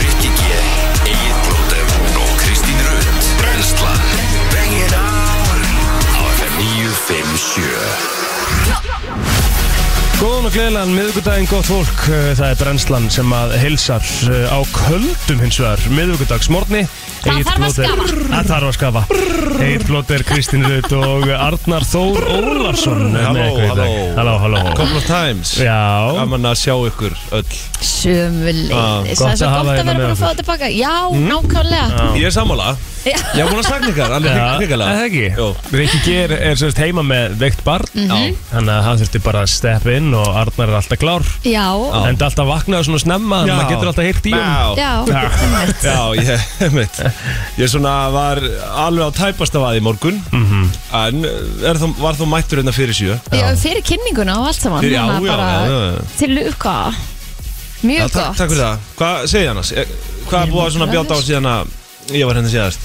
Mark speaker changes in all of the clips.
Speaker 1: Rikki G, Egil Blóter og Kristín Rund Brenslan Bring it on Á FM 957
Speaker 2: Góðan og gleðilegan miðvíkudaginn, gott fólk. Eh, Það er brennslan sem að hilsar eh, á köldum hins vegar miðvíkudagsmorni.
Speaker 3: Það þarf að skafa.
Speaker 2: Það þarf að skafa. Egil Blóter, Kristín Rut og Arnar Þór Ólarsson. er með
Speaker 4: Halló,
Speaker 2: ykkur í dag.
Speaker 4: halló.
Speaker 2: Halló, halló.
Speaker 4: Couple of times
Speaker 2: Já,
Speaker 4: Gaman að sjá ykkur öll Ah,
Speaker 2: gott
Speaker 3: Sjömulegis, það er svo
Speaker 2: að hafa
Speaker 3: gott að
Speaker 2: hérna
Speaker 3: vera
Speaker 2: með
Speaker 3: búin að fá
Speaker 2: okkur.
Speaker 3: þetta baka Já,
Speaker 4: Hmm?
Speaker 3: nákvæmlega
Speaker 4: Ég er sammála
Speaker 3: Já.
Speaker 4: Ég er búin að sakna ykkur Alveg
Speaker 2: Já,
Speaker 4: hrig-
Speaker 2: er
Speaker 4: hrikalega
Speaker 2: það ekki?
Speaker 4: Jó.
Speaker 2: Rikki Geir er semst heima með veikt barn
Speaker 3: Mhm.
Speaker 4: Já.
Speaker 2: Þannig að hann þurfti bara að steppa inn og Arnar er alltaf klár
Speaker 3: Já,
Speaker 4: Já.
Speaker 2: Enda alltaf vaknaði svona snemma
Speaker 4: Já.
Speaker 2: Þannig að maður getur alltaf heyrt í hann
Speaker 4: Já.
Speaker 3: já,
Speaker 2: Já.
Speaker 3: einmitt.
Speaker 4: Já, ég, mitt Ég svona var alveg á tæpasta vaði í morgun
Speaker 2: Mhm.
Speaker 4: -hmm. En er þó, var þó mættur hérna fyrir sjö
Speaker 3: já Fyrir kynninguna og allt saman
Speaker 4: Fyrir- já,
Speaker 3: þannig að
Speaker 4: já, já, já, já.
Speaker 3: Til luka
Speaker 4: Já,
Speaker 3: Mjög
Speaker 4: takk,
Speaker 3: gott
Speaker 4: takk fyrir það Hvað segið annars? Eh, Hvað er búið að svona bjáta á síðan að Ég var hérna síðast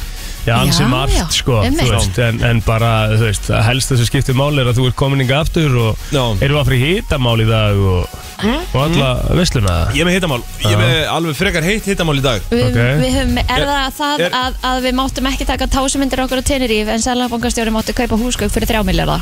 Speaker 2: Já, ansi
Speaker 3: Já,
Speaker 2: margt
Speaker 3: já,
Speaker 2: sko, þú
Speaker 3: einmitt.
Speaker 2: veist, en, en bara, þú veist, að helst þessu skiptir máli er að þú ert komin inga aftur og
Speaker 4: Já.
Speaker 2: erum að fyrir hitamál í dag og,
Speaker 3: Hm?
Speaker 2: og alla vesluna.
Speaker 4: Ég er með hittamál Ég er með alveg frekar heitt hittamál í dag
Speaker 3: Við,
Speaker 2: Ok.
Speaker 3: við höfum, er
Speaker 4: Er-
Speaker 3: það það
Speaker 4: er-
Speaker 3: að, að við máttum ekki taka tásumindir okkur á Teneríf en Sælabankastjóri máttu kaupa húsgögg fyrir þrjá miljarda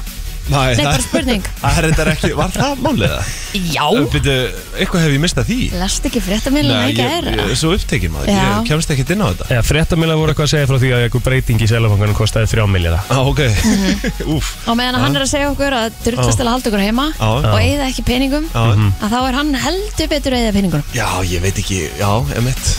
Speaker 4: Nei,
Speaker 3: Nei,
Speaker 4: það-
Speaker 3: bara spurning.
Speaker 4: Það er þetta ekki Var það málið það?
Speaker 3: Já,
Speaker 4: Býtu, eitthvað hef ég mistað því
Speaker 3: last ekki fréttamilina í
Speaker 4: ég,
Speaker 3: gæra
Speaker 4: ég er svo upptekinn maður,
Speaker 3: Já.
Speaker 4: ég kemst ekkert inn á þetta
Speaker 2: Já, fréttamilja voru eitthvað að segja frá því að eitthvað breyting í selafanganum kostaði þrjá miljara.
Speaker 4: ah, ok, úf
Speaker 3: Og meðan að hann er að segja okkur að
Speaker 4: Ah.
Speaker 3: drullast til að halda okkur heima
Speaker 4: Já.
Speaker 3: og eigða ekki peningum
Speaker 4: já.
Speaker 3: að þá er hann heldur betur að eigða peningum
Speaker 4: Mhm. já, ég veit ekki, já, emitt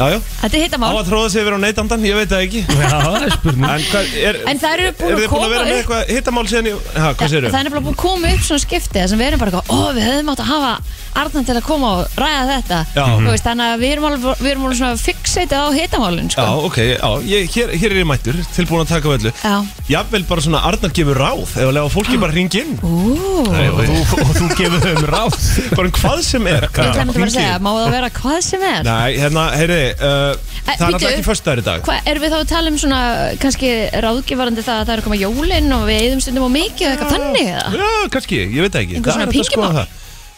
Speaker 4: já, já,
Speaker 3: Þetta er
Speaker 4: á
Speaker 3: hittamál
Speaker 4: að tróða sig yfir á neytandan, ég veit það ekki
Speaker 2: Já, það er spurning.
Speaker 4: en hvað, er,
Speaker 3: En það eru búin
Speaker 4: er
Speaker 3: að
Speaker 4: þið búin
Speaker 3: koma
Speaker 4: að vera með
Speaker 3: upp
Speaker 4: eitthvað hittamál síðan í, ha,
Speaker 3: Þa,
Speaker 4: hvað
Speaker 3: Það
Speaker 4: segir
Speaker 3: er nefnilega búin að koma upp svona skipti þar sem við erum bara eitthvað, ó við höfum átt að hafa Arnan til að koma og ræða þetta
Speaker 4: Já. Mhm.
Speaker 3: Þú veist, Þannig að við erum alveg, við erum alveg svona fixeitið á hitamálun
Speaker 4: Já,
Speaker 3: sko.
Speaker 4: ok, já, ég, hér, hér er ég mættur, tilbúin að taka við öllu
Speaker 3: Já.
Speaker 4: Jafnvel bara svona Arnar gefur ráð, ef að lega fólki bara hringi inn
Speaker 3: Ú,
Speaker 4: Nei,
Speaker 2: Og
Speaker 4: þú-
Speaker 2: þú, og þú gefur þau um ráð.
Speaker 4: Bara um hvað sem er
Speaker 3: Ég ætla
Speaker 4: Hringi
Speaker 3: einmitt að bara að segja,
Speaker 4: inn.
Speaker 3: má það vera hvað sem er
Speaker 4: Nei, hérna, heyri, uh,
Speaker 3: Eh,
Speaker 4: það er alltaf
Speaker 3: bíddu.
Speaker 4: ekki föstudagur í dag
Speaker 3: Hvað, erum við þá að tala um svona kannski ráðgifarandi það að það er að koma jólinn og við eigðum stundum á mikið og eitthvað þannig eða?
Speaker 4: Já, kannski, ég veit það ekki
Speaker 3: Einhver
Speaker 4: Það
Speaker 3: svona
Speaker 4: er hægt að skoða
Speaker 3: pingjumál?
Speaker 4: það.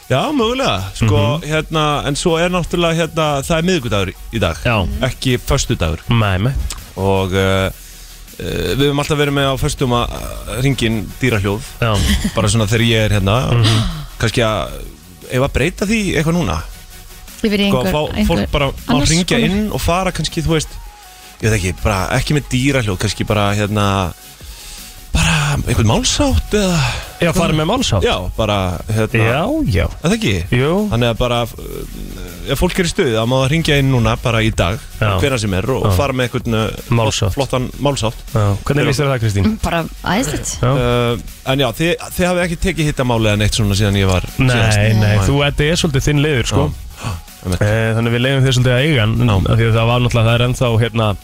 Speaker 4: Já, mögulega, sko, hérna, en svo er náttúrulega, hérna, það er miðvikudagur í dag
Speaker 2: Já.
Speaker 4: Ekki föstudagur
Speaker 2: Nei, nei.
Speaker 4: Og uh, uh, við höfum alltaf verið með á föstum að uh, ringin dýrahljóð
Speaker 2: Já.
Speaker 4: Bara svona þegar ég er hérna Kannski að, ef að breyta því eitthvað núna
Speaker 3: Yfir í
Speaker 4: Sko, að
Speaker 3: einhver,
Speaker 4: fá fólk bara, má
Speaker 3: annars
Speaker 4: ringja
Speaker 3: konar-
Speaker 4: inn og fara kannski, þú veist Ég veit ekki, bara, ekki með dýrahljóð, kannski bara, hérna Bara einhvern málsátt eða
Speaker 2: Já, farið með málsátt.
Speaker 4: Já, bara, hérna
Speaker 2: Já, já.
Speaker 4: Er Það ekki?
Speaker 2: Jú.
Speaker 4: Þannig að bara, uh, ef fólk er í stuði, þá má það ringja inn núna bara í dag,
Speaker 2: Já.
Speaker 4: hvena sem er, og
Speaker 2: Já.
Speaker 4: fara með einhvern uh,
Speaker 2: Málsátt.
Speaker 4: flottan málsátt.
Speaker 2: Já. Hvernig líst þér á það, Kristín?
Speaker 3: Bara aðeinslegt
Speaker 2: Já.
Speaker 4: Uh, en já, þið, þið hafið ekki tekið hittamáli en eitt svona síðan ég var
Speaker 2: Nei, nei,
Speaker 4: Nei.
Speaker 2: þú, þetta er svolítið þinn liður, sko.
Speaker 4: einmitt.
Speaker 2: Eh, Þannig við leiðum þér svolítið að eiga hann
Speaker 4: Já.
Speaker 2: af Því að það var náttúrulega, það er ennþá hérna,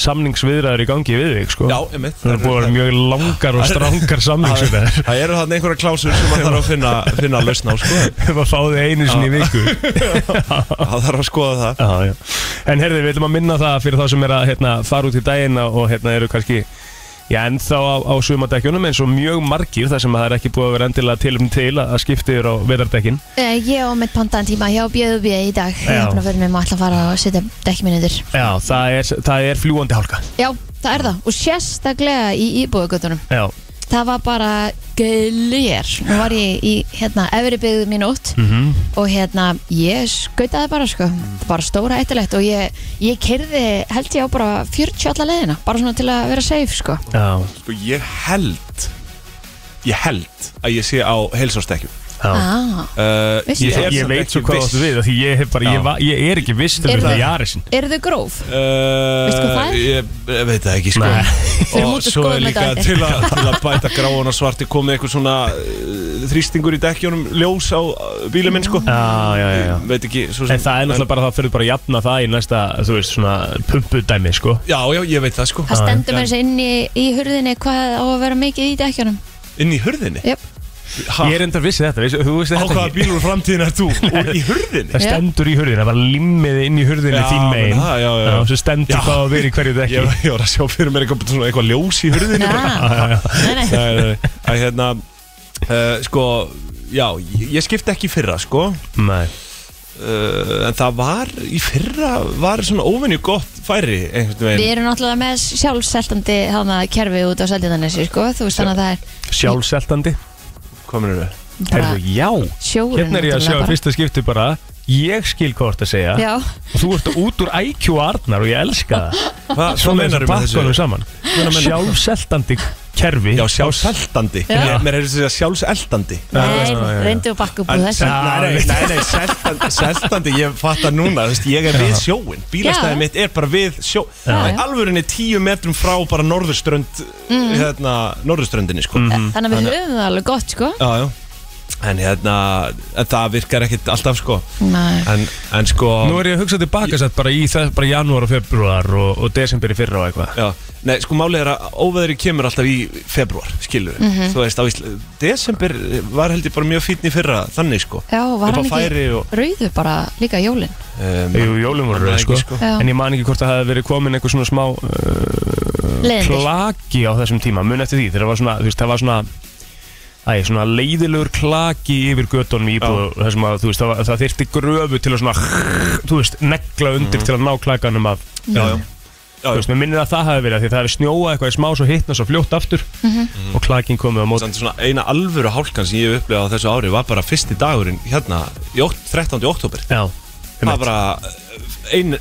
Speaker 2: samningsviðræður í gangi við þig sko.
Speaker 4: Já, einmitt.
Speaker 2: Það er búið að vera mjög langar og strangar samningsviðræður
Speaker 4: Það það eru þarna einhverja klásur sem maður þarf að finna, finna að lausna á, sko.
Speaker 2: Það fáði einu sinni í viku
Speaker 4: Það þarf að skoða það.
Speaker 2: já, já. En herði, við viljum að minna það fyrir þá sem er að hérna, fara út í daginn og hérna, eru kannski Já, en þá á, á sumadekkjunum eins og mjög margir þar sem að það er ekki búið að vera endilega tilum til að að skipta yfir á vetardekkin
Speaker 3: Eh, Ég og mitt pandan tíma hjá Bjöðubjö í dag Ég
Speaker 2: Já.
Speaker 3: er búin að vera með maður ætla að fara og setja dekkminuður
Speaker 2: Já, það er, það er fljúandi hálka
Speaker 3: Já, það er það Og sérstaklega í íbúðugötunum
Speaker 2: Já,
Speaker 3: Það var bara gælir Nú var ég í hérna, efri byggðu mín út
Speaker 2: Mhm.
Speaker 3: Og hérna, ég skautaði bara sko Bara stóra eittilegt Og ég, ég kerði, held ég á bara 40 alla leðina Bara svona til að vera safe sko
Speaker 2: já,
Speaker 4: Sko, ég held, ég held að ég sé á heilsástekjum.
Speaker 2: já
Speaker 3: ah.
Speaker 4: Uh,
Speaker 3: Vissi
Speaker 2: Ég,
Speaker 3: það?
Speaker 2: ég,
Speaker 4: samt
Speaker 2: veit
Speaker 4: ekki
Speaker 2: svo hvað
Speaker 4: viss.
Speaker 2: áttu við af Því ég, hef bara,
Speaker 4: Já.
Speaker 2: ég, va, ég er ekki viss til
Speaker 3: Eru
Speaker 2: þetta
Speaker 3: það-
Speaker 2: Jarisinn
Speaker 3: Eru þau gróf?
Speaker 4: Uh,
Speaker 3: Veistu hvað það er?
Speaker 4: Ég, ég veit það ekki sko
Speaker 2: Nei.
Speaker 3: Fyrir
Speaker 4: Og
Speaker 3: mútu
Speaker 4: svo er
Speaker 3: skoðum þetta
Speaker 4: líka
Speaker 3: á eftir.
Speaker 4: til, a, til að bæta gráan og svarti komið eitthvað svona uh, þrýstingur í dekkjónum ljós á uh, bílum minn sko
Speaker 2: Já, já, já, já.
Speaker 4: Ég Veit ekki svo sem-
Speaker 2: En það er náttúrulega bara það fyrir bara að jafna það í næsta, þú veist, svona pumpudæmi, sko
Speaker 4: Já, já, ég veit það sko
Speaker 3: Það stendur
Speaker 4: En-
Speaker 3: með þessi inn í, í hurðinni hvað á að vera mikið í dekkjunum
Speaker 4: Inn í hurðinni?
Speaker 3: Jöp,
Speaker 4: Ha,
Speaker 2: Ég er endar vissið þetta, veist, þú veist
Speaker 4: á
Speaker 2: þetta
Speaker 4: hvaða
Speaker 2: ekki
Speaker 4: bílum framtíðin er þú? Úr í hurðinni?
Speaker 2: Það stendur í hurðinni, það bara limmið inn í hurðinni
Speaker 4: Já,
Speaker 2: þín
Speaker 4: menn
Speaker 2: megin
Speaker 4: það, já, já, já.
Speaker 2: Svo stendur
Speaker 4: Já.
Speaker 2: hvað að vera í hverju
Speaker 4: Ég,
Speaker 2: dekki
Speaker 4: ég var að sjá fyrir mér eitthvað, svona eitthvað ljós í hurðinni
Speaker 3: Ah. Nei, nei,
Speaker 4: Nei, nei, nei. að hérna uh, Sko, já, ég- ég skipti ekki í fyrra, sko
Speaker 2: Nei
Speaker 4: uh, En það var, í fyrra var svona óvenju gott færi einhvern
Speaker 3: Við
Speaker 4: veginn
Speaker 3: erum náttúrulega með sjálfseltandi hana kerfi út á Seldindanesi, sko, þú veist þannig að það er
Speaker 2: Sjálfseltandi
Speaker 4: Kominur
Speaker 3: bara
Speaker 2: Herðu, já
Speaker 3: sjórun
Speaker 2: Hérna er ég að sjá í fyrsta skipti bara Ég skil hvað þú ert að segja
Speaker 3: Já,
Speaker 2: Og þú ert út úr IQ Arnar og ég elska það
Speaker 4: Hvað
Speaker 2: Svo
Speaker 4: meinarðu
Speaker 2: meinar bakkanum saman Sjálfseltandi kerfi
Speaker 4: Já, sjálfseltandi
Speaker 3: Já.
Speaker 4: Mér- Mér er þess að segja sjálfseltandi
Speaker 3: nei,
Speaker 2: já, já.
Speaker 3: reyndu að bakka upp úr
Speaker 4: En-
Speaker 3: þessu
Speaker 2: Já,
Speaker 4: Nei, nei, nei, nei seltandi, seltandi, ég fatt að núna þú veist, Ég er við sjóin,
Speaker 3: Já.
Speaker 4: bílastæði mitt er bara við sjó
Speaker 3: Já.
Speaker 4: Í Alvörunni tíu metrum frá bara norðurströnd
Speaker 3: Mhm.
Speaker 4: hérna, Norðurströndinni sko.
Speaker 2: Mhm.
Speaker 3: Þannig að við höfum það alveg gott, sko
Speaker 4: já, já. En hérna, en það virkar ekkit alltaf sko
Speaker 3: Nei,
Speaker 4: En, en sko
Speaker 2: Nú er ég að hugsa tilbaka satt bara í það bara janúar og februar og, og desember í fyrra og eitthvað
Speaker 4: Já, nei, sko málið er að óveðri kemur alltaf í februar, skilur
Speaker 3: Mhm.
Speaker 4: Þú veist, á Ísla Desember var held ég bara mjög fínn í fyrra, þannig sko
Speaker 3: já, var
Speaker 4: Upp á
Speaker 3: hann ekki
Speaker 4: færi og-
Speaker 3: rauðu bara líka jólin
Speaker 4: um,
Speaker 2: Jú, jólum voru
Speaker 4: Annað
Speaker 2: rauð,
Speaker 4: ekki,
Speaker 2: sko.
Speaker 4: sko.
Speaker 3: Já.
Speaker 2: En ég man ekki hvort það hefði verið komin einhver svona smá uh,
Speaker 3: Leðindir
Speaker 2: klaki á þessum tíma mun eftir því, þegar það var svona, þú veist, það var svona Æ, svona leiðilegur klaki yfir götunum í íbúð þessum að, þú veist, það, var- það þyrfti gröfu til að svona, þú veist, negla undir til að ná klakanum af
Speaker 4: Mhm. Já, já, já,
Speaker 2: Þú
Speaker 4: já.
Speaker 2: veist, mér minnir að það hafi verið af því það hefði snjóað eitthvað í smá svo hittna svo fljótt aftur og klakin komið á mót
Speaker 4: Mhm. Samt svona eina alvöru hálkan sem ég hef upplegað á þessu ári var bara fyrsti dagurinn hérna, í ótt- 13. oktober
Speaker 2: Já,
Speaker 4: Það var bara eh, ein,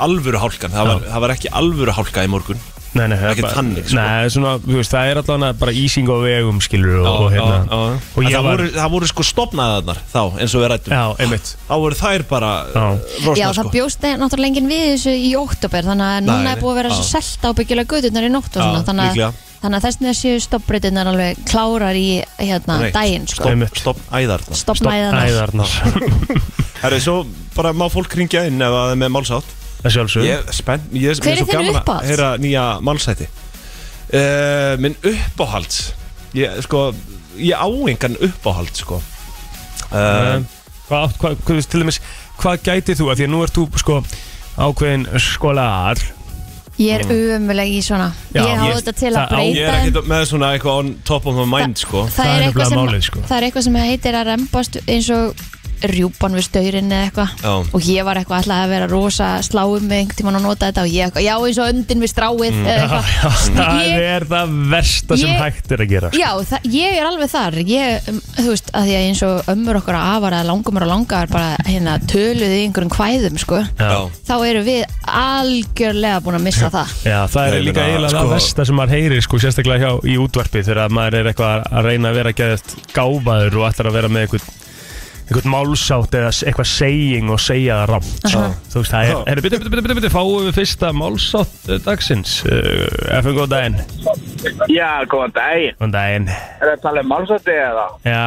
Speaker 4: alvöru hálkan, það var,
Speaker 2: Já.
Speaker 4: það var ekki alvöru hálka í morgun
Speaker 2: Nei, nei, það er
Speaker 4: Ekkert
Speaker 2: bara-
Speaker 4: þannig, sko.
Speaker 2: Nei, svona, þú veist, það er allavega bara ísing og vegum, skilur og, og hérna
Speaker 4: En
Speaker 2: Og ég
Speaker 4: það,
Speaker 2: var,
Speaker 4: voru, það voru sko stopnaðarnar þá eins og við rættum
Speaker 2: já, einmitt
Speaker 4: Þá voru þær bara
Speaker 2: Já.
Speaker 4: rosna
Speaker 3: Já, það
Speaker 4: sko
Speaker 3: bjóst e- náttúrulega enginn við þessu í óttúber þannig að
Speaker 4: Nei,
Speaker 3: núna er
Speaker 4: nei.
Speaker 3: búið að vera svo
Speaker 4: Já.
Speaker 3: selt ábyggilega gödurnar í nótt og svona
Speaker 4: Já,
Speaker 3: þannig
Speaker 4: líklega.
Speaker 3: að- þannig að þess neða séu stoppbrytirnar alveg klárar í hérna
Speaker 4: Nei,
Speaker 3: daginn, sko
Speaker 2: einmitt.
Speaker 4: Stopnæðarnar
Speaker 3: Stoppmæðanar
Speaker 2: Æðarnar,
Speaker 4: Það er svo bara má fólk ringja inn ef það er með málsátt Hm?
Speaker 2: það sjálfsög
Speaker 4: Ég er spennt, ég er
Speaker 3: Hver er
Speaker 4: svo
Speaker 3: þinn
Speaker 4: gaman
Speaker 3: uppáhalds?
Speaker 4: að heyra nýja málsæti uh, Minn uppáhalds Ég sko, ég á engan uppáhald sko uh,
Speaker 2: Eh, Hvað, átt- hvað, hvað, til dæmis, hvað gætið þú að því að nú ert þú, sko, ákveðin skólar
Speaker 3: Ég er umuleg í svona
Speaker 2: Já,
Speaker 3: Ég hafa
Speaker 2: ég-
Speaker 3: þetta til
Speaker 2: það
Speaker 3: að
Speaker 2: á-
Speaker 4: Ég
Speaker 3: breyta
Speaker 4: er
Speaker 3: þeim.
Speaker 4: ekkert með svona eitthvað on top of my mind sko
Speaker 2: það er nefnilega
Speaker 3: eitthvað sem,
Speaker 2: málið, sko.
Speaker 3: það er eitthvað sem heitir að rembast eins og rjúpan við staurinn eða eitthvað
Speaker 4: Já.
Speaker 3: og ég var eitthvað alltaf að vera rosa sláum með einhvern tímann að nota þetta og ég eitthvað, já eins og öndin við stráið
Speaker 4: Mm.
Speaker 3: eða eitthvað
Speaker 2: Það
Speaker 3: Ég-
Speaker 2: er það versta sem
Speaker 3: Ég-
Speaker 2: hægt er að gera sko.
Speaker 3: Já, það, ég er alveg þar ég, um, þú veist, að því að eins og ömmur okkar að afar að langumur og langar bara hérna töluðu í einhverjum kvæðum sko.
Speaker 4: Já.
Speaker 3: þá eru við algjörlega búin að missa það
Speaker 2: Já, það er
Speaker 4: Ég
Speaker 2: líka
Speaker 4: meina,
Speaker 2: eiginlega það
Speaker 4: sko-
Speaker 2: versta sem maður heyrir sko, sérstaklega hjá í útvarpi þegar maður er eitthvað að reyna að vera geðast gáfaður og ætlar að vera með einhvern einhvern málsátt eða s- eitthvað seying og segja það rámt
Speaker 3: Aha.
Speaker 2: þú veist, það er,
Speaker 4: Já.
Speaker 2: er byrju, byrju, byrju, byrju, fáum við fyrsta málsátt eh, dagsins uh, FN góðan daginn,
Speaker 5: Já, góðan daginn.
Speaker 2: góðan daginn
Speaker 5: Er það að tala um málsætti eða?
Speaker 2: já,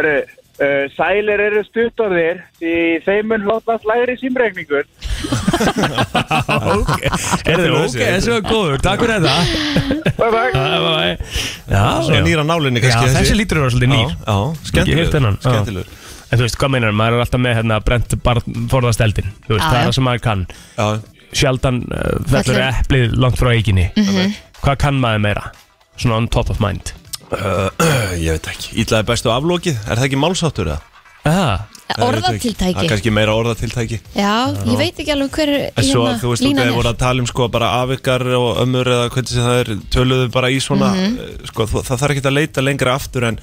Speaker 5: Eru, uh, sælir eru stuttorðir því þeim mun hlotast lægri símregningur.
Speaker 2: ok er þið ok, þessi var góður, takk fyrir þetta
Speaker 5: Bæ, bæ.
Speaker 2: Bye, bye. já,
Speaker 4: Svona
Speaker 2: já.
Speaker 4: nýra nálinni
Speaker 2: já,
Speaker 4: kannski
Speaker 2: þessi lítur eru svolítið nýr
Speaker 4: Já,
Speaker 2: Ég heyrt þennan,
Speaker 4: skemmtilegur
Speaker 2: já.
Speaker 4: Skemmtilegur
Speaker 2: en þú veist, hvað meinar, maður er alltaf með hérna brent barn forðast eldin, þú veist,
Speaker 3: Já,
Speaker 2: það
Speaker 3: já.
Speaker 2: er það sem maður kann
Speaker 4: Já,
Speaker 2: sjaldan uh, fellur
Speaker 3: Fellur. Mhm.
Speaker 2: eplið langt frá eiginni hvað kann maður meira svona on top of mind
Speaker 4: Uh, Ég veit ekki, ítlaði bestu aflókið, er það ekki málsáttur eða?
Speaker 2: ah,
Speaker 4: Það er
Speaker 3: Orðatiltæki
Speaker 4: kannski meira orðatiltæki
Speaker 3: Já, ég veit ekki alveg hver hérna
Speaker 4: En svo, þú veist,
Speaker 3: línan
Speaker 4: þegar voru að tala um sko bara afvikar og ömur eða hvernig sem það er töluðu bara í svona eh, sko, þú- það þarf ekki að leita lengra aftur en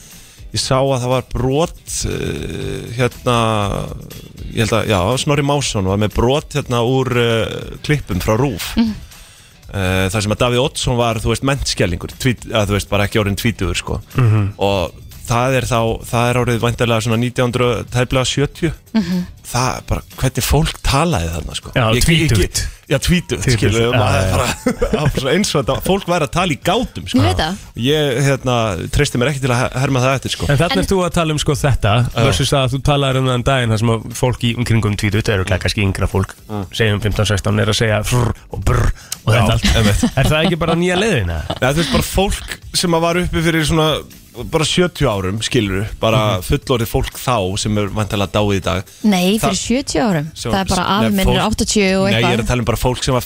Speaker 4: ég sá að það var brot uh, hérna ég held að, já, Snorri Másson var með brot hérna úr uh, klippum frá Rúf mm Eh, þar sem að Davíð Oddsson var, þú veist, mentskellingur tvít, að, þú veist, bara ekki orðin tvítugur sko
Speaker 2: Mhm.
Speaker 4: og það er þá, það er árið væntalega svona 1900, tæplega 70
Speaker 3: Mhm.
Speaker 4: það er bara, hvernig fólk talaði þarna sko
Speaker 2: Já,
Speaker 4: Ég- ég-
Speaker 2: tvítugt.
Speaker 4: Já, tvítugt,
Speaker 2: Tvítugt,
Speaker 4: skilu
Speaker 2: já,
Speaker 4: maður
Speaker 2: já.
Speaker 4: bara, það var bara eins og þetta fólk væri að tala í gátum sko
Speaker 3: Ég veit það.
Speaker 4: Ég, hérna, treysti mér ekki til að herma það eftir sko
Speaker 2: en þarna
Speaker 3: En-
Speaker 2: er þú að tala um sko þetta versus það að þú talar um það en daginn þar sem að fólk í umkringum tvítut eru kannski yngra fólk
Speaker 4: Mm.
Speaker 2: segjum 15-16 er að segja frr og brr og þetta allt
Speaker 4: einmitt.
Speaker 2: er það ekki bara nýja leiðina?
Speaker 4: Nei, þú veist bara fólk sem að var uppi fyrir svona bara 70 árum, skilur bara
Speaker 2: Mhm.
Speaker 4: fullorðið fólk þá sem er vantilega dáið í dag
Speaker 3: Nei,
Speaker 4: Það-
Speaker 3: fyrir 70 árum
Speaker 4: sem-
Speaker 3: Það er bara
Speaker 4: Nei,
Speaker 3: afi minn er
Speaker 4: fólk-
Speaker 3: 80 og
Speaker 4: Nei, ég er að
Speaker 3: eitthvað
Speaker 4: tala um bara fólk sem var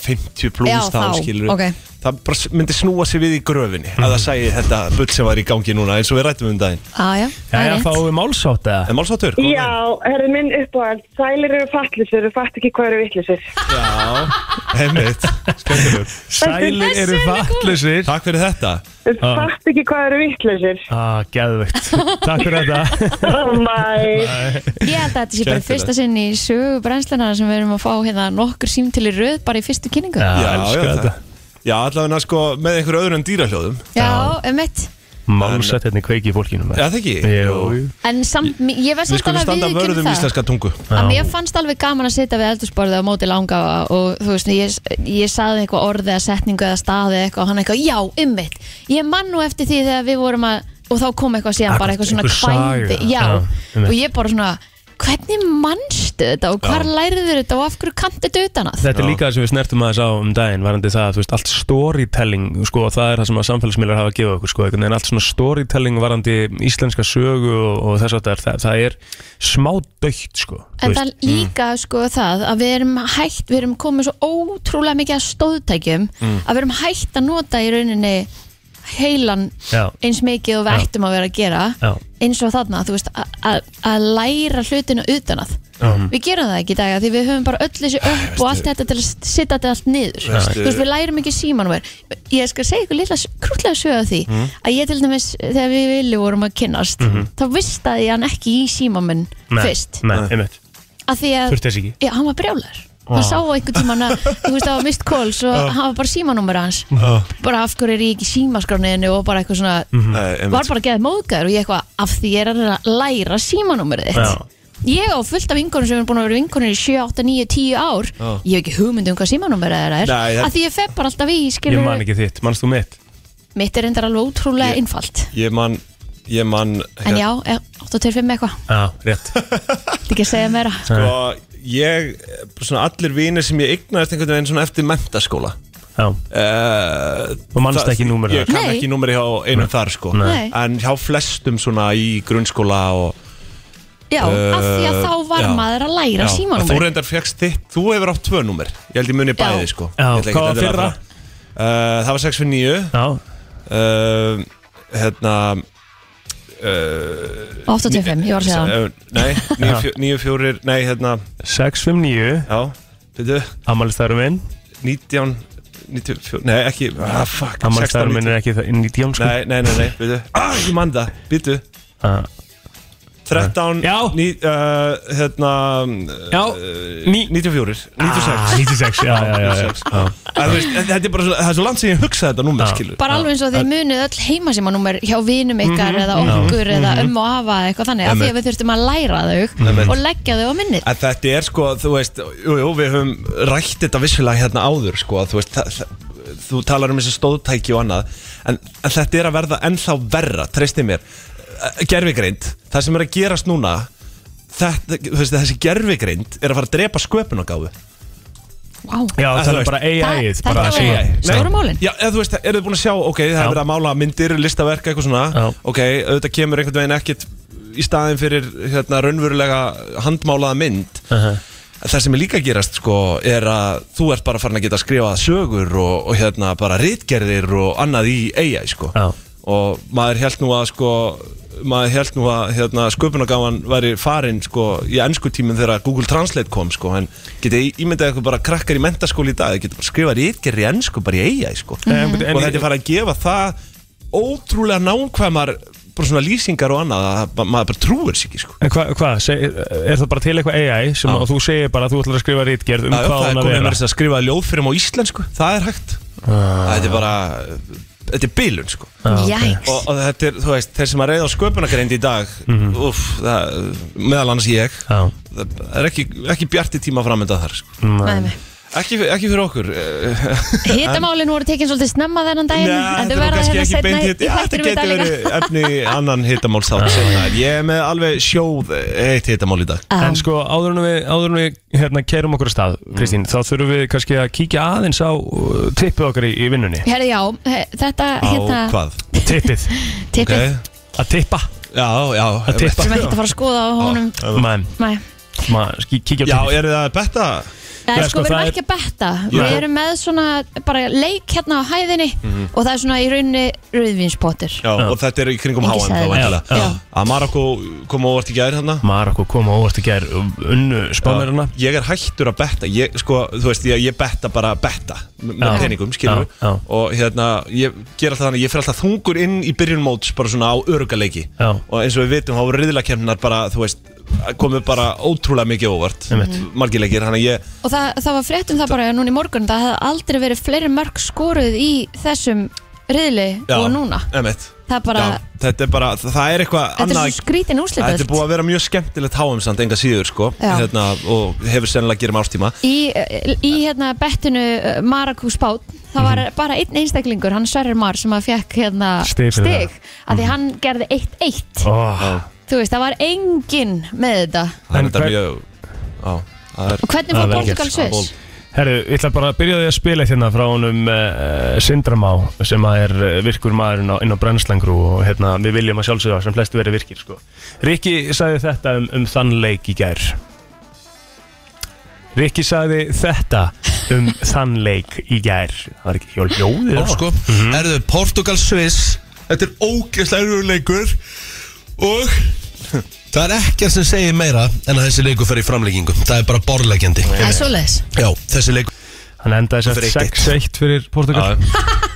Speaker 3: Já,
Speaker 4: 50 pluss þá
Speaker 3: þá,
Speaker 4: skilur
Speaker 3: ok.
Speaker 4: það bara s- myndi snúa sér við í gröfinni að það sæði þetta bull sem var í gangi núna eins og við rættum um daginn
Speaker 3: Aja, það
Speaker 2: Jæja,
Speaker 3: er
Speaker 2: þá
Speaker 3: rétt
Speaker 2: erum við málsátt eða?
Speaker 4: en málsáttur, góðan
Speaker 6: Já, herri minn uppáhald, sælir eru fattlisir, þú fatt ekki hvað eru vittlisir.
Speaker 4: daginn. einmitt, skemmtilegur
Speaker 2: Sælir eru vatnlausir
Speaker 4: takk fyrir þetta
Speaker 6: Þú
Speaker 2: Ah.
Speaker 6: fatt ekki hvað eru vittlisir.
Speaker 2: Ah, geðvögt Takk fyrir þetta
Speaker 6: Oh my,
Speaker 3: Ég held að þetta sé bara
Speaker 4: Skemmtilegt.
Speaker 3: fyrsta sinn í sögu brennslana sem við erum að fá hérna nokkur símtili röð bara í fyrstu kynningu Já,
Speaker 2: Já, elsku
Speaker 4: það-
Speaker 2: þetta
Speaker 4: já, allavega sko með einhver öðru en dýrahljóðum
Speaker 3: um mitt
Speaker 2: Málsett hérna í kveiki í fólkinu maður.
Speaker 4: Já, það ekki?
Speaker 2: Jú.
Speaker 3: En samt, ég veist
Speaker 4: Við
Speaker 3: samt
Speaker 4: skulum
Speaker 3: alveg
Speaker 4: standa
Speaker 3: að við
Speaker 4: vörðum
Speaker 3: það
Speaker 4: íslenska tungu
Speaker 3: að mér fannst alveg gaman að sitja við eldursborðið á móti langafa og þú veist, ég, ég saði eitthvað orðið eða setningu eða staði eitthvað og hann eitthvað, já, ummitt ég mann nú eftir því þegar við vorum að og þá kom eitthvað síðan, bara eitthvað svona
Speaker 2: Einhver saga.
Speaker 3: kvændi já,
Speaker 2: Já, einmitt.
Speaker 3: og ég bara svona hvernig mannstu þetta og hvar lærið þér þetta og af hverju kanti þetta utan að
Speaker 2: Þetta er líka það sem við snertum aðeins á um daginn varandi það að þú veist, allt storytelling sko, það er það sem að samfélagsmiðlar hafa að gefa okkur sko, einhvern veginn allt svona storytelling varandi íslenska sögu og, og þess að það, það er smá dögt sko, þú
Speaker 3: En
Speaker 2: veist.
Speaker 3: það er líka sko það að við erum hægt, við erum komið svo ótrúlega mikið að stóðtækjum
Speaker 2: Mm.
Speaker 3: að við erum hægt að nota í rauninni heilan
Speaker 2: Já.
Speaker 3: eins mikið og við
Speaker 2: Já.
Speaker 3: ættum að vera að gera
Speaker 2: Já.
Speaker 3: eins og þarna, þú veist, að- að að læra hlutina utan að Við gerum það ekki í dag af því við höfum bara öll þessi upp og allt þetta til að sitta þetta allt niður
Speaker 4: Veistu-
Speaker 3: Þú veist, við lærum ekki símanúmer Ég skal segja ykkur lilla krútlega sögðu af því
Speaker 2: Mm.
Speaker 3: að ég til dæmis, þegar við vilju vorum að kynnast þá vistaði ég hann ekki í símanminn
Speaker 2: Mhm. Nei,
Speaker 3: fyrst
Speaker 2: Nei, einmitt,
Speaker 3: að því að
Speaker 2: þurfti þess ekki Ah.
Speaker 3: já, hann var brjálar hann sá á einhvern tíman að þú veist það var mist calls og hann var bara símanúmer hans
Speaker 2: Ah.
Speaker 3: bara af hverju er ég ekki í símaskrániðinu og bara eitthvað svona
Speaker 2: Mhm.
Speaker 3: var bara að geða móðgæður og ég eitthvað af því ég er að reyna að læra símanúmerið þitt
Speaker 2: Já.
Speaker 3: ég á fullt af vinkonum sem er búin að vera vinkonur í 7, 8, 9, 10 ár
Speaker 2: Ah.
Speaker 3: ég hef ekki hugmynd um hvað símanúmerið þeirra er
Speaker 4: Nei, það-
Speaker 3: af því ég feb bara alltaf í skilur
Speaker 2: Ég man ekki þitt, manst þú mitt?
Speaker 3: mitt er endar alveg ótrúlega einfalt
Speaker 4: Ég man, ég man
Speaker 3: en já, 8, 2, 5 eitthvað
Speaker 2: Já, rétt
Speaker 3: þetta ekki að segja meira
Speaker 4: sko, ég, svona allir vinir sem ég eignaðist einhvern veginn svona eftir mentaskóla
Speaker 2: Já,
Speaker 4: uh,
Speaker 2: Og manstu ekki númerið
Speaker 4: Ég kann
Speaker 3: Nei.
Speaker 4: ekki númerið hjá einum þar sko
Speaker 3: Nei.
Speaker 4: En hjá flestum svona í grunnskóla og,
Speaker 3: já, af því
Speaker 2: Eh,
Speaker 3: að þá var
Speaker 4: já.
Speaker 3: maður að læra
Speaker 4: og Þú
Speaker 3: símanúmerið
Speaker 4: reyndar fegst þitt, þú hefur átt tvö númer Ég held ég muni bæði sko
Speaker 2: Já,
Speaker 4: Ég ætla ekki
Speaker 2: hvað var fyrra?
Speaker 4: endilega að fara. Eh, Það var 6 fyrir 9
Speaker 2: já,
Speaker 4: uh, Hérna
Speaker 3: 8, 2, 5, ég var að segja það
Speaker 4: eh, Nei, 9 fjórir Nei, hérna,
Speaker 2: 659
Speaker 4: já, byrju
Speaker 2: Amalistærum minn
Speaker 4: 19 94, nei ekki ah, fuck, 16,
Speaker 2: Amalistærum minn
Speaker 4: 19
Speaker 2: er ekki það inn í djómsku
Speaker 4: nei, nei, nei, nei, byrju ah, ég man það, byrju
Speaker 2: Ah.
Speaker 4: 13,
Speaker 2: Já.
Speaker 4: ní, uh, hérna
Speaker 2: Já, ný
Speaker 4: 94, 96
Speaker 2: Eh, Ah, 96, já, já, já, já.
Speaker 4: 96. En þú veist, Þetta er bara svo, það er svo langt sem ég hugsaði þetta númer
Speaker 2: Já.
Speaker 4: skilur
Speaker 3: bara alveg eins og þið munið öll heimasímanúmer hjá vinum ykkar
Speaker 4: Mhm.
Speaker 3: eða okkur eða ömmu og afa eða eitthvað þannig, af því að við þurftum að læra þau og leggja þau á minnið
Speaker 4: En þetta er sko, þú veist, jú, jú, við höfum rætt þetta vissulega hérna áður sko, að þú veist, það, það, þú talar um þessi stóðtæki og annað, en, en þetta er að verða ennþá verra, treysti mér gerfigreind, það sem er að gerast núna þetta, þú veist, þessi gerfigreind er að fara að drepa sköpun og gáfu
Speaker 3: wow.
Speaker 2: Já,
Speaker 4: Ah,
Speaker 2: það
Speaker 4: þú
Speaker 2: er
Speaker 4: veist.
Speaker 2: bara AI-ið
Speaker 3: Það-
Speaker 2: bara
Speaker 3: þetta
Speaker 2: svona.
Speaker 3: var- Stóru málin.
Speaker 4: Já, eða þú veist, eru þið búin að sjá, ok, það
Speaker 2: Já.
Speaker 4: er verið að mála myndir, listaverk, eitthvað svona
Speaker 2: Já.
Speaker 4: Ok, auðvitað kemur einhvern veginn ekkit í staðin fyrir hérna raunverulega handmálaða mynd
Speaker 2: Uh-huh.
Speaker 4: Það sem er líka að gerast sko er að þú ert bara farin að geta að skrifa sögur og, og hérna bara rítgerðir og annað í AI sko
Speaker 2: Já.
Speaker 4: og maður held nú að sko maður held nú að hérna, sköpunagáman væri farin sko í ennsku tímum þegar Google Translate kom sko en getið í- ímyndað ykkur bara krakkar í mentaskóli í dag getið bara skrifað rítgerði í ennsku bara í AI sko
Speaker 2: Eh, En- Mm. en-
Speaker 4: og þetta er farin að gefa það ótrúlega nákvæmar bara svona lýsingar og annað að ma- maður bara trúir sig ekki sko
Speaker 2: En hvað, hva, er það bara til eitthvað AI sem
Speaker 4: Já.
Speaker 2: að þú segir bara að þú ætlar að skrifa rítgerð um
Speaker 4: Já, já,
Speaker 2: hvað
Speaker 4: það
Speaker 2: hún
Speaker 4: er
Speaker 2: að
Speaker 4: komið
Speaker 2: vera?
Speaker 4: með þess að skrifa ljóðfyrum á íslensku Það er hægt Þetta er bara, þetta er bilun sko
Speaker 3: Jæks,
Speaker 4: og, og þetta er, þú veist, þeir sem að reyða á sköpunagreind í dag
Speaker 2: Mhm.
Speaker 4: Úff, það, meðal annars ég
Speaker 2: Já.
Speaker 4: Það er ekki, ekki bjarti tíma framönda þar sko.
Speaker 3: með mig
Speaker 4: ekki, ekki fyrir okkur eh,
Speaker 3: Hittamálin voru tekin svolítið snemma þennan daginn
Speaker 4: Nei,
Speaker 3: en þau
Speaker 4: þetta var
Speaker 3: verða
Speaker 4: kannski
Speaker 3: hérna
Speaker 4: ekki
Speaker 3: setna
Speaker 4: beint
Speaker 3: í
Speaker 4: hit- Já, þetta
Speaker 3: þættinum í dag
Speaker 4: getur
Speaker 3: líka
Speaker 4: verið efni í annan hittamál þátt seinna. Ég er með alveg sjóð eh, eitt hittamál í dag
Speaker 3: Já.
Speaker 2: En sko áður en við, áður en við hérna, kerum okkur að stað, Kristín, þá þurfum við kannski að kíkja aðeins á uh, tippið okkar í, í vinnunni.
Speaker 3: Herði já, he- þetta
Speaker 4: Á
Speaker 3: hérna
Speaker 4: hvað?
Speaker 2: Tippið.
Speaker 3: tippið
Speaker 4: Ok.
Speaker 2: Að tippa.
Speaker 4: Já, já
Speaker 2: Að tippa.
Speaker 3: sem ekki að fara að skoða á honum
Speaker 2: Mæn,
Speaker 3: Nei,
Speaker 2: maður, kíkja á
Speaker 4: Já,
Speaker 2: tippið.
Speaker 4: eru það betta?
Speaker 3: Nei,
Speaker 2: Já,
Speaker 3: sko,
Speaker 2: sko,
Speaker 3: við erum
Speaker 2: það er-
Speaker 3: ekki að betta Við
Speaker 2: Nei.
Speaker 3: erum með svona bara leik hérna á hæðinni og það er svona í rauninni rauðvínspottur
Speaker 4: Mhm. Já, og þetta er í kringum
Speaker 3: Ekki
Speaker 4: HM þá
Speaker 3: sæðilegt.
Speaker 4: vantilega
Speaker 3: Já.
Speaker 4: Að Marokko kom ávart í gæri þarna
Speaker 2: Marokko kom á óvart í gær unnu spánverðina
Speaker 4: Ég er hættur að betta ég, sko, Þú veist, ég, ég betta bara betta m- með
Speaker 2: Já.
Speaker 4: peningum, skilur
Speaker 2: Já, já.
Speaker 4: og hérna, ég ger alltaf þannig ég fer alltaf þungur inn í byrjun móts bara svona á örugaleiki
Speaker 2: Já.
Speaker 4: og eins og við vitum, þá voru riðlakemnar bara, þú veist komið bara ótrúlega mikið óvart
Speaker 2: Einmitt.
Speaker 4: margileikir, þannig að ég
Speaker 3: og það, það var frétt um það bara núna í morgun það hefði aldrei verið fleiri mörg skoruð í þessum riðli
Speaker 4: já,
Speaker 3: og núna
Speaker 4: einmitt.
Speaker 3: það er bara,
Speaker 4: já, þetta er bara, það er eitthvað
Speaker 3: þetta
Speaker 4: annað
Speaker 3: er svo skrítin
Speaker 4: Þetta er
Speaker 3: úslitdeild.
Speaker 4: búið að vera mjög skemmtilegt háum samt enga síður sko
Speaker 3: Já.
Speaker 4: hérna, og hefur sennilega að gera með ástíma
Speaker 3: Í, eh, í hérna bettinu eh, Marakú Spát það var
Speaker 4: Mhm.
Speaker 3: bara einn einstaklingur, hann Sverrir Mar sem að fekk hérna
Speaker 2: Stig fyrir Mhm.
Speaker 3: stig af því hann gerði 1-1
Speaker 2: oh.
Speaker 3: þú veist, það var enginn með þetta
Speaker 4: Það er
Speaker 2: En
Speaker 4: þetta
Speaker 2: hver-
Speaker 4: mjög á, það er,
Speaker 3: og hvernig
Speaker 2: Það
Speaker 3: fór
Speaker 2: er vel gert.
Speaker 3: Portugal Sviss?
Speaker 2: Herru, ég ætla bara að byrja á því að spila eitt hérna frá honum uh, Sindramá sem að er eh, virkur maðurinn á, inn á brennslangrú og hérna, við viljum að sjálfsögða sem flesti verið virkir sko. Rikki sagði þetta um, um þann leik í gær Rikki sagði þetta um þann leik í gær Það er ekki hjól ljóðið á.
Speaker 7: sko Erðu Portugal Swiss Þetta er ógeðslega erfiður leikur Og Það er ekkert sem segir meira En að þessi leikur fer í framleggingu Það er bara borðleggjandi
Speaker 3: Það er svoleiðis
Speaker 7: Já, þessi leikur
Speaker 2: Hann endaði
Speaker 7: Fyrir
Speaker 2: sér
Speaker 7: eitt eitt.
Speaker 2: 6-1 fyrir Portugal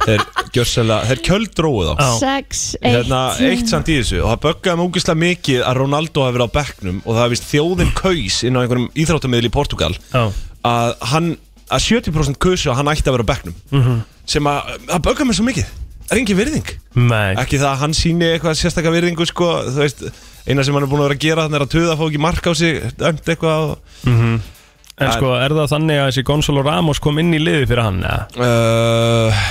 Speaker 4: Þeir gjörselega, þeir kjöld dróðu þá
Speaker 2: Já.
Speaker 3: 6-1
Speaker 4: Hérna, eitt samt í þessu og það böggaði mig úkislega mikið að Ronaldo hafi verið á bekknum og það hafi vist þjóðin kaus inn á einhverjum íþróttamiðl í Portugal
Speaker 2: Já.
Speaker 4: að hann, að 70% kausu að hann ætti að vera á bekknum
Speaker 2: Mhm.
Speaker 4: -hmm. sem að, það böggaði mig svo mikið Það er engin virðing
Speaker 2: Nei,
Speaker 4: ekki það að hann síni eitthvað sérstakka virðingu sko, þú veist, eina sem hann er búin að vera að gera þannig er að töða að fá ekki mark á sig dæmt eitthvað og,
Speaker 2: en sko er það þannig að þessi Gonzalo Ramos kom inn í liði fyrir hann eða?
Speaker 4: uh,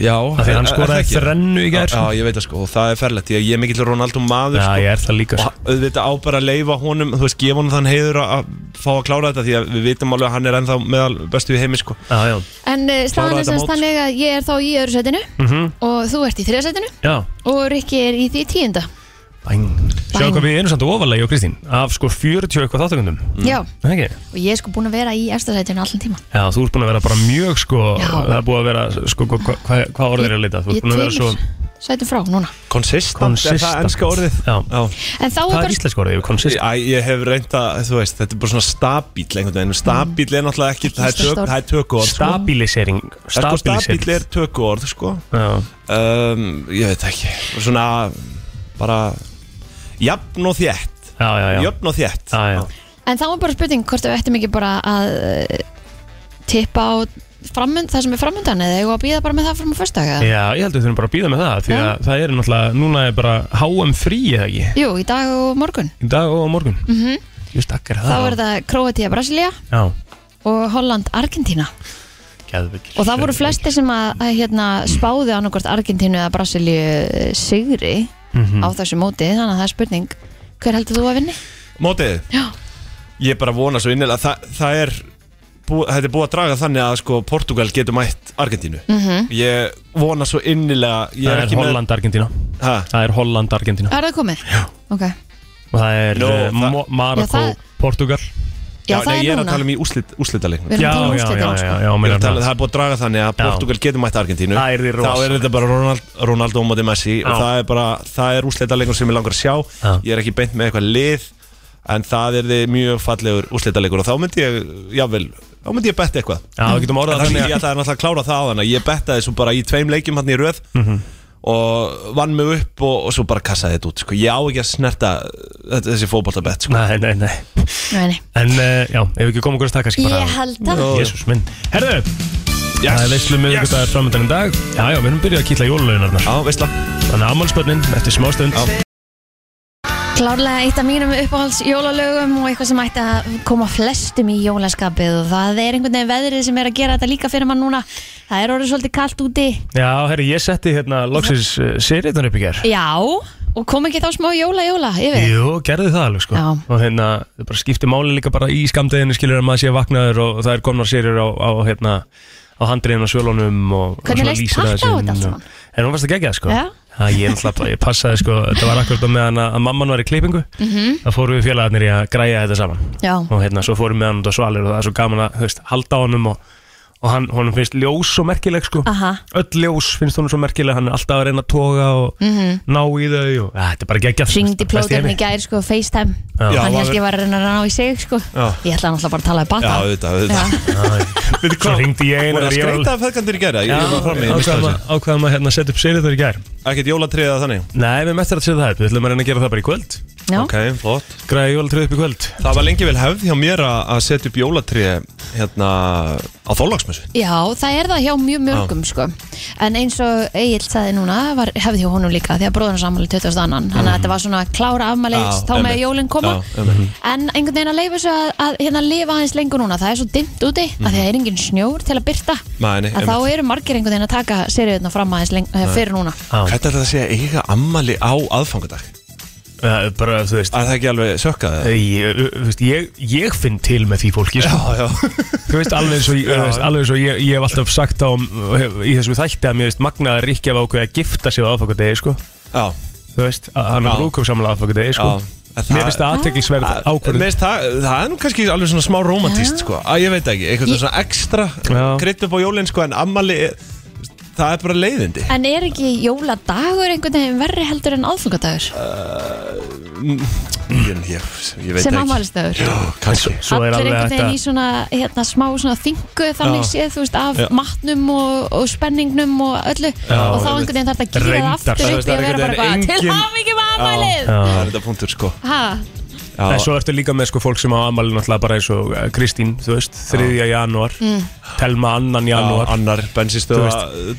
Speaker 4: já
Speaker 2: Af því hann
Speaker 4: er- er
Speaker 2: skoraði
Speaker 4: það ekki?
Speaker 2: þrennu í gær,
Speaker 4: já,
Speaker 2: sko.
Speaker 4: já, ég veit það sko, og það er ferlegt ég, ég er mikill Ronaldo maður
Speaker 2: Já,
Speaker 4: sko,
Speaker 2: ég er það líka sko.
Speaker 4: og auðvitað á bara að leifa honum þú veist, gefa honum þann heiður að- að fá að klára þetta því að við vitum alveg að hann er ennþá meðal bestu í heimi sko
Speaker 2: Já, já,
Speaker 3: En uh, staðan er
Speaker 4: Kláraði þetta
Speaker 3: semst
Speaker 4: mót.
Speaker 3: þannig að ég er þá í öðru setinu
Speaker 2: Mhm.
Speaker 3: og þú ert í þriða setinu
Speaker 2: já
Speaker 3: og Rikki er í því tíunda
Speaker 2: Bæn. Sjá hvað við erum samt ofalega og Kristín af sko 40 eitthvað þáttugundum
Speaker 3: Já,
Speaker 2: okay.
Speaker 3: og ég er sko búin að vera í efsta setinu allan tíma
Speaker 2: Já, þú ert búin að vera bara mjög sko
Speaker 3: Já.
Speaker 2: það er búin að vera sko hvað hva, hva hvað orð er að leita þú
Speaker 3: Ég
Speaker 2: ert búin að vera svo
Speaker 3: tveimur sætum frá núna
Speaker 4: konsistant, er það
Speaker 2: Consistent.
Speaker 4: ennska orðið
Speaker 2: Já.
Speaker 4: já.
Speaker 3: En þá
Speaker 2: hvað
Speaker 3: er
Speaker 2: er
Speaker 3: bara
Speaker 2: íslensk orðið, konsist
Speaker 4: Æ, ég hef reynda, þú veist, þetta er bara svona stabíl einhvern veginn, stabíl er náttúrulega ekki,
Speaker 3: Ekki
Speaker 4: það er tök-
Speaker 3: stórt orð.
Speaker 4: það er tökuorð sko.
Speaker 2: stabilisering
Speaker 4: Það er sko stabíl er
Speaker 2: stabilisering
Speaker 4: tökuorð sko
Speaker 2: Já.
Speaker 4: um, Ég veit ekki Og Svona bara Jafn og þétt
Speaker 2: Já, já, já.
Speaker 4: Jöfn og þétt
Speaker 2: Já, já.
Speaker 3: En þá er bara spurning hvort við ættum ekki bara að eh, tippa á framönd, það sem er framöndan eða eigum við að býða bara með það fram á föstudag yeah.
Speaker 2: já, ég held að við þurfum bara að býða með það því
Speaker 3: Já.
Speaker 2: að það er náttúrulega, núna er bara HM frí eða ekki,
Speaker 3: Jú, í dag og morgun
Speaker 2: í dag og á morgun mm -hmm. Just akkar
Speaker 3: Þá
Speaker 2: það
Speaker 3: er það Kroatia Brasilia
Speaker 2: Já,
Speaker 3: og Holland Argentína
Speaker 2: geðvikið
Speaker 3: Og það voru flesti sem að, að hérna, spáði annarkvort Argentínu eða Brasilíu eh, sigri
Speaker 2: Mhm.
Speaker 3: á þessu móti þannig að það er spurning hver heldur þú að vinni?
Speaker 4: Mótið
Speaker 3: Já.
Speaker 4: Ég bara vona svo innilega Það, það er bú, Þetta er búið að draga þannig að sko Portugal getur mætt Argentínu
Speaker 3: Mhm.
Speaker 4: -hmm. Ég vona svo innilega Ég
Speaker 2: Það
Speaker 4: er
Speaker 2: er
Speaker 4: ekki
Speaker 2: Holland, Argentina
Speaker 4: með ha,
Speaker 2: Það er Holland, Argentina
Speaker 3: Er það komið? Já. Ok.
Speaker 2: og það er
Speaker 4: Nú,
Speaker 2: no,
Speaker 4: það-
Speaker 2: Marokko,
Speaker 3: Já, það-
Speaker 2: Portugal
Speaker 3: Já, það
Speaker 4: nei, Ég
Speaker 3: er
Speaker 4: er að
Speaker 3: núna.
Speaker 4: tala um í úslit, úslitaleiknum
Speaker 3: Við erum
Speaker 2: Já,
Speaker 3: að tala um
Speaker 2: já,
Speaker 3: úrslitin,
Speaker 2: já,
Speaker 3: sko.
Speaker 2: já, já,
Speaker 4: Ég er
Speaker 2: meinar
Speaker 4: að tala-
Speaker 2: það.
Speaker 4: Það er búið að draga þannig
Speaker 2: Já.
Speaker 4: að Portugal getur mætt Argentínu
Speaker 2: Það yrði
Speaker 4: Þá er
Speaker 2: rosalegt.
Speaker 4: þetta bara Ronald, Ronaldo og Mati Messi
Speaker 2: Já.
Speaker 4: og það er bara, það er úrslitaleikur sem ég langar að sjá
Speaker 2: Já.
Speaker 4: Ég er ekki beint með eitthvað lið en það yrði mjög fallegur úrslitaleikur og þá myndi ég, jável þá myndi ég betta eitthvað
Speaker 2: Já, við getum orðað
Speaker 4: Það
Speaker 2: þannig
Speaker 4: ég
Speaker 2: að
Speaker 4: ætlaði náttúrulega að klára það á þannig Ég bettaði svo bara í tveim leikjum hann í röð
Speaker 2: Mhm.
Speaker 4: og vann mig upp og, og svo bara kassaði þetta út sko. Ég á ekki að snerta þetta- þessi fótboltabett sko.
Speaker 2: Nei, nei, nei
Speaker 3: Nei, nei.
Speaker 2: En uh, já, ef við ekki komum okkur að taka kannski bara
Speaker 3: Ég held það.
Speaker 2: Jésús minn Herðu, það er veislu með ykkur dagar framöndan í dag Já, já, við erum byrjað að kýtla jólalauðinarnar
Speaker 4: Já, veistla
Speaker 2: Þannig að ammálspönnin eftir smástund
Speaker 3: Klárlega eitt af mínum uppáhalds jólalögum og eitthvað sem ætti að koma flestum í jólaskapið og það er einhvern veginn veðrið sem er að gera þetta líka fyrir mann núna. Það er orðið svolítið kallt úti.
Speaker 2: Já, herri, ég setti hérna loksins uh, seriðan upp í ger
Speaker 3: Já, og kom ekki þá smá jóla-jóla yfir.
Speaker 2: Jú, gerði það alveg sko
Speaker 3: Já.
Speaker 2: Og hérna, það bara skipti máli líka bara í skamdeginu skilur að maður sé vaknaður og það er komnar serið á, á hérna á handriðin og svölunum og, og
Speaker 3: Hvernig
Speaker 2: svona
Speaker 3: leist
Speaker 2: lýsir
Speaker 3: Harpa á
Speaker 2: aðeins inn
Speaker 3: þetta allt
Speaker 2: og-
Speaker 3: saman?
Speaker 2: En hún varst að gegja sko
Speaker 3: Já.
Speaker 2: Það ég náttúrulega bara, ég passaði sko, þetta var akkurat á meðan að að mamman var í klippingu
Speaker 3: Mhm.
Speaker 2: Það fórum við félagarnir í að græja þetta saman
Speaker 3: Já.
Speaker 2: Og hérna, svo fórum við með hann út á svalir og það er svo gaman að, þú veist, halda á honum og, og hann, honum finnst ljós svo merkileg sko
Speaker 3: Aha.
Speaker 2: Öll ljós finnst honum svo merkileg, hann er alltaf að reyna að toga og ná í þau og, að, Þetta er bara geggjað þú veist,
Speaker 3: Ringdi
Speaker 2: best
Speaker 3: plóterinn í
Speaker 2: heimi.
Speaker 3: gær sko, FaceTime
Speaker 2: Já.
Speaker 3: Hann
Speaker 4: Já,
Speaker 3: held ég var að reyna að ná í sig sko
Speaker 4: Já.
Speaker 3: Ég ætla náttúrulega bara að tala í
Speaker 4: Já,
Speaker 3: bata
Speaker 4: auðvitað, auðvitað Veitir
Speaker 2: Svo
Speaker 4: hvað?
Speaker 2: ringdi ég
Speaker 4: Voru
Speaker 2: einar
Speaker 4: að
Speaker 2: og ég var alveg-
Speaker 4: skreita af feðgandir í gera Ég var frammi, ég misti
Speaker 2: ákvaðum að,
Speaker 4: þessu
Speaker 2: ákvaðum að hérna, setja upp serið þar í gær
Speaker 4: Ekkert jólatriðið eða þannig
Speaker 2: Nei, við mestar að setja það upp, við ætlum að reyna að gera það bara í kvöld
Speaker 3: Já.
Speaker 4: Ok, flott
Speaker 2: Græða jólatrið upp í kvöld
Speaker 4: Það var lengi vel hefð hjá mér að að setja upp jólatriðið hérna á þólagsmessu
Speaker 3: Já, það er það hjá mjög mörgum sko En eins og Egil sagði núna var, hefði hjá honum líka því að bróðurna sammæli 22 annan Þannig að þetta var svona klára afmæli
Speaker 4: Mhm. Já,
Speaker 3: þá með
Speaker 4: einmitt.
Speaker 3: jólinn koma
Speaker 4: Já, einmitt. Mhm.
Speaker 3: En einhvern veginn að leifa svo að, að hérna lifa aðeins lengur núna Það er svo dimmt úti mm. að því að það er engin snjór til að byrta
Speaker 4: Mhm. Nei, nei,
Speaker 3: Að þá eru margir einhvern veginn að taka seriðuna fram aðeins leng, eh, fyrir núna
Speaker 2: Já,
Speaker 4: Hvernig er þetta að segja eiga ammali á aðfangadag?
Speaker 2: það er bara, þú veist
Speaker 4: Er það ekki alveg sökkað? eða?
Speaker 2: Ég, þú veist, ég, ég finn til með því fólki sko.
Speaker 4: já
Speaker 2: Þú veist, alveg eins og, ég,
Speaker 4: Já.
Speaker 2: þú veist, alveg eins og ég, ég hef alltaf sagt á hef, í þessu þætti að mér veist magnaðar ekki af ákveði að gifta sig á aðfokadegi sko.
Speaker 4: Já,
Speaker 2: Þú veist, að hann
Speaker 4: Já.
Speaker 2: er rúkumsamlega aðfokadegi sko.
Speaker 4: Já. En það-
Speaker 2: Mér finnst það aðteglisverð
Speaker 4: Að-
Speaker 2: ákvörð
Speaker 4: Mér finnst Það það er nú kannski alveg svona smá romantist sko. að ég veit ekki, eitthvað svona ekstra
Speaker 2: Já.
Speaker 4: krydd upp á jólinn sko, en ammali það er bara leiðindi
Speaker 3: En er ekki jóladagur einhvern veginn verri heldur en aðfungadagur
Speaker 4: ég, ég, ég veit
Speaker 3: sem
Speaker 4: ekki
Speaker 3: afmælisdagur?
Speaker 4: Já, kannski
Speaker 2: Svo er
Speaker 3: Allir
Speaker 2: alveg
Speaker 3: einhvern veginn í
Speaker 2: þetta
Speaker 3: svona hérna, smá svona þingu þannig
Speaker 4: Já.
Speaker 3: séð þú veist af
Speaker 4: Já.
Speaker 3: matnum og, og spenningnum og öllu og þá einhvern veginn þarf þetta að gera það
Speaker 2: Reyndar.
Speaker 3: aftur
Speaker 2: Það
Speaker 3: upp
Speaker 4: veist,
Speaker 3: því að
Speaker 4: það er
Speaker 3: vera bara eitthvað
Speaker 4: einhvern veginn
Speaker 3: til
Speaker 4: engin-
Speaker 3: hafingi með afmælið
Speaker 4: Það er þetta punktur sko
Speaker 3: ha,
Speaker 4: Já,
Speaker 2: En svo ertu líka með sko fólk sem á ammali náttúrulega bara eins og eh, Kristín, þú veist, 3. janúar
Speaker 3: Mm.
Speaker 2: Telma annan
Speaker 4: já,
Speaker 2: janúar
Speaker 4: annar
Speaker 2: Þú
Speaker 4: bensinstöða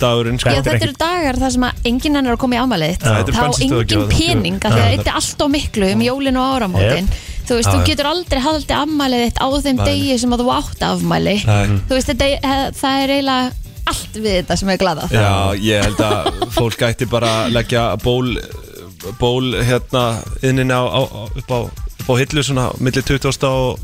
Speaker 4: dagurinn sko
Speaker 2: Þetta
Speaker 3: Já,
Speaker 2: er
Speaker 3: þetta eru
Speaker 2: ekki-
Speaker 3: dagar þar sem að enginn hennar er að koma í afmælið
Speaker 4: Þetta er
Speaker 3: þá
Speaker 4: bensínstöð að
Speaker 3: engin
Speaker 4: gera það.
Speaker 3: pening af því að þetta er allt á miklu um jólin og áramótin þú veist, þú getur aldrei haldið afmælið þitt á þeim degi sem að þú átt afmæli
Speaker 2: Mm.
Speaker 4: Nei.
Speaker 3: þú veist, þetta, er- það er eiginlega allt við þetta sem er gladað
Speaker 4: Já, ég held að fólk ætti bara að leggja ból, ból hérna inninn á, á, á- upp, á, upp á hillu svona millir 20. og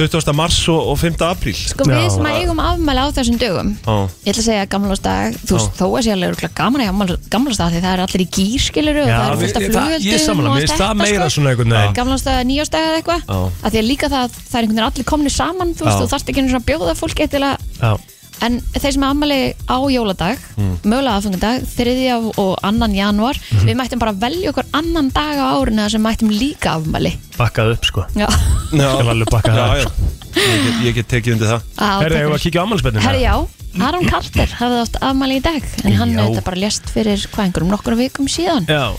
Speaker 4: 20. mars og, og 5. apríl
Speaker 3: Sko við
Speaker 2: Já.
Speaker 3: sem að eigum afmæli á þessum dögum
Speaker 4: Já.
Speaker 3: Ég ætla að segja gamlásdag Þú veist, þó að sé alveg örugglega gaman í gamlásdag Því það er allir í gýrskiluru og
Speaker 2: Já,
Speaker 3: það er fullt af
Speaker 2: við- það-
Speaker 3: flugöldum sko.
Speaker 2: ég er sammála, mér finnst það meira svona einhvern veginn.
Speaker 3: Gamlásdag, nýjásdag eða eitthvað
Speaker 4: Já.
Speaker 3: Af Því að líka það, það er einhvern veginn allir komni saman Þú veist,
Speaker 4: Já.
Speaker 3: þú þarft ekki einu svona að bjóða fólki til að
Speaker 2: Já.
Speaker 3: En þeir sem er afmæli á jóladag
Speaker 2: Hmm.
Speaker 3: Mögulega aðfungandag, 3. og 2. janúar
Speaker 2: Mhm.
Speaker 3: Við mættum bara velja okkur annan dag á árinu þar sem mættum líka afmæli
Speaker 2: Bakkað upp sko
Speaker 3: Já,
Speaker 4: Já,
Speaker 2: Skal alveg bakka það
Speaker 4: já, já. Ég, get, ég get tekið undir það
Speaker 3: Á,
Speaker 2: Herra,
Speaker 3: takk
Speaker 2: hefur
Speaker 3: fyrir.
Speaker 2: að kíkja á ammálspennin
Speaker 3: Herri já, Aron Carter hafði átt afmæli í dag en hann
Speaker 2: Já.
Speaker 3: auðvitað bara lést fyrir hvað einhverjum nokkur vikum síðan
Speaker 2: Já,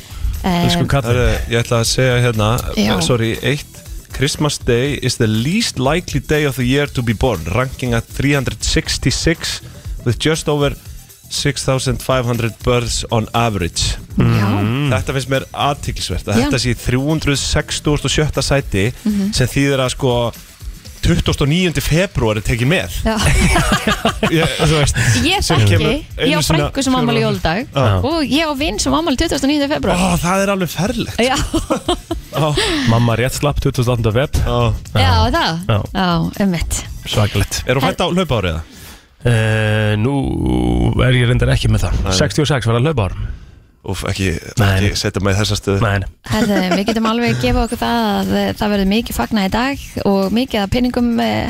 Speaker 2: Eh, elsku
Speaker 3: um,
Speaker 4: Það
Speaker 2: kallið
Speaker 4: er, ég ætla að segja hérna,
Speaker 3: Já.
Speaker 4: sorry, eitt Christmas day is the least likely day of the year to be born ranking at 366 with just over 6500 births on average
Speaker 3: Já,
Speaker 2: Mm.
Speaker 4: Þetta finnst mér aðtiklisvert að
Speaker 3: Já.
Speaker 4: þetta sé í 367. sæti sem þýðir að sko 29. februar er tekin með
Speaker 3: já.
Speaker 4: ég, Þú veist
Speaker 3: Ég
Speaker 4: Sem
Speaker 3: þekki,
Speaker 4: kemur
Speaker 3: ég á
Speaker 4: einu sinni-
Speaker 3: frængu sem afmæli í jóldag og ég á vinn sem afmæli 29. februar
Speaker 2: Ah.
Speaker 4: Ó, það er alveg ferlegt
Speaker 3: Já,
Speaker 2: Mamma rétt slapp 28. feb
Speaker 4: Ó.
Speaker 3: já, það
Speaker 2: Já.
Speaker 3: Já, ummitt
Speaker 2: Svakalett
Speaker 4: Er hún fætt á hlaupárið? eða?
Speaker 2: uh, Nú er ég reyndar ekki með það 66 var að laupa árum
Speaker 4: Úf, ekki,
Speaker 2: Nei.
Speaker 4: ekki setja mig í þessa stöðu
Speaker 2: Nei, nei.
Speaker 3: Herðu, við getum alveg að gefa okkur það að eh, það verður mikið fagna í dag og mikið eh, að pinningum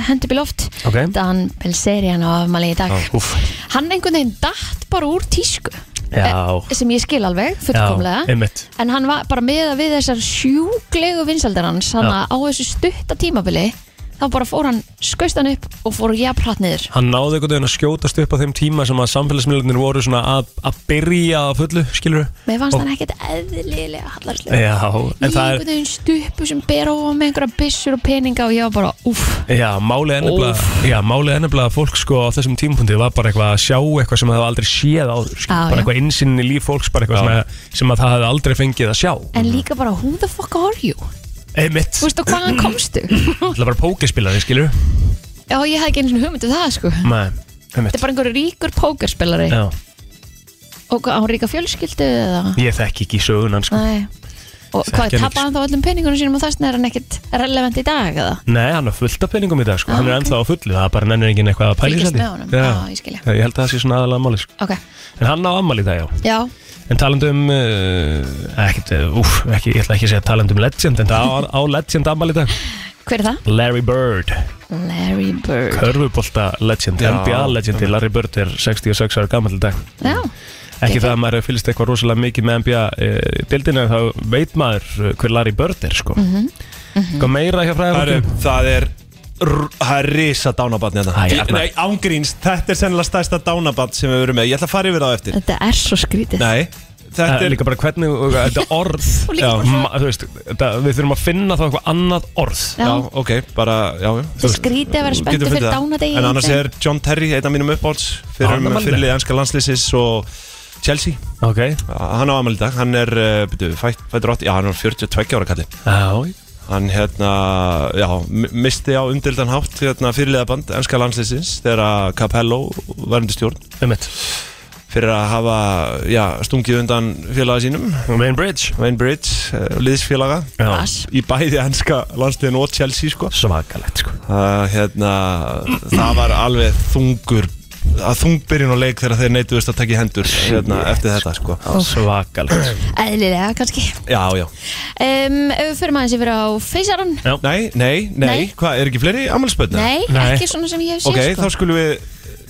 Speaker 3: hendur bíl oft
Speaker 2: Ok. Ah,
Speaker 3: Dan Belserian á afmæli í dag
Speaker 2: Úff.
Speaker 3: Hann einhvern veginn datt bara úr tísku
Speaker 2: Já.
Speaker 3: Eh, sem ég skil alveg,
Speaker 2: Já,
Speaker 3: fullkomlega
Speaker 2: einmitt
Speaker 3: En hann var bara meða við þessar sjúklegu vinsaldir hans Þannig að á þessu stutta tímabili Þá bara fór hann, skauðst hann upp og fór jafnpratt niður
Speaker 2: Hann náði einhvern veginn að skjótast upp á þeim tíma sem að samfélagsmiðlunir voru svona að, að byrja að fullu, skilur
Speaker 3: Mér fannst
Speaker 2: Og-
Speaker 3: hann ekkert eðlilega hallarslega
Speaker 2: Já, en það er
Speaker 3: Í einhvern veginn stuppu sem ber á með einhverja byssur og peninga og ég var bara, úff
Speaker 2: Já, málið er nefnilega- já, málið er nefnilega að fólk sko á þessum tímpundi var bara eitthvað að sjá eitthvað sem það hafði aldrei séð áður skilur.
Speaker 3: Já,
Speaker 2: bara
Speaker 3: já.
Speaker 2: eitthvað insinn í líf fólks bara eitthvað sem að, sem að það hafði aldrei fengið að sjá
Speaker 3: En líka bara, who the fuck are you?
Speaker 2: Einmitt,
Speaker 3: Þú veist, og hvaðan komstu?
Speaker 2: það var pókespilari, skilur
Speaker 3: Já, ég hafði ekki einu svona hugmyndu það, sko Þetta
Speaker 2: Nei, einmitt
Speaker 3: er bara einhverju ríkur pókerspilari
Speaker 2: Mm. Já,
Speaker 3: Og hvað, á hann ríka fjölskyldu eða?
Speaker 2: ég þekki ekki sögunan sko
Speaker 3: Nei Og hvað,
Speaker 2: Þekki hann ekki,
Speaker 3: tapaði hann þá öllum peningunum sínum og þessna er hann ekkert relevant í dag, eða?
Speaker 2: Nei, hann er fullt af penningum í dag sko.
Speaker 3: Ah,
Speaker 2: Hann er
Speaker 3: ok.
Speaker 2: ennþá á fullu, það bara nennir enginn eitthvað að pæla í
Speaker 3: Fylgjast
Speaker 2: þessu.
Speaker 3: með honum. Já, ég skil ég.
Speaker 2: held að það sé svona aðalega máli sko.
Speaker 3: Ok,
Speaker 2: En hann á ammali í dag já
Speaker 3: já,
Speaker 2: En talandu um, uh, ekkert, uh, úf, ekki, ég ætla ekki að segja talandu um Legend, en það á, á Legend ammali í dag.
Speaker 3: Hver er það?
Speaker 2: Larry Bird,
Speaker 3: Larry Bird
Speaker 2: körfubolta Legend,
Speaker 4: Já.
Speaker 2: NBA Legend, Larry Bird er 66 ára gammal í dag.
Speaker 3: Já,
Speaker 2: Ekki það að maður hefur fylgst eitthvað rosalega mikið með NBA uh, dildinu, en þá veit maður eh, hver Larry Bird er, sko.
Speaker 3: Mhm,
Speaker 2: Mm Hvað meira hjá
Speaker 4: Það er,
Speaker 2: fræðarfólkum?
Speaker 4: það er r- það er risa dánabatn hérna.
Speaker 2: Æ,
Speaker 4: Ég-
Speaker 2: Arnar.
Speaker 4: Nei, ángríns, þetta er sennilega stærsta dánabatn sem við verum með Ég ætla að fara yfir það á eftir
Speaker 3: þetta er svo skrítið
Speaker 4: Nei, þetta
Speaker 2: Það er
Speaker 4: er
Speaker 2: Eh, líka bara hvernig, og þetta orð,
Speaker 3: Og líka
Speaker 2: já,
Speaker 3: bara svona-
Speaker 2: ma, þú veist, þetta, við þurfum að finna þá eitthvað annað orð.
Speaker 3: Já,
Speaker 4: Já, ok, bara, já, já
Speaker 3: þetta er skrítið að vera
Speaker 4: Þú getur
Speaker 3: spenntur
Speaker 4: fundið
Speaker 3: fyrir
Speaker 4: það.
Speaker 3: dánadegi
Speaker 4: En annars er John Terry, einn af mínum uppáhalds Fyrir um
Speaker 2: Dánarbarnið.
Speaker 4: fyrirlið ennska landslýsis og Chelsea
Speaker 2: Ok,
Speaker 4: Hann á amal í dag, hann er, uh, byrju, fætt, fættur 8 Já, hann er 42 ára kalli
Speaker 2: já,
Speaker 4: hann hérna, já, mi- misti á umdildan hátt hérna, fyrirliðaband ennska landsleysins þegar að Capello var undir stjórn
Speaker 2: um eitt.
Speaker 4: fyrir að hafa já, stungið undan félaga sínum
Speaker 2: Main Bridge.
Speaker 4: Wayne Bridge, eh, liðsfélaga
Speaker 2: Já,
Speaker 3: Vass.
Speaker 4: í bæði ennska landsliðin og Chelsea sko.
Speaker 2: svakalegt, sko.
Speaker 4: uh, hérna, það var alveg þungur að þungbyrjun og leik þegar þeir neituðust að taka í hendur hérna, eftir þetta sko.
Speaker 2: Svakalegt.
Speaker 3: Eðlilega kannski
Speaker 4: já, já.
Speaker 3: um, Ef við fyrir maður sem fyrir á feysarann
Speaker 4: Nei, nei, nei,
Speaker 3: Nei.
Speaker 4: hvað, er ekki fleiri ammálspötna?
Speaker 3: Nei,
Speaker 2: Nei.
Speaker 3: ekki svona sem ég hef séð
Speaker 4: Ok,
Speaker 3: sko.
Speaker 4: þá skulum við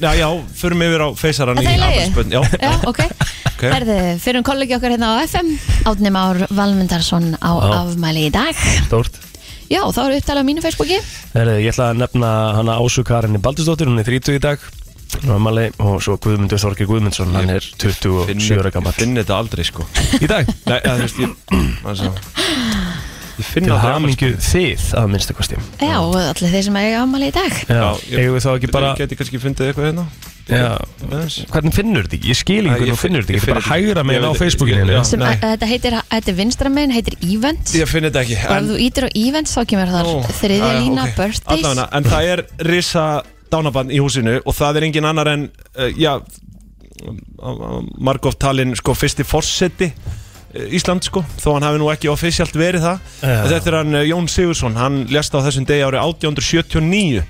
Speaker 4: Já, já, förum yfir á feysaran
Speaker 3: Er það í lagi?
Speaker 4: afmælisbörn, Já,
Speaker 3: Já, ok. Herðu, fyrir um kollegi okkar hérna á FM, Átni Már Valmundarsson á afmæli í dag.
Speaker 2: Stórt.
Speaker 3: Já, þá eru upptalið á mínu Facebooki.
Speaker 2: Herðu, ég ætla að nefna hana Ásu Karinni Baldisdóttir, hún er 30 í dag. Normali, og svo Guðmundur Þorki Guðmundsson, hann er 27 ára gammal.
Speaker 4: Finn þetta aldrei sko Nei,
Speaker 2: Í dag,
Speaker 4: það þú veist, ég altså, Ég finn
Speaker 2: til
Speaker 4: aldrei
Speaker 2: hamingju þið að minnstu kosti.
Speaker 3: Já, og allir þeir sem eiga afmæli í dag.
Speaker 2: Já,
Speaker 4: ég-
Speaker 2: eigum við þá ekki bara,
Speaker 4: Ég geti kannski fundið eitthvað hérna
Speaker 2: já,
Speaker 4: aðeins.
Speaker 2: hvernig finnur þetta ekki? Ég skil
Speaker 4: Æ,
Speaker 2: ekki
Speaker 4: ég
Speaker 2: hvernig þú
Speaker 4: finn-
Speaker 2: finnur þetta
Speaker 4: ég
Speaker 2: ekki,
Speaker 4: finn
Speaker 2: þetta er bara
Speaker 4: þetta ekki.
Speaker 2: hægra
Speaker 4: Ég
Speaker 2: meginn á
Speaker 4: veit-
Speaker 2: Facebookinu.
Speaker 4: ég-
Speaker 2: þínu.
Speaker 4: já.
Speaker 3: Sem,
Speaker 4: Nei.
Speaker 3: að, þetta heitir, þetta er vinstra meginn, heitir Event.
Speaker 4: Ég finn þetta ekki
Speaker 3: Og ef þú ítir á Event þá kemur þar
Speaker 4: Ó,
Speaker 3: þriðja
Speaker 4: já, já,
Speaker 3: lína
Speaker 4: ok.
Speaker 3: birthdays.
Speaker 4: Allavega, En það er risa dánabann í húsinu Og það er engin annar en uh, Já Margof talinn sko fyrsti forseti eh, Ísland sko, þó hann hafi nú ekki offisjalt verið það
Speaker 2: Já.
Speaker 4: Þetta er hann eh, Jón Sigursson, hann lést á þessum degi árið 1879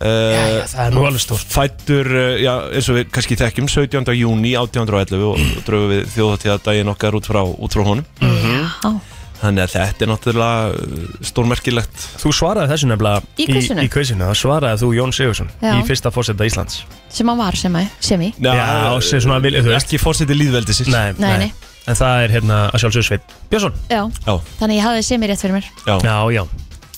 Speaker 2: Já,
Speaker 4: uh,
Speaker 2: já, það er nú alveg stórt.
Speaker 4: Fættur, eh, já, eins og við kannski þekkjum 17. júni 1811 og dröfum við þjóðatíðadaginn okkar út frá, út frá honum
Speaker 3: Já,
Speaker 4: Þannig að þetta er náttúrulega eh, stórmerkilegt
Speaker 2: Þú svaraði þessu nefnilega
Speaker 3: Í quizinu?
Speaker 2: í quizinu, þá svaraði þú Jón Sigursson
Speaker 3: Já.
Speaker 2: í fyrsta fórseta Íslands.
Speaker 3: sem hann var sem, að, sem í.
Speaker 4: Já,
Speaker 2: Já,
Speaker 4: eh,
Speaker 2: sem svona vil- þú veist.
Speaker 4: Ekki fórseti líðveldisins
Speaker 2: Nei,
Speaker 3: Nei, nei.
Speaker 2: En það er hérna að sjálfsögur Sveit Björnsson
Speaker 3: Já,
Speaker 4: Já,
Speaker 3: þannig ég hafði sem í rétt fyrir mér.
Speaker 4: já,
Speaker 2: Já, já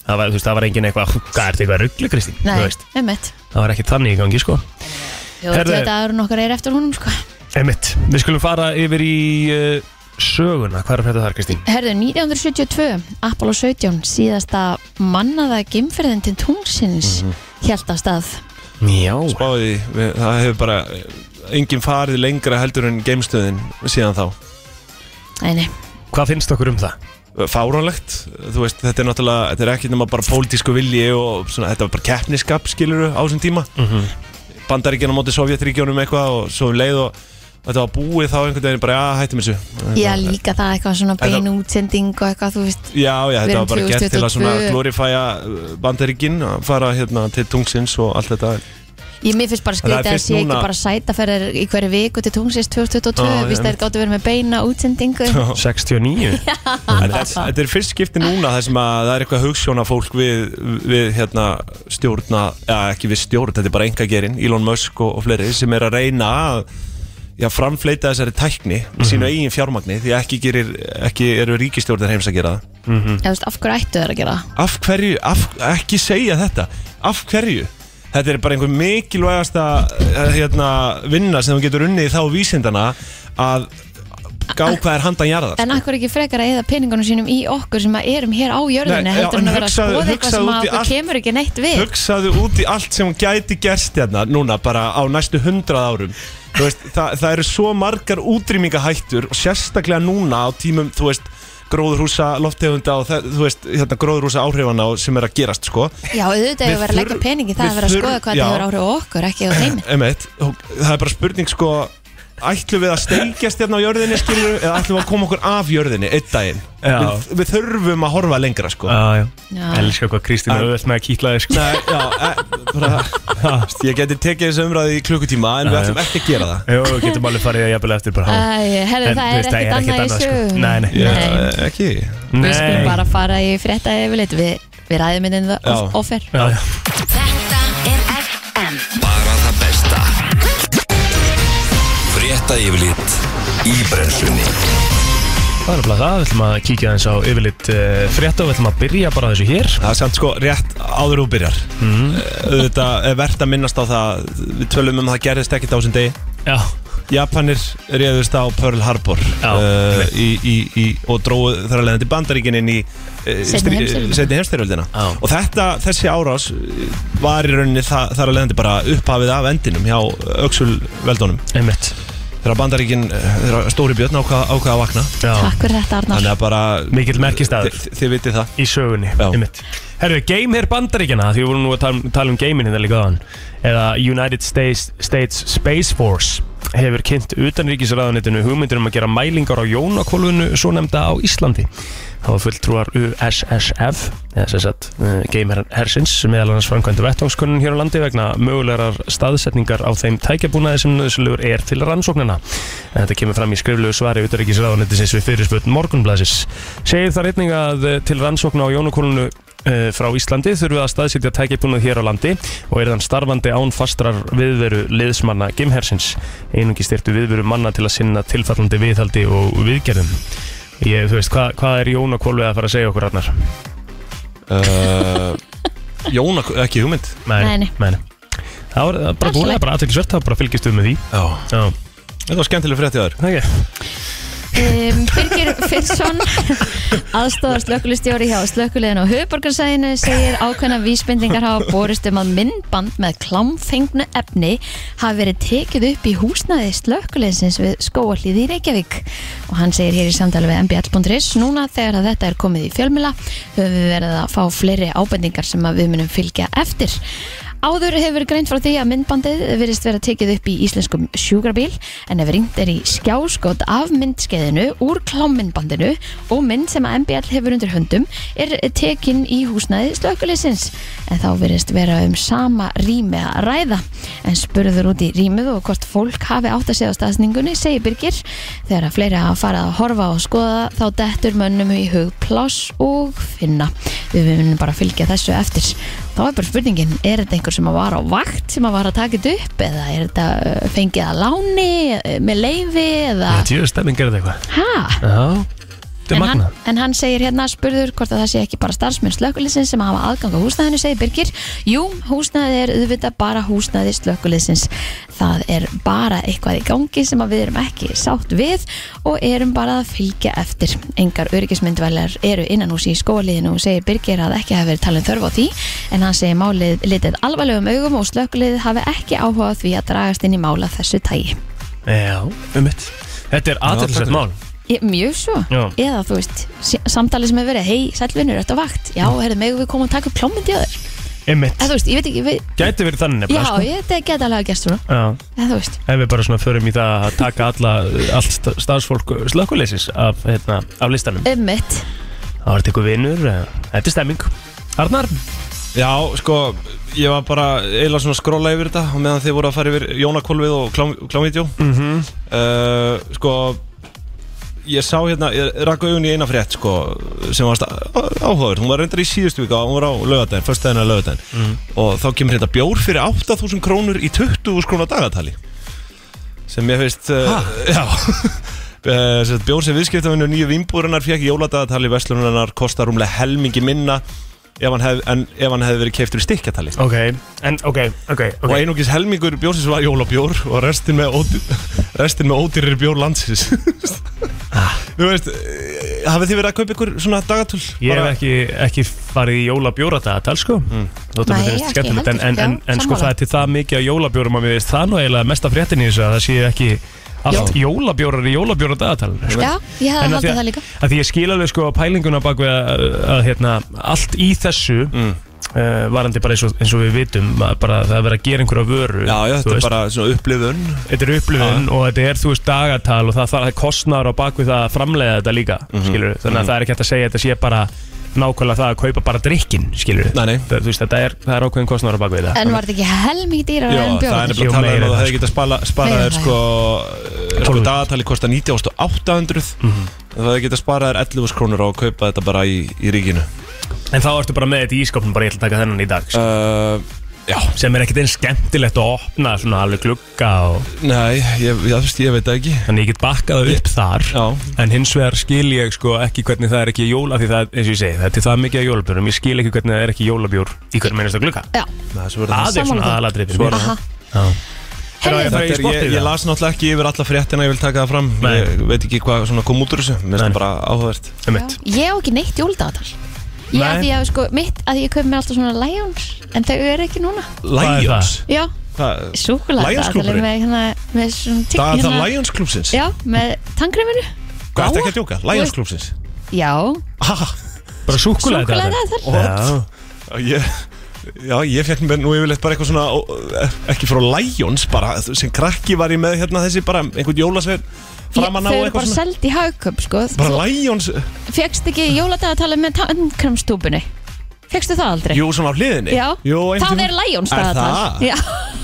Speaker 2: Það var, þú veist, það var engin eitthvað, hvað er þetta eitthvað ruggli, Kristín? Þú
Speaker 3: Nei,
Speaker 2: veist,
Speaker 3: einmitt.
Speaker 2: Það var ekki þannig í gangi, sko.
Speaker 3: Jó,
Speaker 2: Herðu.
Speaker 3: þetta eru nokkar er eftir húnum, sko.
Speaker 2: Einmitt. Við skulum fara yfir í uh, söguna. Hvað er að frétta þar, Kristín?
Speaker 3: Herðu, 1972, Apollo 17, síðasta mannaða gimferðin til tungsins mm
Speaker 4: Mhm.
Speaker 3: -hmm. hjælt af stað.
Speaker 2: Já.
Speaker 4: spáði því, við- það hefur bara eh, enginn farið lengra heldur en geimstöðin síðan þá
Speaker 3: Nei, nei,
Speaker 2: Hvað finnst okkur um það?
Speaker 4: fáránlegt, þú veist, þetta er náttúrulega þetta er ekki nema bara pólitísku vilji og svona, þetta var bara keppniskap, skilur á þessum tíma mm
Speaker 2: Mhm.
Speaker 4: -hmm. bandaríkjana móti Sovjetríkjónum eitthvað og svo um leið og þetta var búið þá einhvern veginn bara, já, hættum þessu
Speaker 3: já líka það eitthvað svona bein
Speaker 4: Þetta-
Speaker 3: útsending og eitthvað, þú veist,
Speaker 4: Já, já,
Speaker 3: Við
Speaker 4: þetta
Speaker 3: erum
Speaker 4: var bara gert til
Speaker 3: 2022.
Speaker 4: að svona glorifæja bandaríkin að fara hérna til tungsins og allt þetta
Speaker 3: ég mér finnst bara
Speaker 4: það er
Speaker 3: skrítið að
Speaker 4: fyrst
Speaker 3: sé
Speaker 4: núna-
Speaker 3: ekki bara sætaferðir í hverju viku til tungsins 2022,
Speaker 4: Já,
Speaker 3: ah, víst
Speaker 4: já,
Speaker 3: þær gáttu verið með beina útsendingu.
Speaker 2: 69?
Speaker 4: En þetta þetta er fyrst skipti núna þar sem að það er eitthvað hugssjóna fólk við, við hérna stjórna, eða ekki við stjórn, þetta er bara engagerinn, Elon Musk og, og fleiri sem er að reyna að já, framfleyta þessari tækni í sínu eigin fjármagni því ekki, gerir, ekki eru ríkistjórnir heims að gera það.
Speaker 3: Ég veist, af hverju ættu þær að gera það?
Speaker 4: Af hverju, af, ekki segja þetta, af hverju? Þetta er bara einhver mikilvægasta eh, hérna, vinna sem þú getur unnið í þá vísindana að gá hvað er handan jarðar.
Speaker 3: En akkur ekki frekar að eða peningunum sínum í okkur sem að erum hér á jörðinu,
Speaker 4: Nei, já,
Speaker 3: heldur hann
Speaker 4: en
Speaker 3: að vera að
Speaker 4: hugsaðu-
Speaker 3: skoða eitthvað sem
Speaker 4: hugsaðu út
Speaker 3: að
Speaker 4: í
Speaker 3: okkur
Speaker 4: allt-
Speaker 3: kemur ekki neitt við.
Speaker 4: hugsaðu út í allt sem hún gæti gerst hérna núna bara á næstu hundrað árum Þú veist, það, það eru svo margar útrýmingahættur og sérstaklega núna á tímum þú veist gróðurhúsa loftegunda og það, þú veist hérna, gróðurhúsa áhrifana og- sem er að gerast sko
Speaker 3: Já, auðvitað
Speaker 4: Við
Speaker 3: hefur verið að leggja
Speaker 4: þurf-
Speaker 3: peningi það
Speaker 4: við
Speaker 3: að vera að skoða
Speaker 4: þurf-
Speaker 3: hvað þetta
Speaker 4: já.
Speaker 3: hefur áhrif á okkur, ekki á heiminn.
Speaker 4: Einmitt, og það er bara spurning sko ætlum við að steigjast hérna á jörðinni skilur eða ætlum við að koma okkur af jörðinni einn daginn
Speaker 2: Já.
Speaker 4: við, við þurfum að horfa lengra sko
Speaker 2: Já, já.
Speaker 3: Já.
Speaker 2: Elskar hvað Kristín er auðvelt með að kýtla þig sko.
Speaker 4: Nei, já, e, bara, veist, ég geti tekið þessu umræði í klukkutíma en við ætlum ekki að gera það
Speaker 2: Jú, við getum alveg farið að jafnvel eftir bara há.
Speaker 3: Æ, herri,
Speaker 2: En, þú
Speaker 3: það er
Speaker 2: veist, það er ekkert
Speaker 3: ekkert annað í
Speaker 2: annað, sko.
Speaker 3: sögum
Speaker 2: Nei, nei.
Speaker 4: Já, e- ekki
Speaker 3: Við skulum bara fara í frétta yfirleitt Við, við ræðum inn það
Speaker 4: Já.
Speaker 3: offer
Speaker 2: Já, já.
Speaker 8: Þetta er FM
Speaker 1: Bara það besta Frétta yfirlit í brennslunni
Speaker 2: Það er alveg það, við ætlum að kíkja aðeins á yfirleitt uh, frétta og við ætlum að byrja bara á þessu hér
Speaker 4: Það er samt sko rétt áður þú byrjar
Speaker 2: Mhm.
Speaker 4: Þetta er verðt að minnast á það Við tölum um að það gerðist ekkert á þessum degi
Speaker 2: Já,
Speaker 4: Japanir réðust á Pearl Harbor
Speaker 2: Já,
Speaker 4: uh, í, í, í, og dróðu þar að leiðandi bandaríkin inn í uh,
Speaker 3: Seinni heimsstyrjöldina.
Speaker 4: setni heimstyrjöldina
Speaker 2: Já.
Speaker 4: og þetta, þessi árás uh, var í rauninni þa þar að leiðandi bara upphafið af endinum hjá Öksul veldónum
Speaker 2: einmitt
Speaker 4: þegar bandaríkin, uh, þegar stóri björn ákvað ákvað að vakna
Speaker 2: Já.
Speaker 3: Takk fyrir þetta Arnar
Speaker 4: þannig að bara
Speaker 2: Mikill merkistaður.
Speaker 4: Þi- þið vitið það
Speaker 2: Í sögunni,
Speaker 4: Já.
Speaker 2: einmitt Herru, Game Hair bandaríkjana, því við vorum nú að tala, um- tala um gamein hérna líka aðan eða United States, States Space Force hefur kynnt utanríkisraðanitinu hugmyndir um að gera mælingar á jónakólfinu svo nefnda á Íslandi Það var fulltrúar USSF eða sem sagt eh, Game Hair Hersins sem meðal annars framkvæmdu vettvangskunnun hér á landi vegna mögulegar staðsetningar á þeim tækjabúnaði sem nöðslugur er til rannsóknina En Þetta kemur fram í skriflegu svari utanríkisraðanitisins við fyrirspöld morgunblæsis segir þar einning að eh, til rannsókna á jónakólunu eh, frá Íslandi þurfum við að staðsitja tækipúnað hér á landi og er þann starfandi án fastrar viðveru liðsmanna gimhersins einungi styrtu viðveru manna til að sinna tilfallandi viðhaldi og viðgerðum ég, þú veist, hvað, hvað er Jóna Kolvið að fara að segja okkur annar?
Speaker 4: uh, Jóna, ekki hugmynd
Speaker 3: Nei, nei.
Speaker 2: það var það var bara
Speaker 3: Allt í
Speaker 2: búin,
Speaker 3: lagi.
Speaker 2: bara aðteklisvert, það var bara fylgist við með því
Speaker 4: Já.
Speaker 2: Já,
Speaker 4: þetta var skemmtileg frétt í aður
Speaker 2: það ekki
Speaker 3: um, Birgir Finnsson aðstofar slökulistjóri hjá slökuliðin og höfuborgarsæðinu segir ákveðna vísbendingar hafa borist um að myndband með klámfengnu efni hafi verið tekið upp í húsnaði slökuliðsins við skóallíð í Reykjavík og hann segir hér í samtali við mbl.is núna þegar að þetta er komið í fjölmila höfum við verið að fá fleiri ábendingar sem að við munum fylgja eftir Áður hefur verið greint frá því að myndbandið virðist vera tekið upp í íslenskum sjúkrabíl en ef ringt er í skjáskot af myndskeiðinu úr klámyndbandinu og mynd sem að MBL hefur undir höndum er tekin í húsnæði slökulisins en þá virðist vera um sama rými að ræða en spurður út í rýmið og hvort fólk hafi átt að segja á staðsningunni segir Birgir þegar að fleiri hafa farið að horfa og skoða þá dettur mönnum í hug pláss og finna við munum bara fylgja þessu eftir þá er bara spurningin, er þetta einhver sem að var á vakt sem að var að taka þetta upp eða er þetta uh, fengið að láni eh, með leifi eða
Speaker 2: Þetta er stemming gerði eitthvað
Speaker 3: hæ?
Speaker 2: Já, þetta er
Speaker 3: En hann,
Speaker 2: magna
Speaker 3: en hann segir hérna spurður hvort að það sé ekki bara starfsmenn slökulisins sem hafa aðgang á húsnæðinu, segir Birgir Jú, húsnæði er auðvitað bara húsnæði slökulisins Það er bara eitthvað í gangi sem að við erum ekki sátt við og erum bara að fylgja eftir Engar öryggismyndvælar eru innan hús í skóliðinu og segir Birgir að ekki hafi verið talin þörf á því en hann segir málið litið alvarlegum augum og slökuliðið hafi ekki áhuga á því að dragast inn í mála þessu tægi
Speaker 2: Já, um mitt Þetta er aðteklisvert mál
Speaker 3: Ég- Mjög svo,
Speaker 2: Já.
Speaker 3: eða þú veist sí- samtalið sem hefur verið, hei, sælvinur, þetta vakt já, herðu, megum við koma og taka upp klámyndi á þér
Speaker 2: Um
Speaker 3: eða þú veist, ég veit ekki, við,
Speaker 2: Gæti verið þannig
Speaker 3: já,
Speaker 4: sko.
Speaker 2: nefnilega,
Speaker 3: ég, þetta geta alveg að gerst svona,
Speaker 2: sko. Já
Speaker 3: eða þú veist
Speaker 2: ef við bara svona förum í það að taka alla, eh, allt sta- starfsfólk slökkuleysis af, hérna, af listanum
Speaker 3: ummitt,
Speaker 2: þá er þetta ykkur vinnur, eh, þetta er stemming Arnar,
Speaker 4: Já, sko, ég var bara eiginlega svona að skrolla yfir þetta og meðan þið voru að fara yfir Jónakólfið og klám, klámvídeó mm Sko, ég sá hérna, ég rakk augun í eina frétt, sko, sem var áhugaður Hún var reyndar í síðustu vika, hún var á laugardaginn, föstudaginn að laugardaginn Og þá kemur hérna bjór fyrir 8000 krónur í 20.000 krónar dagatali Sem ég finnst, uh, já Eh, sem sagt, Bjór sem viðskiptafinu nýju vimbúrunar fekk jóladagatali verslunarinnar kostar rúmlega helmingi minna ef hann hef, en ef hann hefði verið keiftur í stikkjatali
Speaker 2: ok, en, ok, ok,
Speaker 4: og
Speaker 2: okay.
Speaker 4: einungis helmingur bjórsins var jólabjór og restin með, ódý, restin með ódýrir bjór landsins
Speaker 2: Ah.
Speaker 4: Þú veist, eh, hafið þið verið að kaupa ykkur svona dagatöl?
Speaker 2: Ég hef ekki, ekki farið í jólabjóratagatal sko mm. Þóttum
Speaker 3: Nei,
Speaker 2: við
Speaker 3: ekki
Speaker 2: finnst skemmtilegt En, en,
Speaker 3: heldur,
Speaker 2: en,
Speaker 3: já,
Speaker 2: en sko
Speaker 3: sammála.
Speaker 2: það er til það mikið að jólabjórum að mér veist það nú eiginlega mesta fréttin í þessu að það sé ekki allt jólabjórar í jólabjóratagatal sko.
Speaker 3: já, ég hefði
Speaker 2: En að því
Speaker 3: haldið
Speaker 2: að-
Speaker 3: það líka
Speaker 4: Mm.
Speaker 2: að því ég skil alveg sko pælinguna bak við að, að, hérna, allt í þessu uh, varandi bara eins og, eins og við vitum að bara það er verið að gera einhverja vöru
Speaker 4: Já, já,
Speaker 2: þú
Speaker 4: þetta er
Speaker 2: veist.
Speaker 4: bara svona upplifun
Speaker 2: þetta er upplifun og þetta er þú veist dagatal og það, það, það er kostnar á bakvið það að framleiða þetta líka
Speaker 4: Mhm.
Speaker 2: skilur, þannig að það er ekki hægt að segja að þetta sé bara nákvæmlega það að kaupa bara drikkin skilur,
Speaker 4: Nei, nei.
Speaker 2: Það, þú veist, þetta er, það er ákveðin kostnar á bakvið það
Speaker 3: En var þetta ekki helming dýrar
Speaker 4: Já,
Speaker 3: en
Speaker 4: það er
Speaker 2: Jú,
Speaker 3: bjóðan?
Speaker 4: nefnilega talað um
Speaker 2: meira
Speaker 4: að
Speaker 2: en
Speaker 4: það
Speaker 2: það,
Speaker 4: hefði getað spala- sparað
Speaker 3: Meira
Speaker 4: þér
Speaker 3: en
Speaker 4: sko eh, sko
Speaker 2: 12.000.
Speaker 4: dagatali kosta 19.800
Speaker 2: Mhm.
Speaker 4: það hefði getað sparað þér 11.000 krónur á að kaupa þetta bara í, í ríkinu
Speaker 2: En þá ertu bara með þetta í ískapnum, bara ég ætla að taka þennan í dag uh,
Speaker 4: uh, Já,
Speaker 2: Sem er ekkert einn skemmtilegt að opna svona alveg glugga og
Speaker 4: nei, ég, ég, ég, ég veit það ekki
Speaker 2: Þannig ég get bakkað það upp þar
Speaker 4: Já.
Speaker 2: En hins vegar skil ég sko ekki hvernig það er ekki jóla Því það, er, eins og ég segi, þetta er það mikið af jólabjórum Ég skil ekki hvernig það er ekki jólabjór í hvernig mennist að glugga
Speaker 3: Já,
Speaker 4: Nei, svo verður það-
Speaker 2: Það er
Speaker 3: Sammála
Speaker 2: svona
Speaker 3: því.
Speaker 2: aðalatriðin
Speaker 4: Svo er
Speaker 3: aha
Speaker 2: Herra,
Speaker 3: Herðu,
Speaker 2: ég-
Speaker 4: Þetta er,
Speaker 2: Í
Speaker 4: ég,
Speaker 2: sportið,
Speaker 4: ég
Speaker 2: það?
Speaker 4: las náttúrulega ekki yfir alla fréttina, ég vil taka það fram
Speaker 2: Nei.
Speaker 4: Ég veit ekki hvað svona kom út úr þessu, mér finnst
Speaker 2: Nei.
Speaker 4: það bara áhugavert
Speaker 2: Einmitt.
Speaker 3: ég á ekki neitt jóldagatal Ég
Speaker 2: Nei.
Speaker 3: að því að sko, mitt að ég kaup mér alltaf svona Lions En þau eru ekki núna
Speaker 2: er
Speaker 4: Lions?
Speaker 3: Já,
Speaker 4: Hvað- Lions
Speaker 3: súkulega
Speaker 4: klúbburinn?
Speaker 3: með, hérna, með svona tík
Speaker 4: Það er það Lions klúpsins?
Speaker 3: Hérna- Já, með tangreminu
Speaker 4: Hvað ertu ekki að djóka? Lions klúpsins?
Speaker 3: Já,
Speaker 2: Bara súkulega
Speaker 3: súkulega
Speaker 2: Já,
Speaker 3: það
Speaker 4: Ég, já, ég fekk mér nú yfirleitt bara eitthvað svona ó, eh, ekki frá Lions bara sem krakki var ég með hérna þessi bara einhvern jólasvein
Speaker 3: Ég,
Speaker 4: framan á
Speaker 3: þau eru
Speaker 4: eitthvað
Speaker 3: bara
Speaker 4: svona
Speaker 3: seld í hagköp sko.
Speaker 4: bara Lions,
Speaker 3: Þú Fékkst ekki jóladagatalið með tangremstúbunni Fékkstu það aldrei?
Speaker 4: jú svona á hliðinni
Speaker 3: Já,
Speaker 4: jú,
Speaker 3: það er Lions
Speaker 4: Er
Speaker 3: dagatal
Speaker 4: það?
Speaker 3: Já,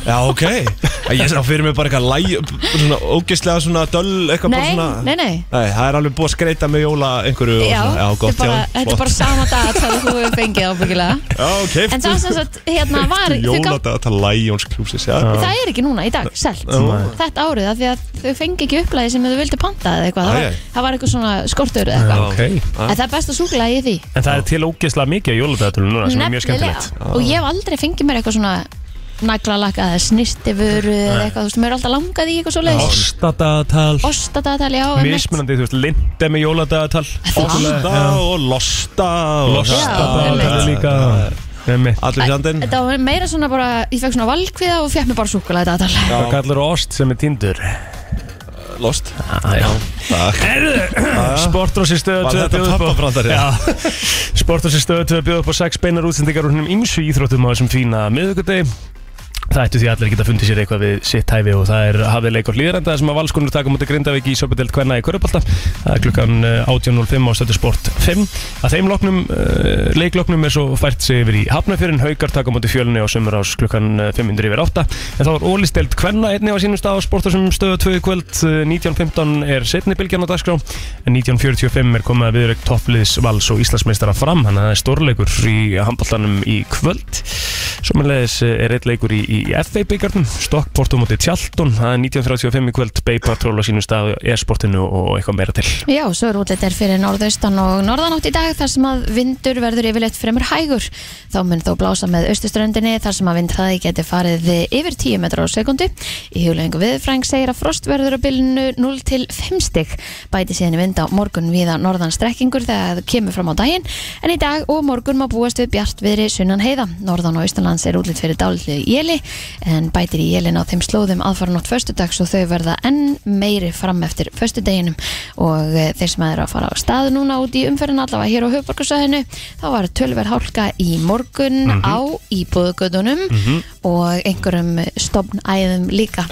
Speaker 4: Já, ok Ég sá fyrir mig bara eitthvað Lions svona ógeðslega svona döll eitthvað bara
Speaker 3: nei,
Speaker 4: svona
Speaker 3: nei, nei
Speaker 4: Nei, það er alveg búið að skreita með jóla einhverju og
Speaker 3: Já,
Speaker 4: svona, já,
Speaker 3: þetta er
Speaker 4: gott
Speaker 3: bara,
Speaker 4: hjá þeim,
Speaker 3: þetta er
Speaker 4: flott.
Speaker 3: bara sama dagatal og þú hefur fengið ábyggilega
Speaker 4: Já, ok,
Speaker 3: En það sem sagt, hérna var þau gátt-
Speaker 4: Jóladag, það er Lions klúsis, já
Speaker 3: Það er ekki núna í dag, selt Þetta árið, af því að þau fengi ekki upplæði sem þau vildi panta eða eitthvað Það
Speaker 4: Æ, æ.
Speaker 3: var, það var eitthvað svona skortur eða eitthvað
Speaker 2: ok
Speaker 3: En það er best að súkulega í því
Speaker 2: En það er til ógeðslega mikið af jólabjóratunum núna sem er mjög skemmtilegt
Speaker 3: Og ég hef aldrei fengið mér eitthvað svona naglalaka eða snistivöru eða eitthvað, þú veist, mér er alltaf langað í eitthvað svoleiðis
Speaker 2: Ostadagatal
Speaker 3: Ostadagatal, já,
Speaker 2: Mismunandi, þú veist, lindi með jóladagatal
Speaker 4: Osta og losta og
Speaker 2: Lostadagatal
Speaker 3: einmitt.
Speaker 2: líka Einmitt.
Speaker 4: Allir fjandinn
Speaker 3: Þetta var meira svona bara, ég fekk svona valkviða og fekk mér bara súkulega dagatal
Speaker 2: Hvað kallar ost sem er tindur?
Speaker 4: Lost
Speaker 2: Sportrósi stöðu
Speaker 4: Var
Speaker 2: 2
Speaker 4: þetta pappabrandari?
Speaker 2: Já Sportrósi stöðu 2 bjóð upp á 6 beinar útsendingar úr hennum ymsu íþróttum á þessum fína miðugudegi Það ættu því allir geta fundið sér eitthvað við sitt hæfi og það er hafið leikur hlýðranda sem að valskonur taka mútið Grindavík í Söpudeld Kvenna í Körubalta það er klukkan eh, 18.05 á stöðu sport 5 að þeim loknum, uh, leikloknum er svo fært sig yfir í Hafnafjörn Haukar taka mútið fjölunni á sömurás klukkan eh, 500 yfir 8 en þá er ólisteld Kvenna einni á sínum stað á sportarsum stöðu 2 í kvöld eh, 19.15 er setni bylgjan á dagskrá en 19.45 er komið að viðrögg toppliðs vals og Íslandsmeistara fram þannig að það er stórleikur í handbóltanum í kvöld Sjómanlegis er eitt leikur í, í FA byggarnum Stokkportum mútið Tjaldun það er 19.35 í kvöld Bay Patrol á sínum stað e-sportinu og eitthvað meira til
Speaker 3: Já, svo er útlitir fyrir norðaustan og norðanátt í dag þar sem að vindur verður yfirleitt fremur hægur. Þá mun þó blása með austuströndinni þar sem að vindhraði geti farið yfir 10 metrar á sekundu. Í huglegingu viðfræng segir að frost verður á bylnu 0 til 5 stig. Bæti síðan í vind á morgun viða norðan strekkingur þegar það kemur fram á daginn. En í dag og morgun má búast við bjart viðri sunnan heiða. Norðan og austanlands er útlit fyrir dálitlu jeli en bætir í jelin á þeim slóðum aðfaranótt föstudags og þau verða enn meiri fram eftir föstudeginum og eh, þeir sem eru að fara á stað núna út í umferðin allavega hér á höfbarkasöðinu þá var tölver hálka í morgun á íbúðugötunum og einhverjum stopnæðum líka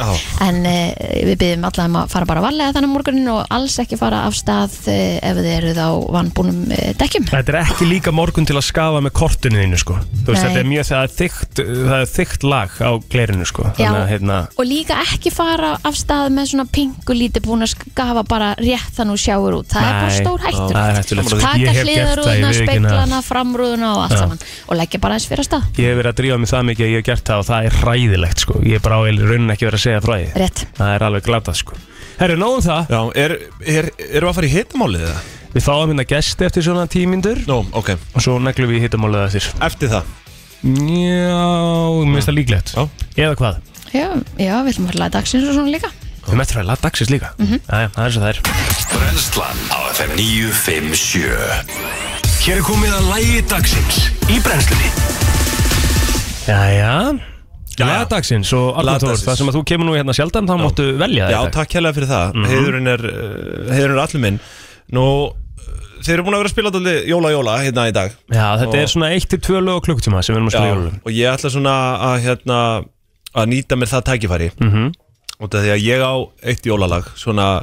Speaker 3: en e, við byggjum allavega um að fara bara varlega þannig morgunin og alls ekki fara af stað e, ef þið eruð á vannbúnum e, dekkjum
Speaker 2: Þetta er ekki líka morgun til að skafa með kortinu þínu sko Þú veist,
Speaker 3: Nei.
Speaker 2: þetta er mjög það er þykkt, það er þykkt lag á glerinu sko Þannig að
Speaker 3: Já.
Speaker 2: hérna
Speaker 3: og líka ekki fara af stað með svona pingu lítið búin að skafa bara rétt þann og sjáur út, það er bara
Speaker 2: Nei,
Speaker 3: stór hættur
Speaker 2: það er hættulegt. sko. Ég
Speaker 3: taka
Speaker 2: hef gert það, ég
Speaker 3: hliðarúðuna,
Speaker 2: viðurkenni það.
Speaker 3: speklana, framrúðuna og allt saman og leggja bara eins fyrir að stað
Speaker 2: Ég hef verið að drífa mig það mikið að ég hef gert það og það er hræðilegt sko Ég er bara á eil- rauninni ekki verið að segja frá því
Speaker 3: rétt,
Speaker 2: Það er alveg glatað sko Herru, nóðum það
Speaker 4: Já, er, er, erum við að fara í hitamálið eða?
Speaker 2: Við fáum hérna gesti eftir svona tímindur
Speaker 4: Nú, ok,
Speaker 2: Og svo neglum við hittamálið eftir
Speaker 4: eftir það
Speaker 2: Já, mér finnst það líklegt
Speaker 4: Já.
Speaker 2: Eða hvað?
Speaker 3: já, já, við ætlum að laga dagsins og svona líka
Speaker 2: Við mettum að laða dagsins líka Jæja, það er svo það er
Speaker 1: Brennslan á FM 957 Hér er komið að lægi dagsins í brennslunni
Speaker 2: Jæja
Speaker 4: Jæja.
Speaker 2: Laða dagsins og Arna
Speaker 4: Lag
Speaker 2: Tór
Speaker 4: dagsins.
Speaker 2: Það sem að þú kemur nú hérna sjaldan Þá máttu velja
Speaker 4: Já,
Speaker 2: þetta
Speaker 4: Mhm. eh, takk hérlega fyrir það mm -hmm. heiðurinn, er, uh, heiðurinn er allir minn Nú, þeir eru búin að vera að spila alltaf jóla-jóla hérna í dag
Speaker 2: Já, þetta
Speaker 4: Og-
Speaker 2: er svona 1-2 lög og klukkutíma sem við erum að spila jólum
Speaker 4: og ég ætla svona að, hérna, að nýta mér það tækifæri
Speaker 2: mm -hmm.
Speaker 4: út af því að ég á eitt jólalag svona